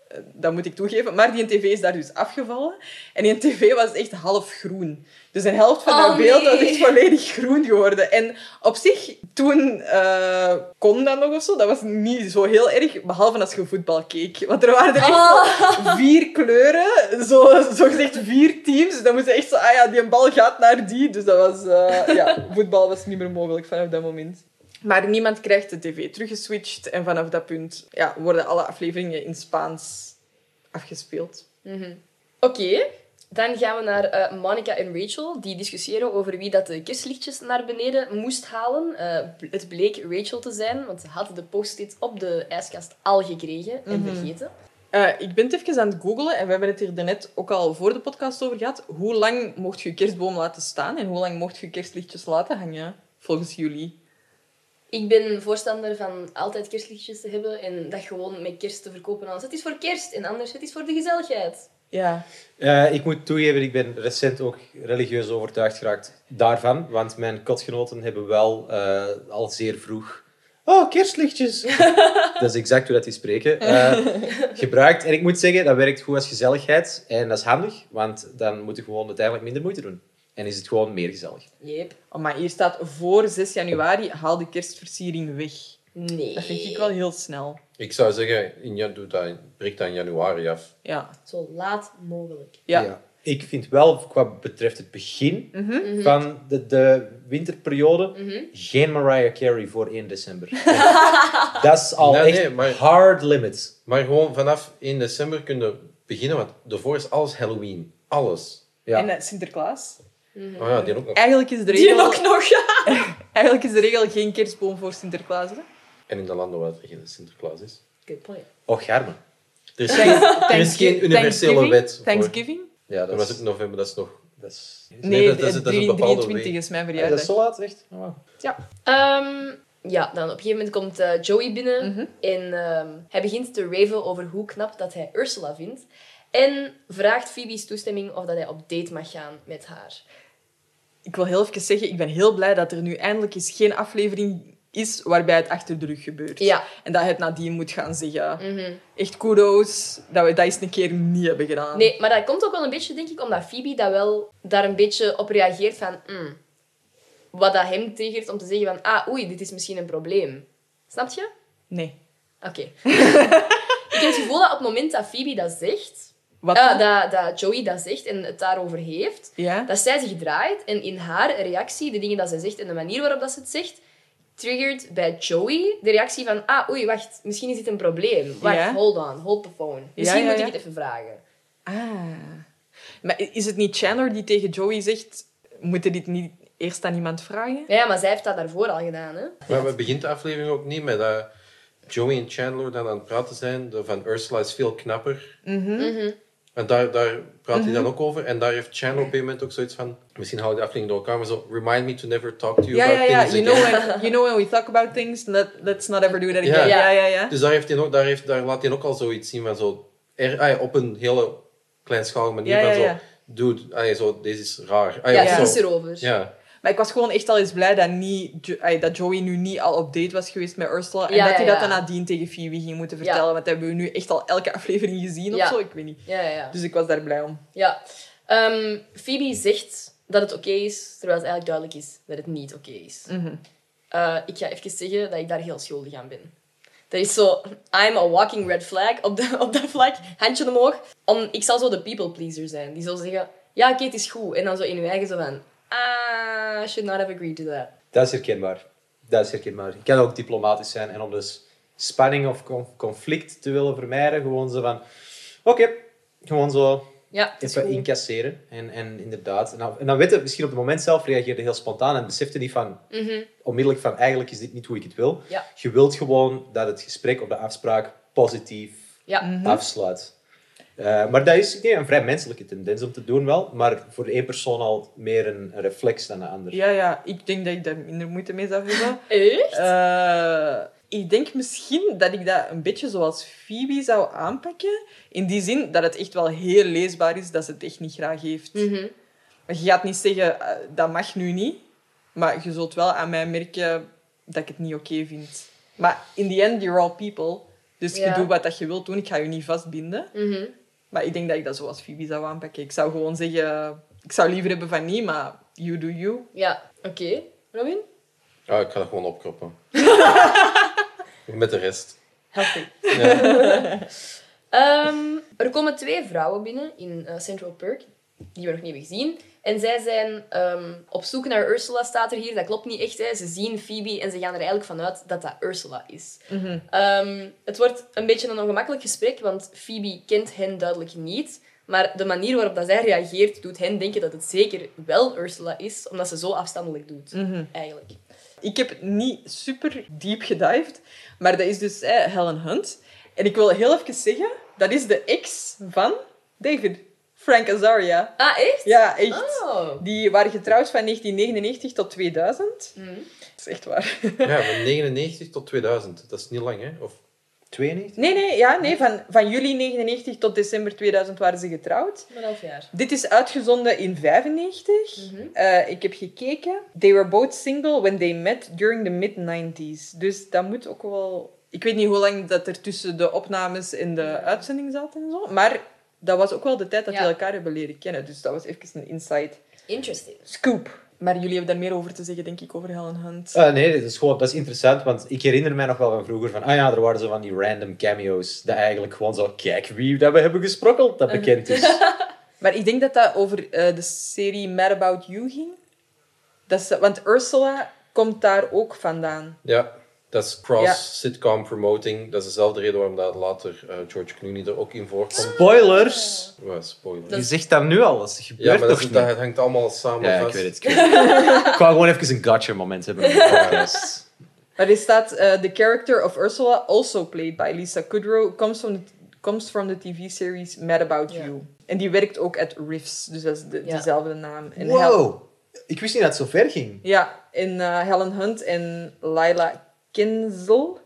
Eh, dat moet ik toegeven. Maar die tv is daar dus afgevallen. En die tv was echt half groen. Dus een helft van Oh, dat beeld was nee. echt volledig groen geworden. En op zich, toen eh, kon dat nog of zo. Dat was niet zo heel erg, behalve als je voetbal keek. Want er waren er echt Oh. zo vier kleuren. Zo, zo gezegd vier teams. Dus dan moest je echt zo, ah ja, die bal gaat naar die. Dus dat was, eh, ja, voetbal was niet meer mogelijk vanaf dat moment. Maar niemand krijgt de tv teruggeswitcht. En vanaf dat punt ja, worden alle afleveringen in Spaans afgespeeld. Mhm. Oké. Dan gaan we naar eh Monica en Rachel. Die discussiëren over wie dat de kuslichtjes naar beneden moest halen. Eh, bl- het bleek Rachel te zijn, want ze had de post-it op de ijskast al gekregen en Mhm. vergeten. Eh, ik ben het even aan het googelen en we hebben het hier daarnet ook al voor de podcast over gehad. Hoe lang mocht je je kerstboom laten staan en hoe lang mocht je kerstlichtjes laten hangen, volgens jullie? Ik ben voorstander van altijd kerstlichtjes te hebben en dat gewoon met kerst te verkopen. Als het is voor kerst en anders het is voor de gezelligheid. Ja. Eh, ik moet toegeven, ik ben recent ook religieus overtuigd geraakt daarvan. Want mijn kotgenoten hebben wel eh, al zeer vroeg... Oh, kerstlichtjes! dat is exact hoe dat die spreken. eh, gebruikt. En ik moet zeggen, dat werkt goed als gezelligheid. En dat is handig, want dan moet je gewoon uiteindelijk minder moeite doen. En is het gewoon meer gezellig. Yep. Oh, maar hier staat voor 6 januari haal de kerstversiering weg. Nee. Dat vind ik wel heel snel. Ik zou zeggen, in, jan- doe dat, in- breek dat in januari af. Ja. Zo laat mogelijk. Ja. Mhm. Ik vind wel, qua betreft het begin van de, de winterperiode, geen Mariah Carey voor 1 december. dat is al Nee, echt nee, maar- hard limits. Maar gewoon vanaf 1 december kunnen we beginnen, want daarvoor is alles Halloween. Alles. Ja. En eh, Sinterklaas? Mhm. Oh ja, die ook nog. Eigenlijk is de Die regel, ook nog. eigenlijk is de regel geen kerstboom voor Sinterklaas. Hè? En in de landen waar er geen Sinterklaas is. Good point. Och, Germe. Er is geen, er is geen universele Thanksgiving? wet voor. Thanksgiving? Ja, Dat was ook in november, dat is nog... Dat is, Nee, dat, is, de- dat is een bepaalde 23 week. is mijn Is dat verjaardag. zo laat, echt? Oh, wauw. Ehm, ja, dan op een gegeven moment komt eh, Joey binnen Mhm. en ehm, hij begint te raven over hoe knap dat hij Ursula vindt. En vraagt Phoebe's toestemming of dat hij op date mag gaan met haar. Ik wil heel even zeggen, ik ben heel blij dat er nu eindelijk eens geen aflevering is waarbij het achter de rug gebeurt. Ja. En dat je het nadien moet gaan zeggen. Mhm. Echt kudos dat we dat eens een keer niet hebben gedaan. Nee, maar dat komt ook wel een beetje, denk ik, omdat Phoebe dat wel daar een beetje op reageert van... mm, wat dat hem triggert om te zeggen van... Ah, oei, dit is misschien een probleem. Snap je? Nee. Oké. ik heb het gevoel dat op het moment dat Phoebe dat zegt... Wat? dan? eh, dat, dat Joey dat zegt en het daarover heeft... Ja? Dat zij zich draait en in haar reactie, de dingen dat zij zegt en de manier waarop dat ze het zegt, triggert bij Joey de reactie van, ah, oei, wacht, misschien is dit een probleem. Wacht, Ja. hold on, hold the phone. Misschien ja, moet ja. ik het even vragen. Ah. Maar i- is het niet Chandler die tegen Joey zegt... Moet je dit niet eerst aan iemand vragen? Ja, ja, maar zij heeft dat daarvoor al gedaan, hè? Maar we begint de aflevering ook niet met dat Joey en Chandler dan aan het praten zijn. De van Ursula is veel knapper. Mhm. En daar, daar praat hij dan ook over. En daar heeft Chandler op een moment ook zoiets van... Misschien hou ik de aflevering door elkaar, maar zo... Remind me to never talk to you Ja, ja, about ja. things You again. know, when, you know when we talk about things, let, let's not ever do that again. Ja. Ja, ja, ja. Dus daar, heeft hij ook, daar, heeft, daar laat hij ook al zoiets zien van zo... Er, ah ja, op een hele kleinschalige manier Ja, ja, van zo... ja. Dude, ah ja, zo, deze is raar. Ah Ja, ja, het zo. is zo. erover. Ja. Maar ik was gewoon echt al eens blij dat, niet, Jo- ay, dat Joey nu niet al op date was geweest met Ursula. En Ja, dat hij ja, dat ja. dan nadien tegen Phoebe ging moeten Ja. vertellen. Want dat hebben we nu echt al elke aflevering gezien Ja. of zo. Ik weet niet. Ja, ja, ja. Dus ik was daar blij om. ja. Ehm, Phoebe zegt dat het oké is, terwijl het eigenlijk duidelijk is dat het niet oké is. Mhm. Eh, ik ga even zeggen dat ik daar heel schuldig aan ben. Dat is zo, I'm a walking red flag op, de, op dat vlak, handje omhoog. Om, ik zal zo de people pleaser zijn. Die zal zeggen, ja oké, het is goed. En dan zo in hun eigen zo van, ah, I should not have agreed to that. Dat is herkenbaar. Dat is herkenbaar. Je kan ook diplomatisch zijn en om dus spanning of con- conflict te willen vermijden, gewoon zo van... Oké, gewoon zo Ja, het is even goed. incasseren. En, en inderdaad. En dan, en dan weet je, misschien op het moment zelf reageerde heel spontaan en besefte niet van... Onmiddellijk van, eigenlijk is dit niet hoe ik het wil. Mhm. Ja. Je wilt gewoon dat het gesprek of de afspraak positief Ja. afsluit. Eh, maar dat is ik denk, een vrij menselijke tendens om te doen wel. Maar voor de één persoon al meer een een reflex dan de ander. Ja, ja. Ik denk dat ik daar minder moeite mee zou hebben. Eh? Eh, ik denk misschien dat ik dat een beetje zoals Phoebe zou aanpakken. In die zin dat het echt wel heel leesbaar is dat ze het echt niet graag heeft. Mhm. Maar je gaat niet zeggen, eh, dat mag nu niet. Maar je zult wel aan mij merken dat ik het niet oké vind. Maar in the end, you're all people. Dus Ja. je doet wat dat je wilt doen. Ik ga je niet vastbinden. Mhm. Maar ik denk dat ik dat zoals Phoebe zou aanpakken. Ik zou gewoon zeggen, ik zou liever hebben van niet, maar you do you. Ja, oké. Robin? Ah, ik ga dat gewoon opkroppen. Met de rest. Help me. Ja. Ehm, er komen twee vrouwen binnen in eh, Central Perk, die we nog niet hebben gezien. En zij zijn ehm, op zoek naar Ursula, staat er hier. Dat klopt niet echt. Hè. Ze zien Phoebe en ze gaan er eigenlijk vanuit dat dat Ursula is. Mhm. Ehm, het wordt een beetje een ongemakkelijk gesprek, want Phoebe kent hen duidelijk niet. Maar de manier waarop dat zij reageert, doet hen denken dat het zeker wel Ursula is, omdat ze zo afstandelijk doet, Mhm. eigenlijk. Ik heb niet super diep gedived, maar dat is dus eh, Helen Hunt. En ik wil heel even zeggen, dat is de ex van David, Frank Azaria. Ah, echt? Ja, echt. Oh. Die waren getrouwd van 1999 tot 2000. Dat is echt waar. ja, van 99 tot 2000. Dat is niet lang, hè? Of 92? Nee, nee, ja, nee. Van, van juli 99 tot december 2000 waren ze getrouwd. Maar half jaar. Dit is uitgezonden in 95. Eh, ik heb gekeken. They were both single when they met during the mid-90s. Dus dat moet ook wel... Ik weet niet hoe lang dat er tussen de opnames en de uitzending zat en zo. Maar dat was ook wel de tijd dat Ja. die elkaar hebben leren kennen. Dus dat was even een inside Interesting. scoop. Maar jullie hebben daar meer over te zeggen, denk ik, over Helen Hunt. Eh, nee, dat is, gewoon, dat is interessant, want ik herinner mij nog wel van vroeger van, ah ja, er waren zo van die random cameo's, dat eigenlijk gewoon zo, kijk wie dat we hebben gesprokkeld, dat bekend is. Maar ik denk dat dat over eh, de serie Mad About You ging. Dat is, want Ursula komt daar ook vandaan. Ja, dat is cross-sitcom promoting. Dat is dezelfde reden waarom dat later eh, George Clooney er ook in voorkomt. Spoilers! Ja, spoiler. Je zegt dat nu al, dat gebeurt ja, maar dat, toch is, niet? dat hangt allemaal samen Ja, ik vast. weet het. Ik, weet het. ik wou gewoon even een gotcha moment hebben in de podcast. Maar er staat, eh the character of Ursula, also played by Lisa Kudrow, comes from the, comes from the TV series Mad About Ja. You. En die werkt ook at Riffs, dus dat is de, Ja. dezelfde naam. En Hel- Wow. Ik wist niet dat het zo ver ging. ja, en eh, Helen Hunt en Lila Kinzel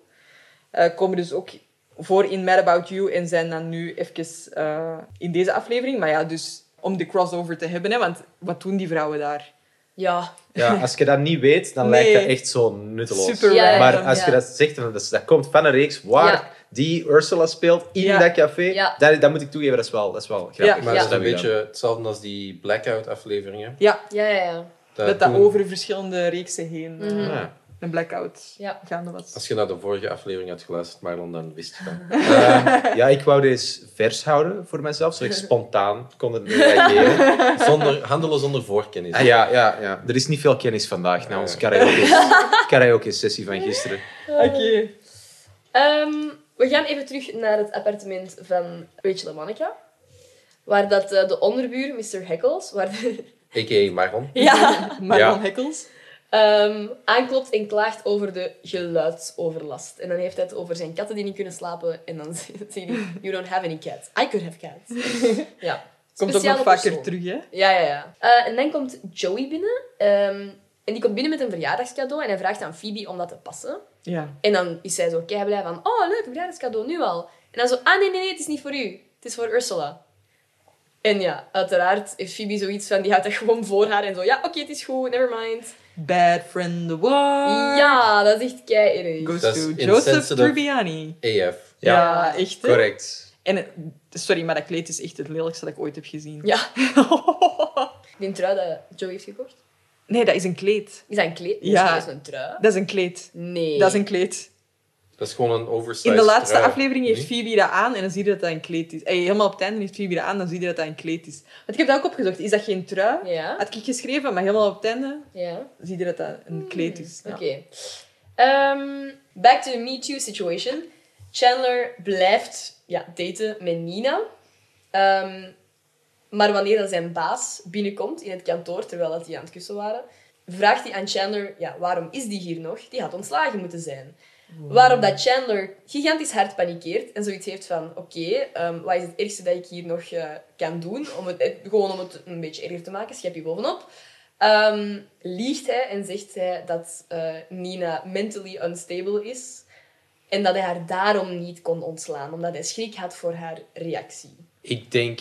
eh, komen dus ook voor in Mad About You en zijn dan nu even eh, in deze aflevering. Maar ja, dus om de crossover te hebben, hè, want wat doen die vrouwen daar? Ja. Ja, als je dat niet weet, dan Nee. lijkt dat echt zo nutteloos. Super Ja, ja, Maar random. als ja. je dat zegt, dan dat, dat komt van een reeks waar Ja. die Ursula speelt in Ja. dat café. Ja. Dat, dat moet ik toegeven, dat is wel, dat is wel grappig. Maar Ja. het is een beetje hetzelfde als die Blackout-afleveringen. Ja, Ja, ja, ja. dat dat eh, toen- over verschillende reeksen heen eh, Mhm. Ja. een blackout Ja. gaande was. Als je naar de vorige aflevering had geluisterd, Marlon, dan wist je dat. Ehm, ja, ik wou deze vers houden voor mezelf, zodat ik spontaan kon reageren. Zonder, handelen zonder voorkennis. Ah, ja, ja, ja. Ah, Er is niet veel kennis vandaag na onze karaoke- karaoke-sessie van gisteren. Oké. Ehm, we gaan even terug naar het appartement van Rachel en Monica. Waar dat eh, de onderbuur, Mr. Heckles, waar de- A.k.a. Marlon. ja, Marlon Ja. Hekkels. ehm, aanklopt en klaagt over de geluidsoverlast. En dan heeft hij het over zijn katten die niet kunnen slapen. En dan zegt hij, you don't have any cats. I could have cats. ja. Komt ook Speciale nog vaker persoon. terug, hè? Ja, ja, ja. Eh, en dan komt Joey binnen. ehm, en die komt binnen met een verjaardagscadeau. En hij vraagt aan Phoebe om dat te passen. Ja. En dan is zij zo kei blij van, oh leuk, verjaardagscadeau, nu al. En dan zo, ah nee, nee, nee, het is niet voor u. Het is voor Ursula. En ja, uiteraard heeft Phoebe zoiets van, die houdt dat gewoon voor haar. En zo, ja, oké, het is goed, never mind. Bad friend the war. Ja, dat is echt kei erg. Goes Dat is to Joseph insensitive. Tribbiani. AF. Ja, Ja. echt. hè? Correct. En het- sorry, maar dat kleed is echt het lelijkste dat ik ooit heb gezien. Ja, die trui dat Joey heeft gekocht. nee, dat is een kleed. Is dat een kleed? Nee, Ja. Dat is een trui. Dat is een kleed. Nee. Dat is een kleed. Dat is gewoon een oversized In de laatste trui. aflevering heeft Nee? Phoebe dat aan en dan zie je dat dat een kleed is. Ey, helemaal op het einde heeft Phoebe dat aan dan zie je dat dat een kleed is. Want ik heb dat ook opgezocht. Is dat geen trui? Ja, Had ik geschreven, maar helemaal op het einde ja. zie je dat dat een kleed is. Ja. Oké. Ehm, back to the Me Too situation. Chandler blijft ja, daten met Nina. Ehm, maar wanneer dan zijn baas binnenkomt in het kantoor, terwijl dat die aan het kussen waren, vraagt hij aan Chandler, ja, waarom is die hier nog? Die had ontslagen moeten zijn. Waarop dat Chandler gigantisch hard panikeert en zoiets heeft van, oké, ehm, wat is het ergste dat ik hier nog eh, kan doen? Om het, eh, gewoon om het een beetje erger te maken, schep je bovenop. Ehm, liegt hij en zegt hij dat eh, Nina mentally unstable is. En dat hij haar daarom niet kon ontslaan, omdat hij schrik had voor haar reactie. Ik denk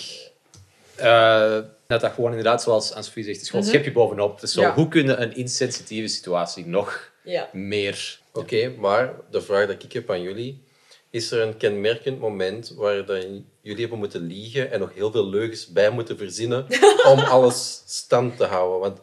eh, dat dat gewoon inderdaad, zoals Anne-Sophie zegt, het is gewoon een schepje bovenop. Dus zo, Ja. hoe kunnen een insensitieve situatie nog Ja. meer... Oké, maar de vraag dat ik heb aan jullie... Is er een kenmerkend moment waar dan jullie hebben moeten liegen en nog heel veel leugens bij moeten verzinnen om alles stand te houden? Want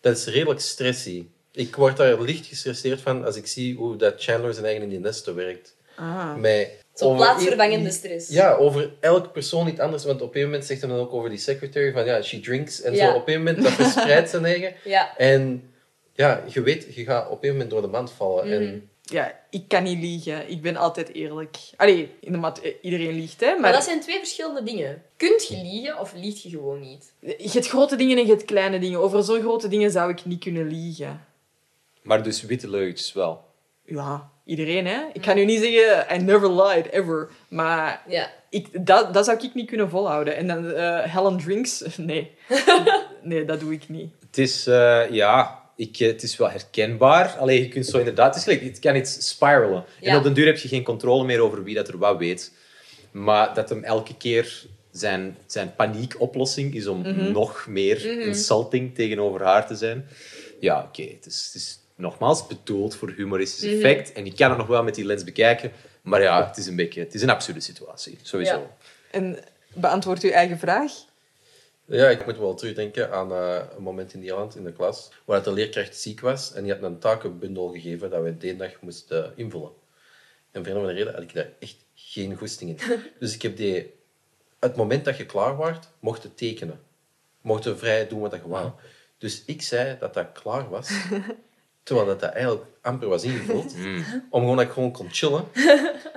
dat is redelijk stressy. Ik word daar licht gestresseerd van als ik zie hoe dat Chandler zijn eigen in die nesten werkt. Ah. Mij Zo'n over- plaatsvervangende stress. Ja, over elk persoon iets anders. Want op een moment zegt hij dan ook over die secretary van ja, she drinks. En Ja. zo op een moment, dat verspreidt zijn eigen. Ja. En ja, je weet, je gaat op een moment door de mand vallen. En Ja, ik kan niet liegen. Ik ben altijd eerlijk. Allee, in de mat, eh, iedereen liegt, hè. Maar Maar dat zijn twee verschillende dingen. Kunt je liegen of liegt je gewoon niet? je hebt grote dingen en je hebt kleine dingen. Over zo'n grote dingen zou ik niet kunnen liegen. Maar dus witte leugens wel. Ja, iedereen, hè. Ik kan nu niet zeggen, I never lied, ever. Maar Ja. ik, dat, dat zou ik niet kunnen volhouden. En dan eh, Helen Drinks, nee. nee, dat doe ik niet. Het is, eh, ja, ik, eh, het is wel herkenbaar. Alleen je kunt zo inderdaad, het, is gelijk, het kan iets spiralen. Ja. En op den duur heb je geen controle meer over wie dat er wat weet. Maar dat hem elke keer zijn, zijn paniekoplossing is om Mhm. nog meer insulting tegenover haar te zijn. Ja, oké. Het, is, het is nogmaals bedoeld voor humoristisch Mhm. effect. En je kan het nog wel met die lens bekijken. Maar ja, het is een beetje, het is een absurde situatie. Sowieso. Ja. En beantwoord uw eigen vraag. ja, ik moet wel terugdenken aan eh, een moment in Nederland in de klas. Waar de leerkracht ziek was en die had een takenbundel gegeven dat we de dag moesten invullen. En voor een of andere reden had ik daar echt geen goesting in. Dus ik heb die... Het moment dat je klaar waart, mocht je tekenen. Mocht je vrij doen wat je wou. Dus ik zei dat dat klaar was. Terwijl dat, dat eigenlijk amper was ingevuld. Om gewoon dat ik gewoon kon chillen.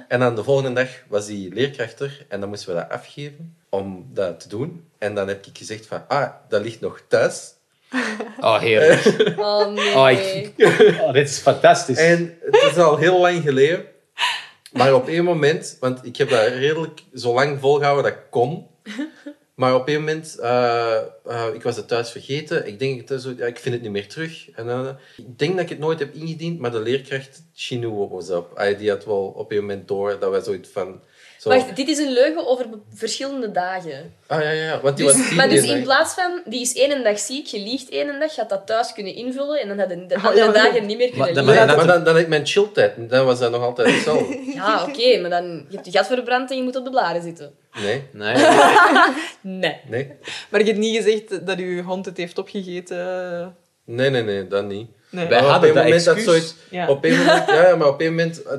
En dan de volgende dag was die leerkracht er. En dan moesten we dat afgeven om dat te doen. En dan heb ik gezegd van... Ah, dat ligt nog thuis. Oh, heerlijk. Oh nee. Oh, ik- oh, dit is fantastisch. En het is al heel lang geleden. Maar op één moment, want ik heb dat redelijk zo lang volgehouden dat ik kon. Maar op een moment, eh, eh, ik was het thuis vergeten. Ik denk, het is zo- ja, ik vind het niet meer terug. En, eh, ik denk dat ik het nooit heb ingediend, maar de leerkracht Chinua was op. Hij die had wel op een moment door dat wij zoiets van... Zo, Wacht, dit is een leugen over be- verschillende dagen. Ah ja, ja, ja, want die was Dus, tien maar die dus in dag. plaats van, die is één dag ziek, je liegt één dag, je had dat thuis kunnen invullen en dan had je de andere maar- dagen niet meer kunnen dan- liegen. Maar, maar dan, dan had ik mijn chilltijd. Dan was dat nog altijd hetzelfde. Ja, Ah, oké, maar dan je hebt je gat verbrand en je moet op de blaren zitten. Nee, Nee, Nee. nee. Maar je hebt niet gezegd dat uw hond het heeft opgegeten. Nee, nee, nee, dat niet. Nee. Wij Maar op hadden een dat moment dat excuus. zoiets... Ja. Op een moment, ja, ja, maar op een moment... eh,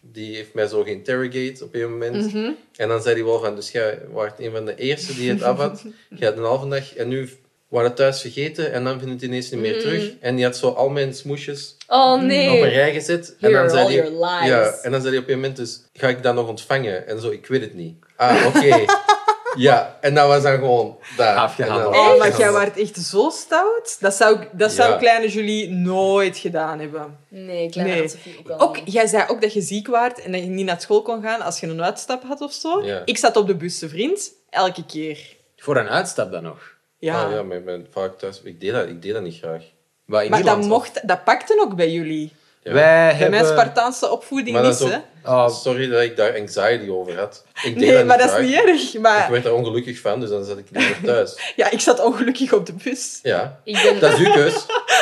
Die heeft mij zo geïnterrogate op een moment. En dan zei hij wel van... Dus jij was een van de eerste die het af had. Je had een halve dag en nu waren het thuis vergeten. En dan vind je het ineens niet meer terug. En die had zo al mijn smoesjes Oh op een nee. rij gezet. Here en are dan zei all die, your lies. Ja, en dan zei hij op een moment dus... Ga ik dat nog ontvangen? En zo, ik weet het niet. Ah, oké. ja, en dat was dan gewoon daar. Afgehandeld. En dan- Oh, maar jij waart echt zo stout. Dat zou, dat zou Ja. kleine Julie nooit gedaan hebben. Nee, kleine Nee. Anne-Sophie ook wel. Ook, niet. jij zei ook dat je ziek waart en dat je niet naar school kon gaan als je een uitstap had of zo. Ja. Ik zat op de bus, te vriend, elke keer. voor een uitstap dan nog. Ja. Ah, ja, maar ik ben vaak thuis... Ik deed dat, ik deed dat niet graag. Maar, in Maar dat, Ierland al. mocht, dat pakte ook bij jullie. Ja. Wij Bij hebben... mijn Spartaanse opvoeding Maar dat niet, is ook- hè. Oh, Sorry dat ik daar anxiety over had. Ik deed Nee, maar dat graag. is niet erg. Ik Maar werd daar ongelukkig van, dus dan zat ik liever thuis. ja, ik zat ongelukkig op de bus. Ja, Ik ben, dat is uw keus.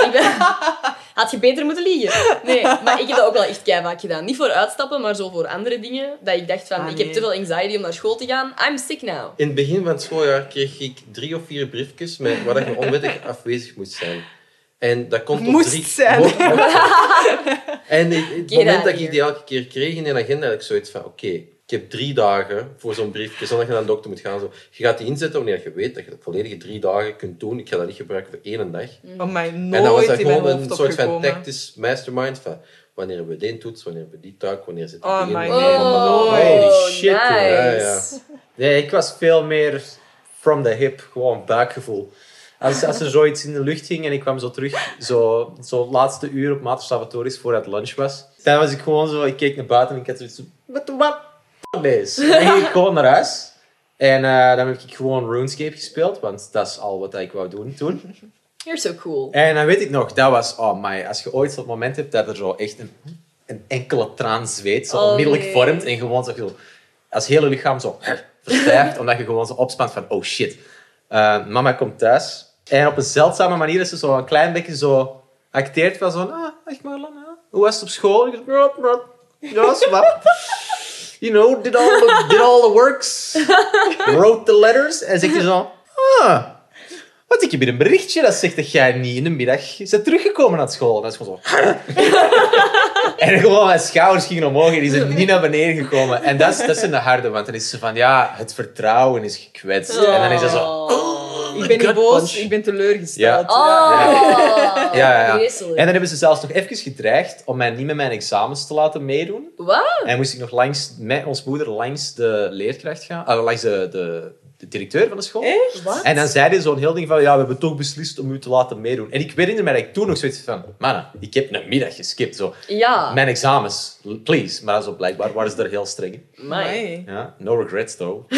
ik ben... Had je beter moeten liegen. Nee, maar ik heb dat ook wel echt keihard gedaan. Niet voor uitstappen, maar zo voor andere dingen. Dat ik dacht van, Ah, ik nee. heb te veel anxiety om naar school te gaan. I'm sick now. In het begin van het schooljaar kreeg ik drie of vier briefjes met waar dat je onwettig afwezig moest zijn. En dat komt op Moest drie... zijn. Mocht- En het, het Get moment out dat here. ik die elke keer kreeg in een agenda, had ik zoiets van, oké, ik heb drie dagen voor zo'n briefje, zonder dat je naar de dokter moet gaan. Zo. Je gaat die inzetten wanneer je weet dat je de volledige drie dagen kunt doen. Ik ga dat niet gebruiken voor één dag. Mm. Oh mij En dan was nooit dat in mijn gewoon hoofd een soort van opgekomen. tactisch mastermind van wanneer hebben we die toets, wanneer hebben we die taak, wanneer zit die Oh in, my wanneer god. hebben we dat. Holy shit, Nice. hoor. Ja, ja. nee, ik was veel meer from the hip, gewoon buikgevoel. Als, als er zoiets in de lucht ging en ik kwam zo terug, zo, zo laatste uur op Mater Salvatoris voordat het lunch was, dan was ik gewoon zo, ik keek naar buiten en ik had zoiets van, what the what the f- is? En dan ging ik gewoon naar huis. En eh, dan heb ik gewoon RuneScape gespeeld, want dat is al wat ik wou doen toen. You're so cool. En dan weet ik nog, dat was, oh my, als je ooit zo'n moment hebt dat er zo echt een, een enkele traan zweet, zo Oh, onmiddellijk nee. vormt en gewoon zo, zo- als hele lichaam zo verstijft, omdat je gewoon zo opspant van, oh shit. Eh, mama komt thuis en op een zeldzame manier is ze zo een klein beetje zo acteert van zo'n, ah, echt maar lang, hoe was het op school? Ik zeg, "Ja, maar- ja, was wat. You know, did all the, did all the works, wrote the letters en zegt hij zo, ah. Wat, ik heb hier een berichtje dat zegt dat jij niet in de middag bent teruggekomen naar school. En dat is gewoon zo... en gewoon mijn schouders gingen omhoog en die zijn niet naar beneden gekomen. En dat is, dat is een harde, want dan is ze van, ja, het vertrouwen is gekwetst. En dan is dat zo... Ik ben niet gut boos, punch. ik ben teleurgesteld. Oh, Ja, ja, ja. En vreselijk. dan hebben ze zelfs nog even gedreigd om mij niet met mijn examens te laten meedoen. Wat? En moest ik nog langs, met ons moeder langs de leerkracht gaan, ah, langs de, de, de directeur van de school. Echt? Wat? En dan zei hij zo'n heel ding van, ja, we hebben toch beslist om u te laten meedoen. En ik herinner me dat ik toen nog zoiets van, mannen, ik heb een middag geskipt. Zo. Ja. Mijn examens, l- please. Maar zo blijkbaar waren ze er heel streng in. Amai. Amai. Ja, no regrets though.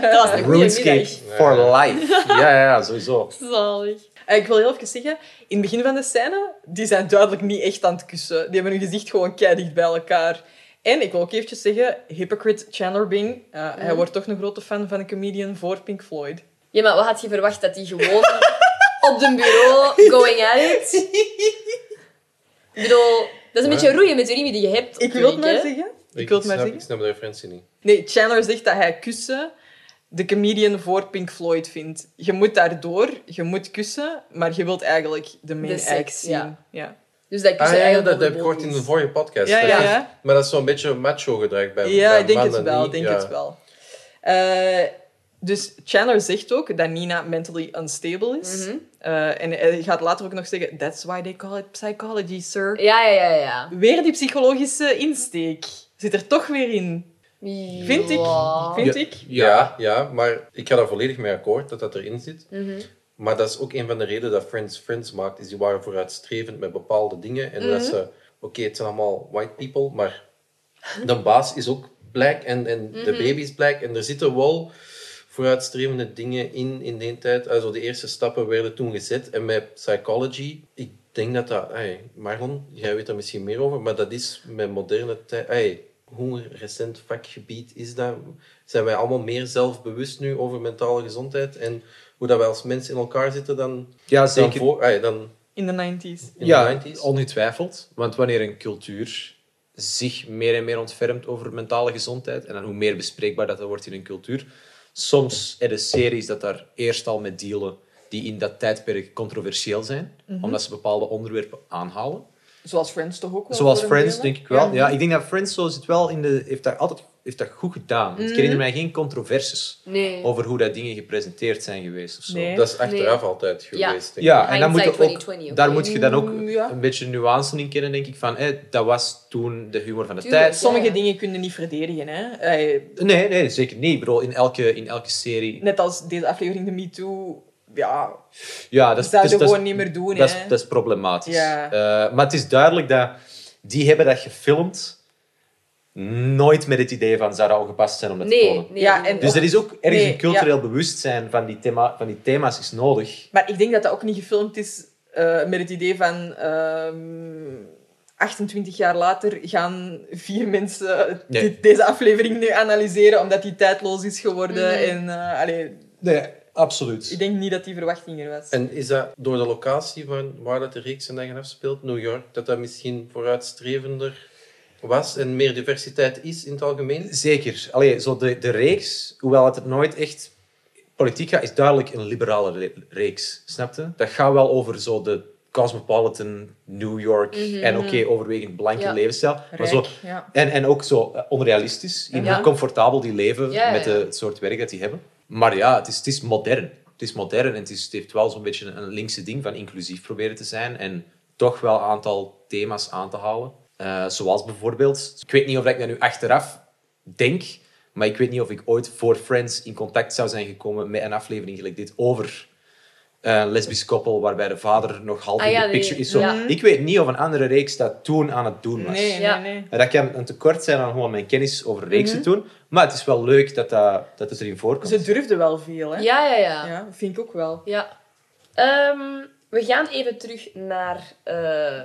Dat was een goede RuneScape middag. for life. Ja, ja, ja, sowieso. Zalig. Eh, Ik wil heel even zeggen, in het begin van de scène, die zijn duidelijk niet echt aan het kussen. Die hebben hun gezicht gewoon keihard bij elkaar. En ik wil ook eventjes zeggen, hypocrite Chandler Bing, Mhm. eh, hij wordt toch een grote fan van een comedian voor Pink Floyd. Ja, maar wat had je verwacht dat die gewoon op de bureau going at it? Ik bedoel, dat is een beetje roeien met de riemen die je hebt. op Ik de wil het maar week, hè. zeggen. Ik wil het maar snap, zeggen. ik snap de referentie niet. Nee, Chandler zegt dat hij kussen de comedian voor Pink Floyd vindt. Je moet daardoor, je moet kussen, maar je wilt eigenlijk de main De seks, act zien. ja. Ja. Dus dat ik Ah, dus ja, ja, eigenlijk wel dat heb ik gehoord in is. de vorige podcast. eh, Ja, Dat ja, is- ja. Maar dat is zo'n beetje macho gedrag bij eh, Ja, bij ik denk het mannen, wel. niet- Ik denk ja. het wel. Eh, dus Chandler zegt ook dat Nina mentally unstable is. Mhm. Eh, en hij gaat later ook nog zeggen, that's why they call it psychology, sir. Ja, ja, ja, ja. Weer die psychologische insteek. Zit er toch weer in. Vind ik. Ja. Vind Ja. ik. Ja, ja, maar ik ga daar volledig mee akkoord dat dat erin zit. Mhm. Maar dat is ook een van de redenen dat Friends Friends maakt, is die waren vooruitstrevend met bepaalde dingen. En Mhm. dat ze, oké, het zijn allemaal white people, maar de baas is ook black en, en de baby is black. En er zitten wel vooruitstrevende dingen in in die tijd. Also, de eerste stappen werden toen gezet. En met psychology, ik denk dat dat... ai, Marlon, jij weet er misschien meer over, maar dat is met moderne tijd... ai, hoe recent vakgebied is dat? Zijn wij allemaal meer zelfbewust nu over mentale gezondheid? En hoe dat wij als mens in elkaar zitten dan... Ja, Dan, zeker. voor, ai, dan in de 90s. in ja, de 90s. ongetwijfeld. Want wanneer een cultuur zich meer en meer ontfermt over mentale gezondheid, en dan hoe meer bespreekbaar dat, dat wordt in een cultuur, soms er de series dat daar eerst al met dealen die in dat tijdperk controversieel zijn, omdat ze bepaalde onderwerpen aanhalen. Zoals Friends toch ook wel. Zoals voor een Friends, deel, hè? denk ik wel. Ja, ik denk dat Friends zo zit wel in de... Heeft dat altijd heeft dat goed gedaan. Want Ik herinner mij geen controversies Nee. over hoe dat dingen gepresenteerd zijn geweest of zo. Nee. Dat is achteraf Nee. altijd Ja. geweest, denk ik. Ja, en dan moet je Hindsight ook, 2020 ook daar wel. moet je dan ook Mm, ja. een beetje nuance in kennen, denk ik. Van, hé, dat was toen de humor van de Tuurlijk, tijd. Sommige Ja, ja. dingen kunnen niet verdedigen. Hè. Eh, Nee, nee, zeker niet. Ik bedoel, in elke, in elke serie... net als deze aflevering, de Me Too. Ja, Ja, dat dat is, zouden dat is- gewoon niet meer doen. dat, hè. is, dat is problematisch. Ja. Eh, maar het is duidelijk dat die hebben dat gefilmd nooit met het idee van zou dat al gepast zijn om dat te Nee, tonen. nee. Ja, nee, en- nee. Dus er is ook ergens Nee, een cultureel bewustzijn van die, thema, van die thema's is nodig. Maar ik denk dat dat ook niet gefilmd is eh, met het idee van... ehm, 28 jaar later gaan vier mensen Nee. dit- deze aflevering nu analyseren omdat die tijdloos is geworden. Mhm. En eh, allee, Nee, absoluut. ik denk niet dat die verwachting er was. En is dat door de locatie van waar dat de reeks zijn eigen afspeelt, New York, dat dat misschien vooruitstrevender was en meer diversiteit is in het algemeen? Zeker. Allee, zo de, de reeks, hoewel het er nooit echt politiek gaat, is duidelijk een liberale re- reeks. Snapte? Dat gaat wel over zo de cosmopolitan New York en oké, overwegend blanke Ja. levensstijl. Maar Rijk, zo, ja. en, en ook zo eh, onrealistisch in Ja. hoe comfortabel die leven Ja, ja, met de- ja. het soort werk dat die hebben. Maar ja, het is, het is modern. Het is modern en het, is, het heeft wel zo'n beetje een linkse ding van inclusief proberen te zijn en toch wel een aantal thema's aan te halen. Eh, zoals bijvoorbeeld, ik weet niet of ik dat nu achteraf denk, maar ik weet niet of ik ooit voor Friends in contact zou zijn gekomen met een aflevering gelijk dit over eh, een lesbisch koppel waarbij de vader nog half Ah, in ja, de nee. picture is. Zo, Ja. Ik weet niet of een andere reeks dat toen aan het doen was. Nee, Ja. nee, nee. En dat kan een tekort zijn aan gewoon mijn kennis over reeksen toen. Maar het is wel leuk dat, dat, dat het erin voorkomt. Ze durfden wel veel, hè? Ja, ja, ja. Ja, vind ik ook wel. Ja. Ehm, we gaan even terug naar eh,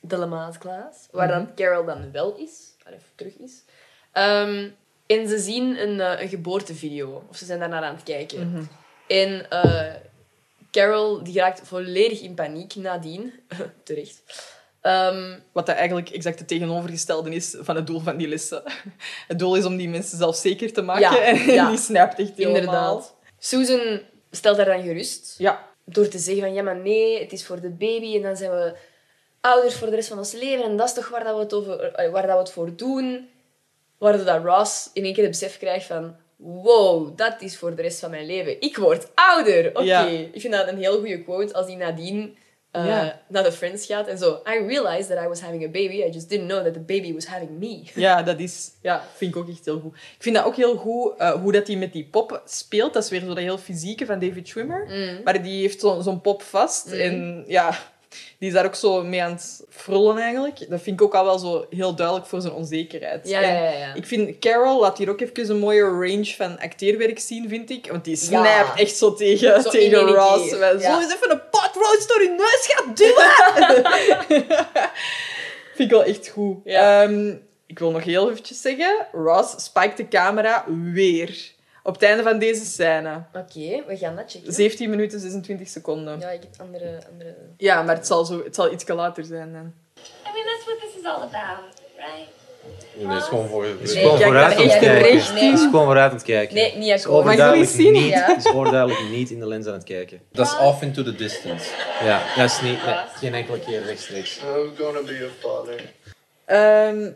de Lemaasklaas, waar dan Carol dan wel is, waar even terug is. Ehm, en ze zien een, eh, een geboortevideo, of ze zijn daarnaar aan het kijken. Mhm. En eh, Carol die raakt volledig in paniek nadien, terecht. Ehm, Wat dat eigenlijk exact het tegenovergestelde is van het doel van die lessen. Het doel is om die mensen zelfzeker te maken. Ja, en ja. die snapt echt helemaal. inderdaad. Susan stelt haar dan gerust. Ja, door te zeggen van ja, maar nee, het is voor de baby en dan zijn we ouders voor de rest van ons leven en dat is toch waar, dat we, het over, eh, waar dat we het voor doen. Waardoor dat Ross in één keer het besef krijgt van wow, dat is voor de rest van mijn leven. Ik word ouder! Oké, Ja. ik vind dat een heel goede quote als hij nadien eh, Ja. naar de Friends gaat en zo. I realized that I was having a baby, I just didn't know that the baby was having me. ja, dat is... Ja, vind ik ook echt heel goed. Ik vind dat ook heel goed eh, hoe dat hij met die pop speelt. Dat is weer zo dat heel fysieke van David Schwimmer. Mm. Maar die heeft zo- zo'n pop vast. En ja, die is daar ook zo mee aan het frullen eigenlijk. Dat vind ik ook al wel zo heel duidelijk voor zijn onzekerheid. Ja, En ja, ja, ja. Ik vind Carol laat hier ook even een mooie range van acteerwerk zien, vind ik. Want die Ja. snijpt echt zo tegen, Zo tegen in één Ross. keer, Wel, ja. Zo eens even een pot roast door je neus gaat duwen. vind ik wel echt goed. Ja. Ehm, ik wil nog heel eventjes zeggen, Ross spiked de camera weer. Op het einde van deze scène. Oké, we gaan dat checken. 17 minuten 26 seconden. Ja, Ja, ik heb andere... andere... maar het zal, zo, het zal iets later zijn dan. I mean, that's what this is all about, right? Nee, is gewoon voor... Het is gewoon kijk, vooruit daar aan het echt kijken. recht Het is gewoon vooruit aan het kijken. Nee, niet Het is akkoord. overduidelijk Maar ik wil iets zien. niet- Ja. het is overduidelijk niet in de lens aan het kijken. Dat is off into the distance. Ja, dat is niet... nee, geen enkele keer rechtstreeks. I'm gonna be a father. Ehm,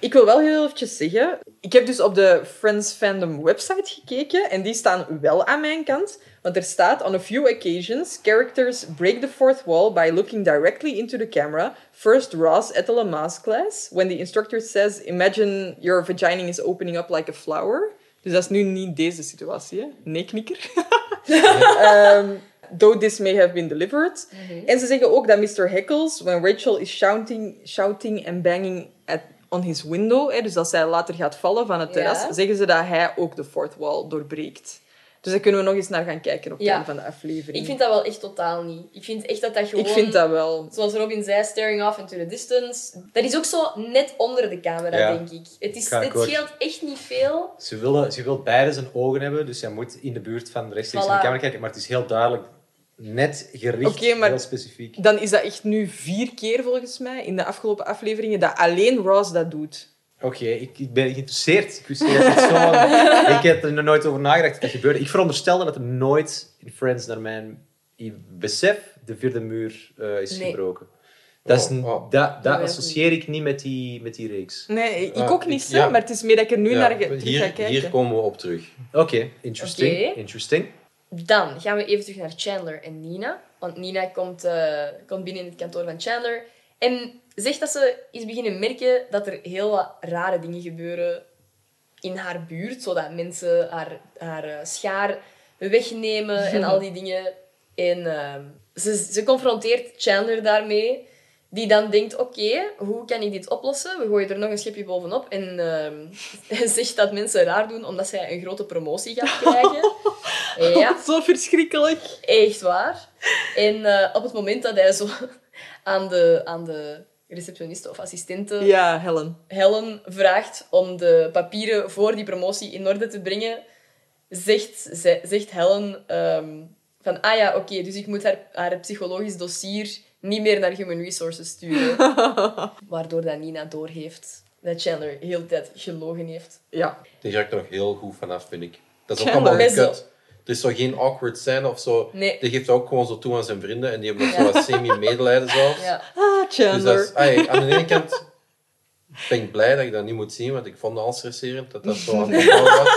ik wil wel heel eventjes zeggen, ik heb dus op de Friends Fandom website gekeken en die staan wel aan mijn kant, want er staat on a few occasions characters break the fourth wall by looking directly into the camera. First Ross at the Lamaze class when the instructor says imagine your vagina is opening up like a flower. Dus dat is nu niet deze situatie, hè? Nee, knikker. Ehm, though this may have been delivered. Mhm. En ze zeggen ook dat Mr. Heckles, when Rachel is shouting, shouting and banging at, on his window, hè, dus als zij later gaat vallen van het Ja. terras, zeggen ze dat hij ook de fourth wall doorbreekt. Dus daar kunnen we nog eens naar gaan kijken op het Ja. einde van de aflevering. Ik vind dat wel echt totaal niet. Ik vind echt dat dat gewoon... Ik vind dat wel. Zoals Robin zei, staring off into the distance. Dat is ook zo net onder de camera, Ja. denk ik. Het, is, Ga ik het ook. scheelt echt niet veel. Ze wil, ze wil beide zijn ogen hebben, dus zij moet in de buurt van rechtstreeks Voilà. aan de camera kijken. Maar het is heel duidelijk, net gericht, Oké, maar- heel specifiek. Dan is dat echt nu vier keer volgens mij in de afgelopen afleveringen dat alleen Ross dat doet. Oké, ik, ik ben geïnteresseerd. Ik wist niet dat het zo... ik heb er nog nooit over nagedacht dat dat gebeurde. Ik veronderstelde dat er nooit in Friends naar mijn besef de vierde muur eh, is Nee. gebroken. Dat, is, Oh, oh. dat, dat ook associeer ik niet met die, met die reeks. Nee, ik Ah, ook ik- niet, hè, ja. maar het is meer dat ik er nu Ja, naar ge- terug ga hier, kijken. hier komen we op terug. Oké, interesting. Oké. interesting. Dan gaan we even terug naar Chandler en Nina. Want Nina komt, eh, komt binnen in het kantoor van Chandler. En zegt dat ze is beginnen merken dat er heel wat rare dingen gebeuren in haar buurt. Zodat mensen haar, haar eh, schaar wegnemen en al die dingen. En ehm, ze, ze confronteert Chandler daarmee. Die dan denkt, oké, hoe kan ik dit oplossen? We gooien er nog een schepje bovenop. En ehm, zegt dat mensen raar doen omdat zij een grote promotie gaat krijgen. ja. Zo verschrikkelijk. Echt waar. En eh, op het moment dat hij zo aan de, aan de receptioniste of assistente Ja, Helen. Helen vraagt om de papieren voor die promotie in orde te brengen, zegt, ze- zegt Helen ehm, van, ah ja, oké, dus ik moet haar, haar psychologisch dossier niet meer naar Human Resources sturen. Waardoor dat Nina doorheeft dat Chandler heel de tijd gelogen heeft. Ja. Die ga ik er nog heel goed vanaf, vind ik. Dat is ook Chandler. allemaal Best wel. gekut. Er is zo geen awkward scène of zo. Nee. Die geeft ook gewoon zo toe aan zijn vrienden. En die hebben ook Ja. zo wat semi-medelijden zelfs. Ja. Ah, Dus dat Chandler. is, ai, aan de ene kant ben ik blij dat ik dat niet moet zien, want ik vond het al stresserend dat dat zo aan het opbouwen was.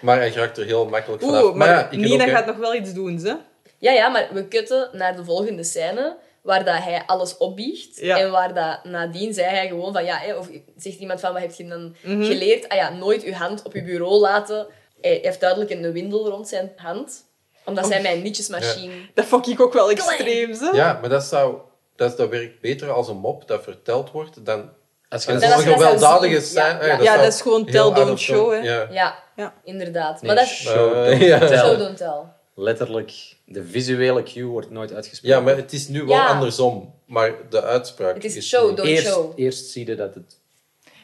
Maar hij raakt er heel makkelijk vanaf. Oeh, maar, ja, ik vind Nina ook, hè. gaat nog wel iets doen, ze. Ja, ja, maar we kutten naar de volgende scène waar dat hij alles opbieegt. Ja. En waar dat nadien zei hij gewoon van ja, hè, of zegt iemand van wat heb je dan geleerd? Ah ja, nooit uw hand op je bureau laten. Hij heeft duidelijk een windel rond zijn hand, omdat zij mijn nietjesmachine. Dat vond ik ook wel extreem, ze. Ja, maar dat, zou, dat, dat werkt beter als een mop dat verteld wordt dan Als je een dat zo'n zou gewelddadige zien. scène. Ja, ai, ja. Ja, zou dat is gewoon heel tell, out don't of show, hè. Ja. Ja, Ja. inderdaad. Nee, maar dat is show Eh, don't ja. tell. show don't tell. Letterlijk, de visuele cue wordt nooit uitgesproken. ja, maar het is nu wel Ja. andersom. Maar de uitspraak Het is nu- show don't eerst, show. eerst zie je dat het...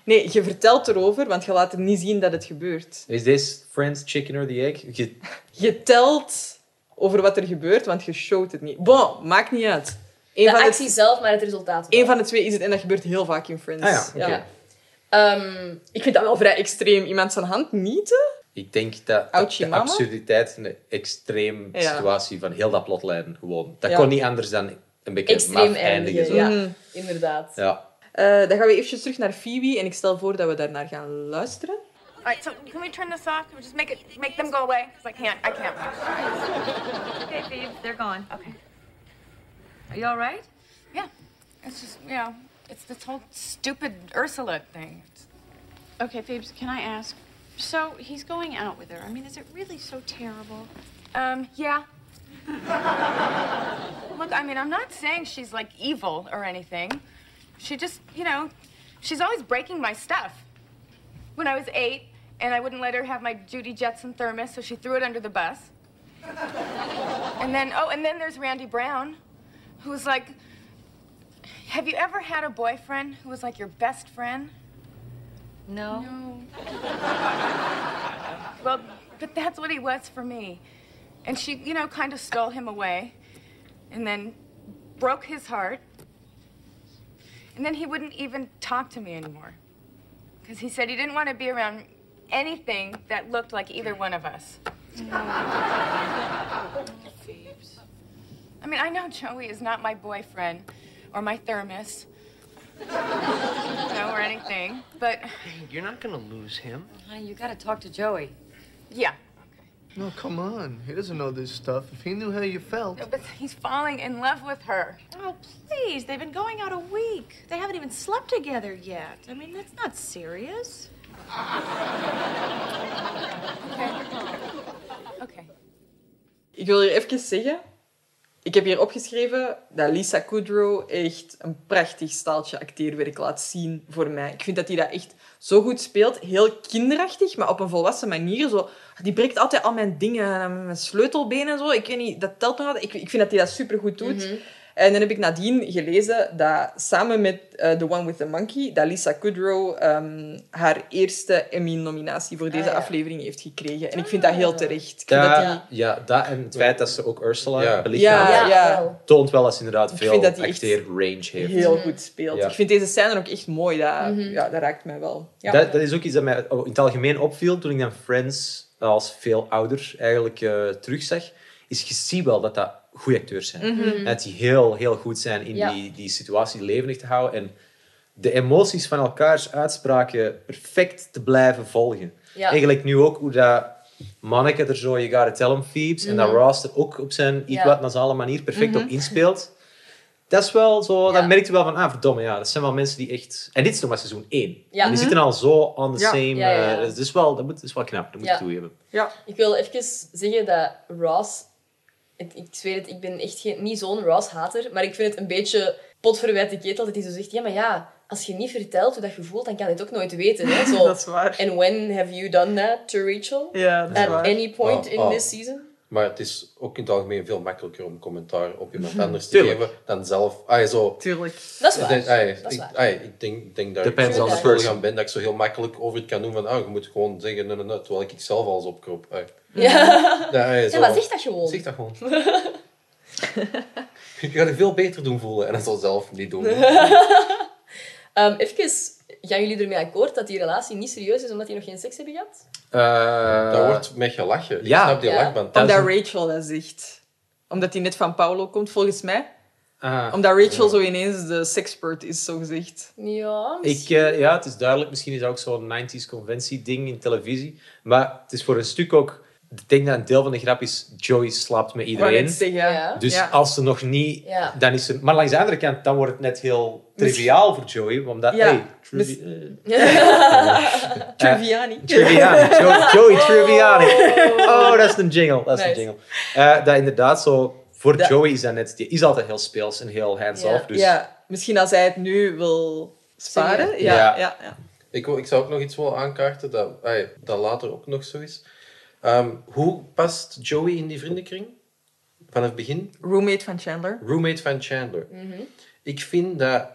Nee, je vertelt erover, want je laat hem niet zien dat het gebeurt. Is this Friends chicken or the egg? Je- Je telt over wat er gebeurt, want je showt het niet. Bon, maakt niet uit. Eén De van, actie de, zelf, maar het resultaat. wel. één van de twee is het en dat gebeurt heel vaak in Friends. Ah ja, oké. Ja. Ehm, Ik vind dat wel vrij extreem. Iemand zijn hand nieten? Ik denk dat, dat Ouchie de mama? absurditeit in de extreem Ja. situatie van heel dat plotlijn gewoon. Dat Ja. kon niet anders dan een beetje extreem maf eindigen. eindigen. Zo. Ja, Ja. inderdaad. Eh, dan gaan we eventjes terug naar Phoebe en ik stel voor dat we daarnaar gaan luisteren. All right, so can we turn this off? Can we just make it, make them go away? 'Cause I can't, I can't. Okay, babe, they're gone. Okay. Are you all right? Yeah. It's just, you know, it's this whole stupid Ursula thing. It's- Okay, Phoebes, can I ask? So he's going out with her. I mean, is it really so terrible? Um, yeah. Look, I mean, I'm not saying she's like evil or anything. She just, you know, she's always breaking my stuff. When I was eight, and I wouldn't let her have my Judy Jetson thermos, so she threw it under the bus. And then, oh, and then there's Randy Brown, who was like, Have you ever had a boyfriend who was like your best friend? No. Well, but that's what he was for me. And she, you know, kind of stole him away and then broke his heart. And then he wouldn't even talk to me anymore. Because he said he didn't want to be around anything that looked like either one of us. Phoebes. I mean, I know Joey is not my boyfriend or my thermos, you know, or anything, but You're not gonna lose him. Honey, you gotta talk to Joey. yeah. No, come on. He doesn't know this stuff. If he knew how you felt. But he's falling in love with her. Oh, please. They've been going out a week. They haven't even slept together yet. I mean, that's not serious. Okay. Ik wil hier even zeggen Ik heb hier opgeschreven dat Lisa Kudrow echt een prachtig staaltje acteerwerk laat zien voor mij. Ik vind dat hij dat echt zo goed speelt. Heel kinderachtig, maar op een volwassen manier. Zo, die breekt altijd al mijn dingen, en mijn sleutelbenen en zo. Ik weet niet, dat telt nog altijd. Ik, ik vind dat hij dat supergoed doet. Mhm. En dan heb ik nadien gelezen dat samen met eh, The One with the Monkey, dat Lisa Kudrow ehm, haar eerste Emmy-nominatie voor deze Ah, ja. Ah. aflevering heeft gekregen. En ik vind dat heel terecht. Ik vind dat die- Ja, ja, dat en het feit dat ze ook Ursula Ja. belichaamt, Ja, ja. wel. toont wel dat ze inderdaad Ik veel vind dat die echt acteerrange heeft. heel goed speelt. Ja. Ik vind deze scène ook echt mooi. Dat, ja, dat raakt mij wel. Ja. Dat, dat is ook iets dat mij in het algemeen opviel toen ik dan Friends als veel ouder eigenlijk eh, terugzag. Is je ziet wel dat dat goede acteurs zijn. Mhm. En Dat die heel, heel goed zijn in Mm. Ja. die, die situatie levendig te houden. En de emoties van elkaars uitspraken perfect te blijven volgen. Ja. Eigenlijk nu ook hoe dat Manneke er zo, je gotta tell him Phoebes. En dat Ross er ook op zijn iets Mm. Ja. Mm-hmm. wat nasale manier perfect op inspeelt. Dat is wel zo, Ja. dan merk je wel van, ah verdomme, ja, dat zijn wel mensen die echt... En dit is nog maar seizoen 1. Ja. Mm-hmm. Die zitten al zo on the Ja. same... Ja, ja, ja. eh, dus dat, is wel, dat, moet, dat is wel knap, dat moet Ja. ik toegeven. Ik wil even zeggen dat Ross... Ik, ik zweer het, ik ben echt geen, niet zo'n Ross-hater, maar ik vind het een beetje potverwijte ketel dat hij zo zegt, ja, maar ja, als je niet vertelt hoe dat je voelt, dan kan je het ook nooit weten. Hè? Zo, Dat is waar. And when have you done that to Rachel? Ja, dat is At waar. any point Oh, in oh. this season? Maar het is ook in het algemeen veel makkelijker om commentaar op iemand anders te Tuurlijk. geven dan zelf. Ah, zo. Tuurlijk. Dat is waar. Ik denk- ah, dat is ik, waar. ah, ik denk, ik denk dat Depends ik zo on the gevoelig person. aan ben dat ik zo heel makkelijk over het kan doen van ah, je moet gewoon zeggen nee, nee, nee, terwijl ik zelf alles opkroop. Ah. Ja. Ja, ah, ja, zo. maar zeg dat gewoon. Zeg dat gewoon. je gaat het veel beter doen voelen en dat zal zelf niet doen. Ehm, even, gaan jullie ermee akkoord dat die relatie niet serieus is omdat die nog geen seks hebben gehad? Daar wordt met gelachen. Ik ja. snap die Ja. lachband. Dat is Omdat Rachel dat zegt. Omdat hij net van Paolo komt, volgens mij. Ah. Omdat Rachel zo ineens de sexpert is, zo gezegd. Ja, Dus, Ik, eh, ja, het is duidelijk. Misschien is dat ook zo'n 90s conventie-ding in televisie. Maar het is voor een stuk ook... Ik denk dat een deel van de grap is... Joey slaapt met iedereen. zeggen. Ja. Dus Ja. als ze nog niet... Ja. Dan is ze, maar langs de andere kant, dan wordt het net heel triviaal voor Joey. Omdat, Ja. hey, trivi- Mis- eh, Triviani. Triviani. Jo- Joey Triviani. Oh, dat is een jingle. Dat is Nice. een jingle. Eh, dat inderdaad zo... Voor Dat- Joey is dat net... Die is altijd heel speels en heel hands-off. Ja. Dus Ja, misschien als hij het nu wil sparen. Zeggen. Ja, Ja. ja. ja, ja. Ik, wou- ik zou ook nog iets willen aankaarten dat, ah, dat later ook nog zo is. Ehm, hoe past Joey in die vriendenkring? Vanaf het begin? Roommate van Chandler. Roommate van Chandler. Ik vind dat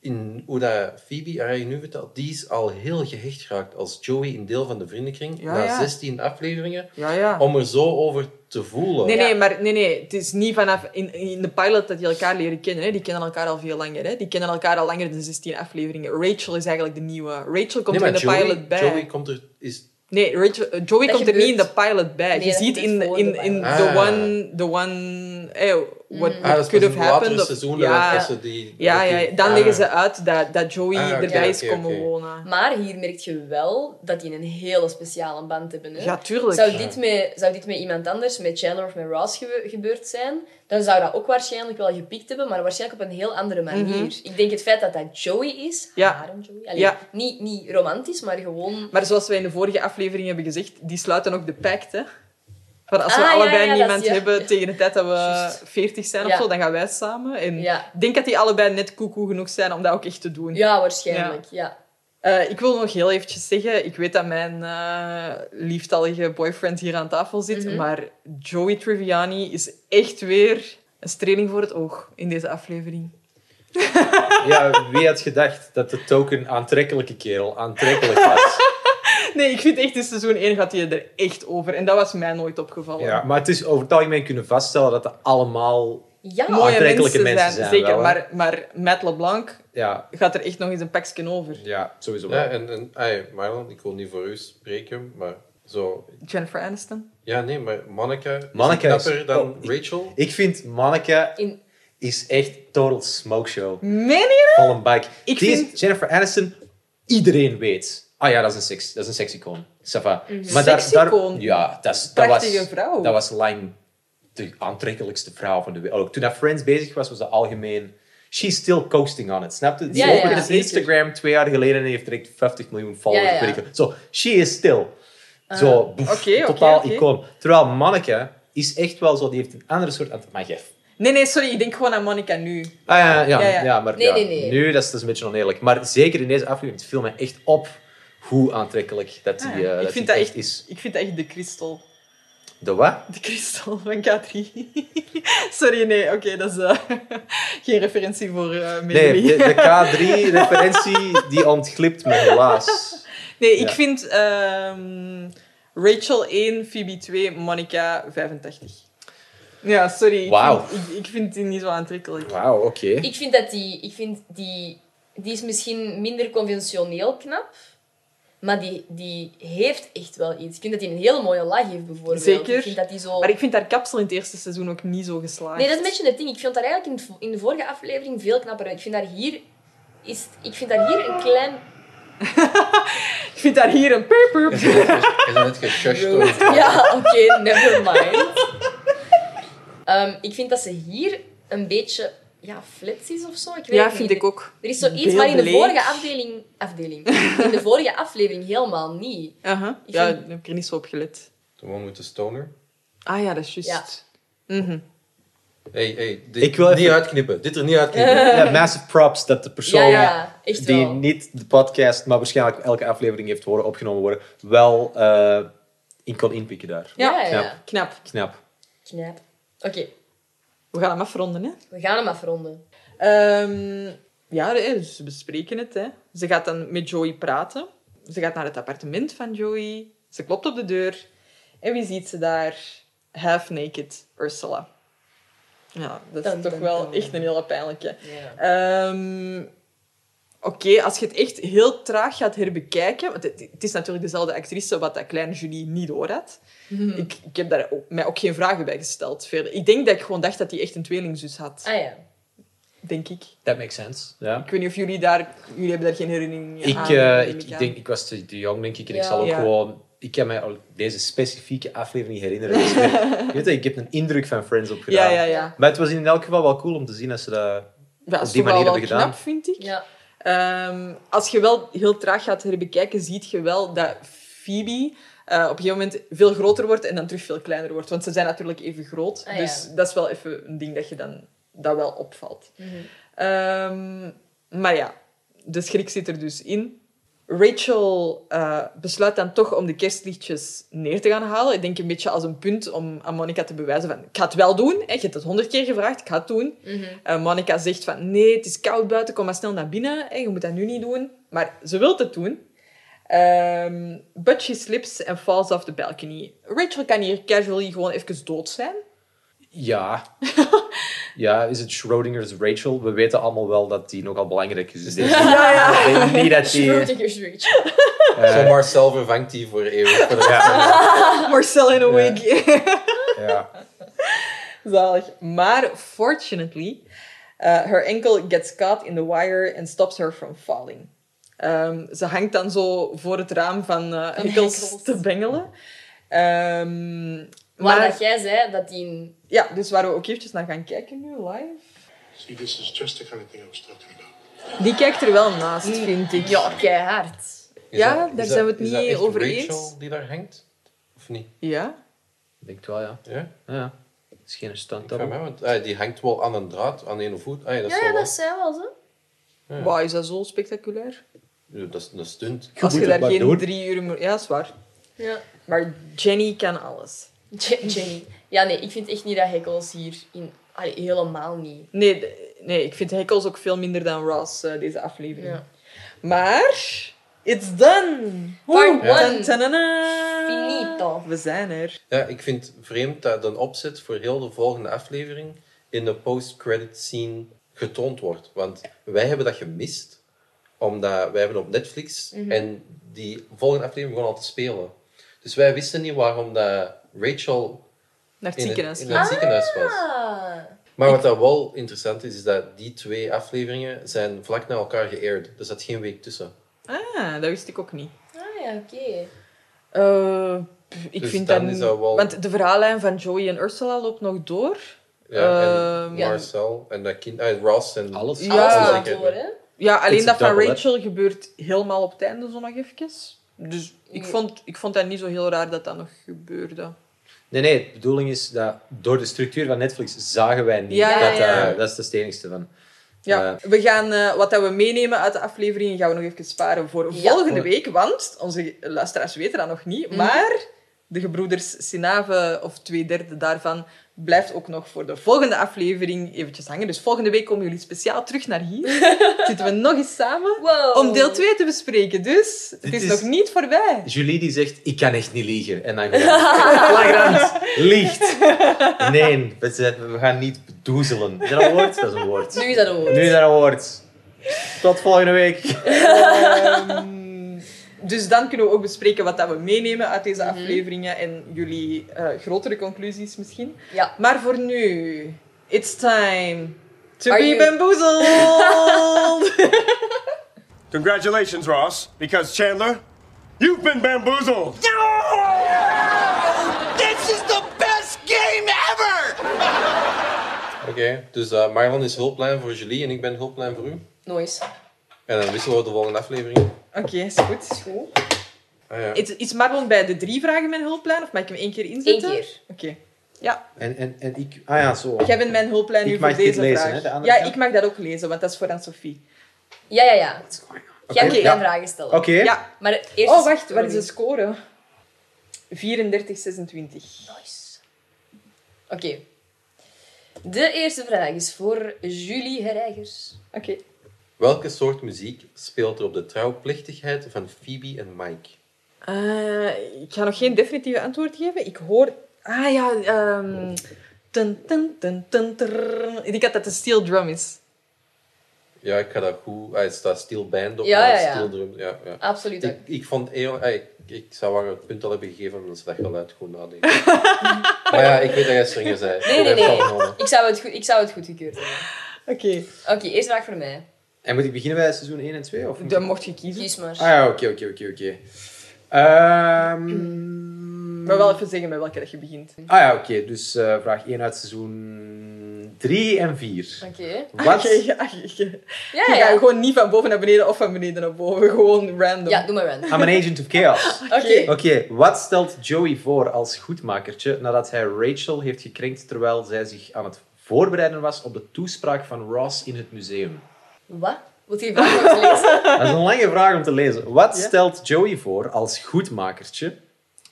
in hoe dat Phoebe haar eigen nu vertelt, die is al heel gehecht geraakt als Joey een deel van de vriendenkring Ja, na ja. 16 afleveringen. Ja, ja. Om er zo over te voelen. Nee, nee, maar nee, nee, het is niet vanaf in, in de pilot dat die elkaar leren kennen. Hè. Die kennen elkaar al veel langer. Hè. Die kennen elkaar al langer dan 16 afleveringen. Rachel is eigenlijk de nieuwe. Rachel komt Nee, er in maar de Joey, pilot bij. Joey komt er, is Nee, Rachel, eh, Joey Dat komt er gebeurt- niet in de pilot bij. Nee, je dat ziet gebeurt in, voor in, de Mm. in pilot. the Ah. one, the one, eh, what, Ah, what dat could have is pas in latere happened. of- seizoenen ja, dat ze die... ja, dat die- ja, ja. dan Ah. leggen ze uit dat, dat Joey Ah, oké, erbij is oké, komen oké. wonen. Maar hier merk je wel dat die een hele speciale band hebben. Hè? Ja, tuurlijk. Zou dit, met, zou dit met iemand anders, met Chandler of met Ross gebe- gebeurd zijn, dan zou dat ook waarschijnlijk wel gepikt hebben, maar waarschijnlijk op een heel andere manier. Ik denk het feit dat dat Joey is, Mhm. Ja. haar en Joey, allee, Ja. niet, niet romantisch, maar gewoon... Maar zoals wij in de vorige aflevering hebben gezegd, die sluiten ook de pact, hè. Van als we Ah, ja, allebei ja, dat niemand is- ja. hebben tegen de tijd dat we Juist. 40 zijn Ja. of zo, dan gaan wij samen. En Ja. ik denk dat die allebei net koekoe genoeg zijn om dat ook echt te doen. Ja, waarschijnlijk, ja. Eh, ik wil nog heel eventjes zeggen, ik weet dat mijn eh lieftallige boyfriend hier aan tafel zit, Mhm. maar Joey Triviani is echt weer een streling voor het oog in deze aflevering. Ja, wie had gedacht dat de token aantrekkelijke kerel aantrekkelijk was? Nee, ik vind echt, in seizoen 1 gaat hij er echt over. En dat was mij nooit opgevallen. Ja, maar het is over het algemeen kunnen vaststellen dat dat allemaal... Ja, Mooie Aantrekkelijke mensen, mensen zijn, zijn zeker. wel, hè? maar, maar Matt LeBlanc Ja, gaat er echt nog eens een pakje over. ja sowieso wel. Ja, en, en ai, Marlon, ik wil niet voor u spreken, maar zo... Jennifer Aniston. Ja, nee, maar Monica is Monica is- knapper dan oh, ik- Rachel. Ik vind Monica In- is echt total smoke show. Meen je dat? Van een bike. Ik Die is vind- Jennifer Aniston, iedereen weet. Ah ja, dat is een, seks, dat is een seksicoon. Sava. Seksicoon. ja, dat, is, dat was... Prachtige vrouw. Dat was lang de aantrekkelijkste vrouw van de wereld. Ook toen dat Friends bezig was, was dat algemeen... She's still coasting on it, snap je? Die Ja, ja, opende ja, het zeker. Instagram twee jaar geleden en heeft direct 50 miljoen followers. Ja, ja, ja. weet ik veel. Zo, she is still. Zo, boef, oké, oké, totaal oké. icoon. Terwijl Manneke is echt wel zo, die heeft een andere soort... Maar jij Nee, nee, sorry. Ik denk gewoon aan Monica nu. Ah ja, ja, Ja, ja, ja. maar Nee, ja, nee, nee. nu dat is, dat is een beetje oneerlijk. Maar zeker in deze aflevering, het viel mij echt op hoe aantrekkelijk dat die, Ah, eh, ja. dat ik, vind die dat echt, is. ik vind dat echt de kristal. De wat? De kristal van K3. sorry, nee. Oké, dat is eh, geen referentie voor eh Nee, Melody. de, K3-referentie die ontglipt me helaas. Nee, ik Ja. vind ehm, Rachel 1, Phoebe 2, Monica 85. Ja, sorry. Ik, Wauw. vind, ik, ik vind die niet zo aantrekkelijk. Wauw, oké. Ik vind dat die... Ik vind die... Die is misschien minder conventioneel knap. Maar die, die heeft echt wel iets. Ik vind dat die een hele mooie lach heeft, bijvoorbeeld. Zeker. Ik vind dat die zo... Maar ik vind haar kapsel in het eerste seizoen ook niet zo geslaagd. Nee, dat is een beetje het ding. Ik vond haar eigenlijk in, het vo- in de vorige aflevering veel knapper uit. Ik vind haar hier... Is, ik vind haar hier een klein... Ik vind haar hier een perp, perp. Je bent net geshushed door... Ja, oké, never mind. Ehm, ik vind dat ze hier een beetje... Ja, flits is of zo. Ik weet Ja, het vind niet. ik ook. Er is zoiets, maar in de Beeldleeg. vorige afdeling... Afdeling. In de vorige aflevering helemaal niet. Aha. Ik Ja, vind- daar heb ik er niet zo op gelet. De one with the stoner. Ah ja, dat is juist. Ja. Mhm. Hey, hey, dit Ik wil even- niet uitknippen. Dit er niet uitknippen. Ja, massive props dat de persoon eh, Ja, ja, echt die wel. niet de podcast, maar waarschijnlijk elke aflevering heeft horen opgenomen worden, wel eh, in kon inpikken daar. Ja. ja. Knap. Knap. Knap. Knap. Oké, We gaan hem afronden, hè. we gaan hem afronden. Ehm, ja, hè, ze bespreken het. Hè. Ze gaat dan met Joey praten. Ze gaat naar het appartement van Joey. Ze klopt op de deur. En wie ziet ze daar? Half naked Ursula. Ja, dat is Dun, toch dun, wel dun. echt een hele pijnlijke. Ehm, Oké, als je het echt heel traag gaat herbekijken... Want het, het is natuurlijk dezelfde actrice wat dat kleine Julie niet door had. Ik, ik heb daar ook, mij ook geen vragen bij gesteld. Verder. Ik denk dat ik gewoon dacht dat hij echt een tweelingzus had. Ah ja. Denk ik. That makes sense. Ja. Ik weet niet of jullie daar... Jullie hebben daar geen herinnering aan. Ik, eh, neem ik, aan. ik denk, ik was te, te jong, denk ik. En ik Ja. zal ook Ja. gewoon... Ik kan mij al deze specifieke aflevering niet herinneren. Dus ik, ik weet dat, ik heb een indruk van Friends opgedaan. Ja, ja, ja. Maar het was in elk geval wel cool om te zien dat ze dat... ja Op die manier wel hebben gedaan. knap, vind ik. Ja. Ehm, als je wel heel traag gaat herbekijken, ziet je wel dat Phoebe eh, op een gegeven moment veel groter wordt en dan terug veel kleiner wordt. Want ze zijn natuurlijk even groot. Ah, ja. Dus dat is wel even een ding dat je dan dat wel opvalt. Mhm. Ehm, maar ja, de schrik zit er dus in. Rachel eh, besluit dan toch om de kerstliedjes neer te gaan halen. Ik denk een beetje als een punt om aan Monica te bewijzen van... Ik ga het wel doen. Hè. Je hebt het honderd keer gevraagd. Ik ga het doen. Eh, Monica zegt van... Nee, het is koud buiten. Kom maar snel naar binnen. Hè. Je moet dat nu niet doen. Maar ze wil het doen. Ehm, but she slips and falls off the balcony. Rachel kan hier casually gewoon even dood zijn. Ja. ja, is het Schrodinger's Rachel? We weten allemaal wel dat die nogal belangrijk is. Dus deze- Ik denk niet dat die... Schrodinger's Rachel. Zo Marcel vervangt die voor eeuwig. Voor de rest. Marcel in a wig. Ja. Zalig. Maar fortunately, uh, her ankle gets caught in the wire and stops her from falling. Ehm, ze hangt dan zo voor het raam van eh Van Hickels Hickels. te bengelen. Ehm, Waar maar dat jij zei dat die... een- ja, dus waar we ook eventjes naar gaan kijken nu, live. See, this is just the kind of thing I was talking about. Die kijkt er wel naast, vind ik. Mm, Ja, keihard. Is Ja, dat- daar is dat- zijn we het is dat niet echt over eens. Rachel die daar hangt? Of niet? Ja? Ik denk het wel, ja. Ja? ja. Het is geen stunt Van mij, want ah, die hangt wel aan een draad, aan een voet. Ah, ja, dat is Ja, ja, wel wel- dat zei wel zo. Wauw, is dat zo spectaculair? Ja, dat is een stunt. Als moet je het daar maar geen doen. drie uur... moet- Ja, zwaar. Ja. Maar Jenny kan alles. Je- Jenny. Ja, nee, ik vind echt niet dat Hekkels hier in... Allee, helemaal niet. Nee, d- nee ik vind Heckles ook veel minder dan Ross, eh, deze aflevering. Ja. Maar... It's done! Part Woe! one. Tantanana. Finito. We zijn er. Ja, ik vind het vreemd dat een opzet voor heel de volgende aflevering in de post-credit scene getoond wordt. Want wij hebben dat gemist, omdat wij hebben op Netflix Mhm. en die volgende aflevering begon al te spelen. Dus wij wisten niet waarom dat Rachel Naar het in het, ziekenhuis. in het ziekenhuis was. Ah. Maar wat dat wel interessant is, is dat die twee afleveringen zijn vlak na elkaar geëerd. Dus dat geen week tussen. Ah, dat wist ik ook niet. Ah, ja, oké. Eh, pff, ik Dus vind dan dat is niet... dat wel- Want de verhaallijn van Joey en Ursula loopt nog door. Ja, en Ehm, ja. Marcel en dat kind, ah, Ross en Alles. Ja. Alles Alles gaat zeker. door, hè? Ja, alleen It's dat a van double, hè? Rachel gebeurt helemaal op het einde zo nog even. Dus ik vond, ik vond dat niet zo heel raar dat dat nog gebeurde. Nee, nee, de bedoeling is dat door de structuur van Netflix zagen wij niet. Ja, ja, dat, ja. eh, dat is de stenigste van. Ja, Eh, we gaan eh, wat dat we meenemen uit de aflevering gaan we nog even sparen voor Ja. volgende week. Want onze luisteraars weten dat nog niet. Maar de gebroeders Sinave, of twee derde daarvan, blijft ook nog voor de volgende aflevering eventjes hangen. Dus volgende week komen jullie speciaal terug naar hier. Zitten we nog eens samen Wow. om deel 2 te bespreken. Dus het Dit is, is- nog niet voorbij. Julie die zegt, ik kan echt niet liegen. En dan gewoon, flagrant, liegt. Nee, we, zijn- we gaan niet bedoezelen. Is dat een woord? Dat is een woord. Nu is dat een woord. Nu is dat een woord. Tot volgende week. Dus dan kunnen we ook bespreken wat dat we meenemen uit Mhm. deze afleveringen en jullie eh, grotere conclusies misschien. Ja. Maar voor nu, it's time to Are be you- bamboozled. Congratulations, Ross, because Chandler, you've been bamboozled. Oké, dus eh, Marlon is hulplijn voor Julie en ik ben hulplijn voor u. Noise. En dan wisselen we de volgende aflevering. Oké, is goed. Ah, ja. Is, is Marlon bij de drie vragen mijn hulplijn of mag ik hem één keer Eén inzetten? keer. Oké. Ja, En, en, en ik... Ah ja, zo. jij bent mijn hulplijn Ik nu mag voor dit deze lezen, vraag. hè, de andere ja, kant. ik mag dat ook lezen, want dat is voor aan Sophie. Ja, ja, ja. Jij moet ja. mij vragen stellen. Oké. Ja. Maar eerst... Oh, wacht, wat is de score? 34, 26. Nice. Oké. De eerste vraag is voor Julie Herreigers. Oké. Welke soort muziek speelt er op de trouwplechtigheid van Phoebe en Mike? Eh, ik ga nog geen definitieve antwoord geven. Ik hoor... Ah ja, ehm Tun, tun, tun, tun, trrrr. Ik denk dat dat de steel drum is. Ja, ik ga dat goed. Ah, het staat Steel Band op, Ja, maar ja, ja. Steel Drum. Ja, ja. Absoluut. Ik, ik vond eeuw- ah, ik, ik zou haar het punt al hebben gegeven omdat ze dat geluid goed nadenken. maar ja, ik weet dat jij strenger zei. Nee, nee, Ik heb het nee. afgenomen. Ik zou het, goed, ik zou het goedgekeurd hebben. Oké. Oké, eerste vraag voor mij. En moet ik beginnen bij seizoen 1 en 2? Of moet Dan ik- mocht je kiezen. Kies maar. Ah ja, oké, oké, oké, oké. Ehm, Maar wel even zeggen met welke dat je begint. Ah ja, oké. Dus eh, vraag 1 uit seizoen 3 en 4. Oké. Wat? Oké, ja, je- je- Ja, je ja. gaat gewoon niet van boven naar beneden of van beneden naar boven. Gewoon random. Ja, doe maar random. I'm an agent of chaos. Oké. Oké. Oké, wat stelt Joey voor als goedmakertje nadat hij Rachel heeft gekrenkt terwijl zij zich aan het voorbereiden was op de toespraak van Ross in het museum? Wat? Wilt je die vraag nog eens lezen? Dat is een lange vraag om te lezen. Wat Ja. stelt Joey voor als goedmakertje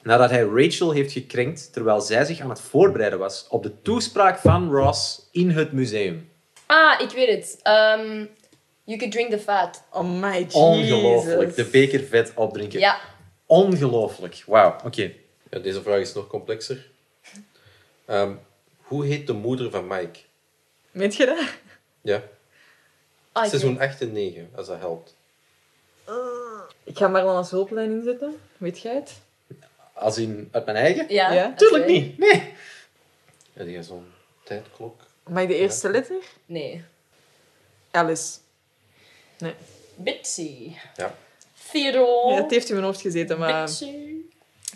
nadat hij Rachel heeft gekrenkt terwijl zij zich aan het voorbereiden was op de toespraak van Ross in het museum? Ah, ik weet het. Ehm, you could drink the fat. Oh my Jesus. Ongelooflijk. De beker vet opdrinken. Ja. Ongelooflijk. Wauw, oké. Ja, deze vraag is nog complexer. Ehm, hoe heet de moeder van Mike? Weet je dat? Ja, Ah, ik seizoen 8 en 9, als dat helpt. Ik ga Marlon als hulplijn inzetten. Weet jij het? Als in uit mijn eigen? weet- Ja, Ja, oké. Tuurlijk niet. Nee. En die heeft zo'n tijdklok. Mag ik de eerste letter? Nee. Alice. Bitsy. Ja. Theodore. Ja, het heeft in mijn hoofd gezeten, maar... Bitsy.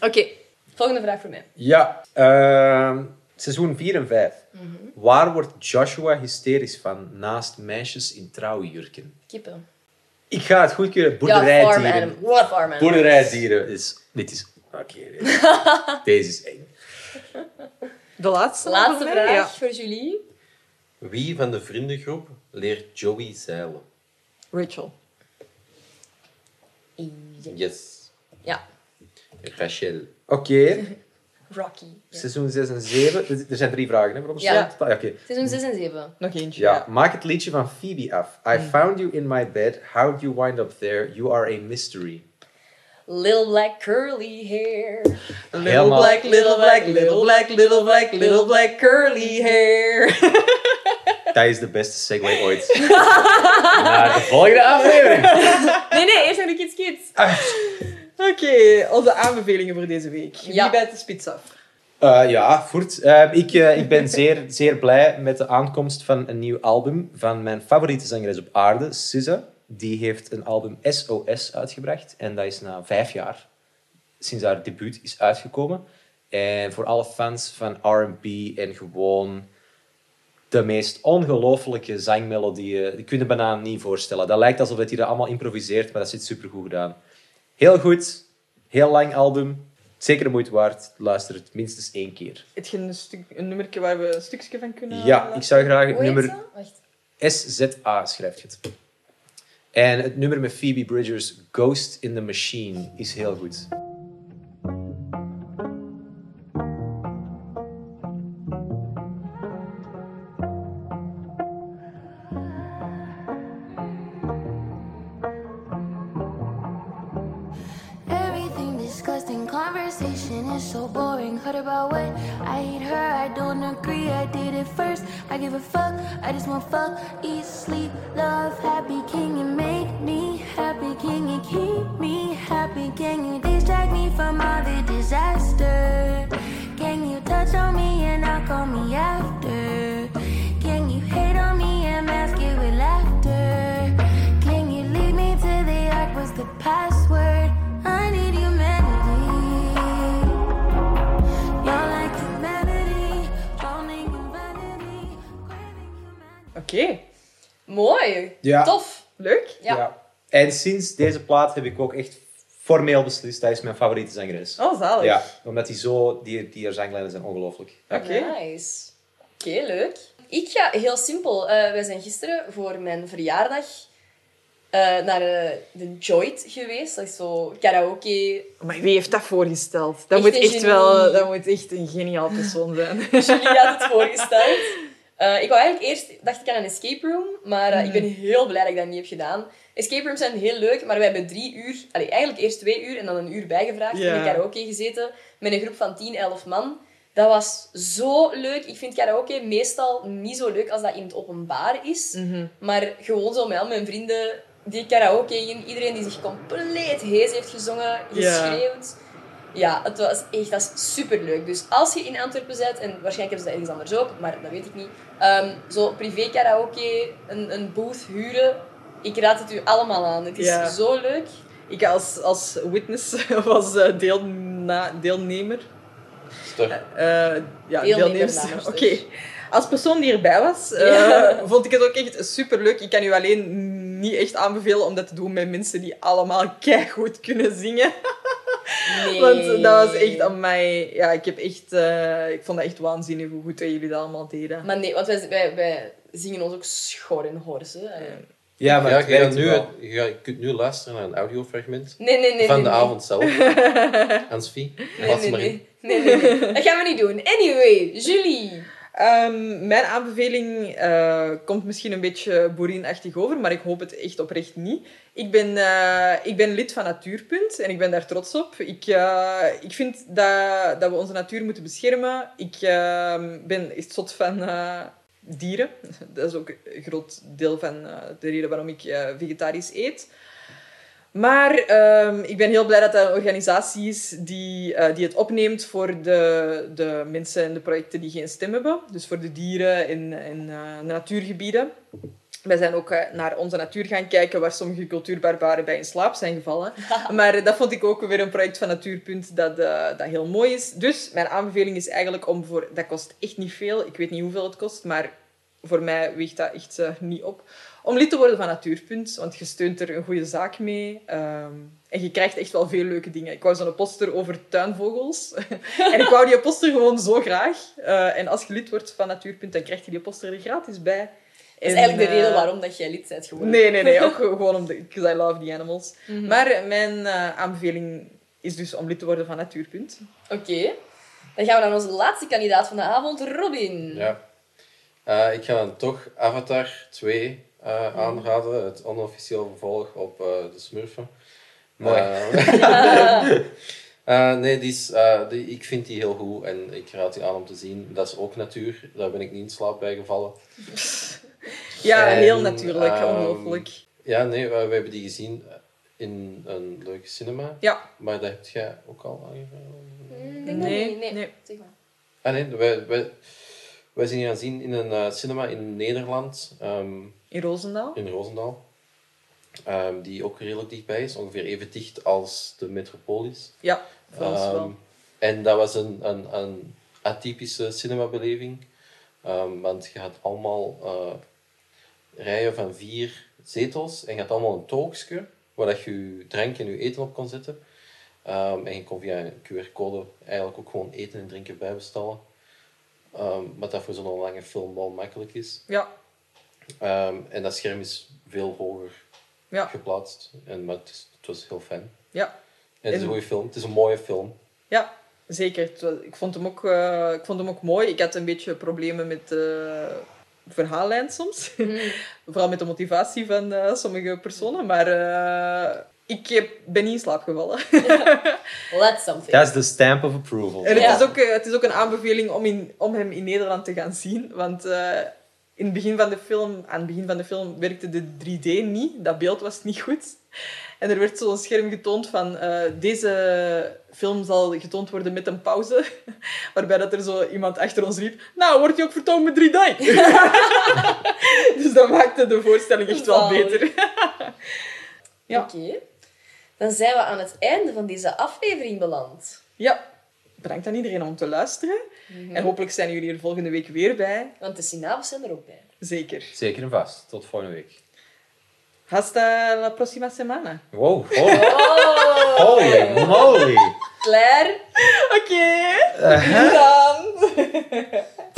Oké, volgende vraag voor mij. Ja. ehm, seizoen 4 en 5. Mhm. Waar wordt Joshua hysterisch van naast meisjes in trouwjurken? Kippen. Ik ga het goedkeuren. Ja, farm Boerderijdieren. animal. What? Farm animal. Boerderijdieren is... Dit is... Oké. dit- Deze is eng. De laatste? voor Laatste mij? vraag Ja. voor Julie. Wie van de vriendengroep leert Joey zeilen? Rachel. Yes, Ja, Rachel. Oké. Rocky. Ja. Seizoen 6 en 7. Er- Er zijn drie vragen, hè? Waarom Ja. Oké. Seizoen 6 en 7. Nog eentje. Ja, maak het liedje van Phoebe af. I Mhm. found you in my bed. How'd you wind up there? You are a mystery. Little black curly hair. Little Helemaal. black, little black, little black, little black, little black curly hair. Dat is de beste segue ooit. Naar de volgende aflevering. Nee, nee, eerst naar de Kids Kids. Oké, onze aanbevelingen voor deze week. Ja. Wie bijt de spits af? Eh, ja, voort. Eh, ik, eh, ik ben zeer, zeer blij met de aankomst van een nieuw album van mijn favoriete zangeres op aarde, SZA. Die heeft een album SOS uitgebracht. En dat is na vijf jaar sinds haar debuut is uitgekomen. En voor alle fans van R&B en gewoon de meest ongelofelijke zangmelodieën. Die kunnen bijna niet voorstellen. Dat lijkt alsof dat hij dat allemaal improviseert, maar dat zit supergoed gedaan. Heel goed. Heel lang album. Zeker de moeite waard, luister het minstens één keer. Heb je een, stuk, een nummertje waar we een stukje van kunnen Ja, ik zou graag het Hoe heet nummer ze? Wacht. SZA schrijft het. En het nummer met Phoebe Bridgers, Ghost in the Machine, is heel goed. Everything discussed in conversation is so boring. Heard about what? I hate her, I don't agree, I did it first. I give a fuck, I just want fuck, eat, sleep, love, happy. Can you make me happy? Can you keep me happy? Can you distract me from all the disaster? Can you touch on me and not call me after? Can you hate on me and mask it with laughter? Can you lead me to the ark? Was the password? I need humanity. You're like humanity, drowning in vanity. Oké. Mooi. Ja. Tof. Leuk. Ja. En sinds deze plaat heb ik ook echt formeel beslist, dat is mijn favoriete zangeres. Oh, zalig. Ja, omdat die zo, die, die haar zanglijnen zijn ongelooflijk. Ja. Nice. Oké, leuk. Ik ga heel simpel. Eh, wij zijn gisteren voor mijn verjaardag eh, naar eh, de Joint geweest. Dat is zo karaoke. Maar wie heeft dat voorgesteld? Dat Echt moet een echt genie. wel... Dat moet echt een geniaal persoon zijn. Jullie had het voorgesteld. Eh, ik wou eigenlijk eerst, dacht ik aan een escape room, maar eh, ik ben heel blij dat ik dat niet heb gedaan. Escape rooms zijn heel leuk, maar wij hebben drie uur, allee, eigenlijk eerst twee uur en dan een uur bijgevraagd Ja. in de karaoke gezeten met een groep van 10, 11 man. Dat was zo leuk. Ik vind karaoke meestal niet zo leuk als dat in het openbaar Mhm. is. Maar gewoon zo met al mijn vrienden die karaoke in, iedereen die zich compleet hees heeft gezongen, Ja. geschreeuwd. Ja, het was echt, dat is superleuk. Dus als je in Antwerpen bent, en waarschijnlijk hebben ze dat ergens anders ook, maar dat weet ik niet. ehm, zo privé karaoke, een, een booth huren. Ik raad het u allemaal aan. Het is Ja. zo leuk. Ik als, als witness was eh, deel, na, deelnemer. Eh, ja, Deelnemer, deelnemster. namens Oké. dus. Als persoon die erbij was, eh, Ja. vond ik het ook echt superleuk. Ik kan u alleen niet echt aanbevelen om dat te doen met mensen die allemaal keigoed kunnen zingen. Nee. Want dat was echt aan mij... Ja, ik heb echt... eh, ik vond dat echt waanzinnig hoe goed dat jullie dat allemaal deden. Maar nee, want wij, wij, wij zingen ons ook schor en hors. hè. Allee. Ja, maar Ja, het je, gaat werkt nu, wel. je, gaat- je kunt nu luisteren naar een audiofragment Nee, nee, nee. van nee, de nee. avond zelf. Hans-Vie, pas nee, maar in. nee. Nee, nee, nee. Dat gaan we niet doen. Anyway, Julie. Ehm, mijn aanbeveling eh, komt misschien een beetje boerinachtig over, maar ik hoop het echt oprecht niet. Ik ben, eh, ik ben lid van Natuurpunt en ik ben daar trots op. Ik, eh, ik vind dat, dat we onze natuur moeten beschermen. Ik ehm, ben echt zot van eh, dieren. Dat is ook een groot deel van eh, de reden waarom ik eh, vegetarisch eet. Maar ehm, ik ben heel blij dat dat een organisatie is die, eh, die het opneemt voor de, de mensen en de projecten die geen stem hebben. Dus voor de dieren en, en eh, natuurgebieden. Wij zijn ook eh, naar onze natuur gaan kijken, waar sommige cultuurbarbaren bij in slaap zijn gevallen. Maar eh, dat vond ik ook weer een project van Natuurpunt dat, eh, dat heel mooi is. Dus mijn aanbeveling is eigenlijk om voor... Dat kost echt niet veel. Ik weet niet hoeveel het kost, maar voor mij weegt dat echt eh, niet op. Om lid te worden van Natuurpunt, want je steunt er een goede zaak mee. ehm, en je krijgt echt wel veel leuke dingen. Ik wou zo'n poster over tuinvogels. en ik wou die poster gewoon zo graag. Eh, en als je lid wordt van Natuurpunt, dan krijg je die poster er gratis bij. Dat is En, eigenlijk de eh, reden waarom dat jij lid bent geworden. Nee, nee, nee. Ook gewoon omdat ik I love the animals. Mhm. Maar mijn eh, aanbeveling is dus om lid te worden van Natuurpunt. Oké. Dan gaan we naar onze laatste kandidaat van de avond, Robin. Ja. Eh, ik ga dan toch Avatar 2 eh, aanraden, het onofficieel vervolg op eh, de Smurfen. Mooi. Eh, eh, nee, die is, eh, die, ik vind die heel goed en ik raad die aan om te zien. Dat is ook natuur, daar ben ik niet in slaap bij gevallen. Ja, En, heel natuurlijk. ehm, Ongelooflijk. Ja, nee, we, we hebben die gezien in een leuke cinema. Ja. Maar dat heb jij ook al aangevraagd. Nee, Nee, nee, nee. Zeg maar. Ah nee, wij, wij, wij zijn hier gaan zien in een eh, cinema in Nederland. ehm, In Roosendaal. in Roosendaal. Ehm, die ook redelijk dichtbij is, ongeveer even dicht als de metropolis. Ja, voor ons wel. Ehm, En dat was een, een, een atypische cinemabeleving. Ehm, want je had allemaal eh, rijen van vier zetels en je had allemaal een tolkje waar dat je je drank en je eten op kon zetten. Ehm, en je kon via een QR-code eigenlijk ook gewoon eten en drinken bijbestellen. Ehm wat dat voor zo'n lange film wel makkelijk is. Ja. Ehm, en dat scherm is veel hoger Ja. geplaatst. En, maar het, is- het was heel fijn. Ja. En het is En- een goede film. Het is een mooie film. Ja, zeker. Het wa- Ik vond hem ook, eh, ik vond hem ook mooi. Ik had een beetje problemen met de verhaallijn soms. Mhm. Vooral met de motivatie van eh, sommige personen. Maar eh, ik heb- ben niet in slaap gevallen. Let something. Dat is de stamp of approval. En het, is ook, eh, het is ook een aanbeveling om, in, om hem in Nederland te gaan zien. Want eh, in het begin van de film, aan het begin van de film werkte de 3D niet. Dat beeld was niet goed. En er werd zo'n scherm getoond van... eh, deze film zal getoond worden met een pauze. Waarbij dat er zo iemand achter ons riep... Nou, wordt je ook vertoond met 3D? dus dat maakte de voorstelling echt wel Zalig. beter. Ja. Oké. Dan zijn we aan het einde van deze aflevering beland. Ja. Bedankt aan iedereen om te luisteren. En hopelijk zijn jullie er volgende week weer bij. Want de Sinabels zijn er ook bij. Zeker. Zeker en vast. Tot volgende week. Hasta la próxima semana. Wow. Holy, Oh, holy moly. Claire. Oké. Eh, hè? Dan.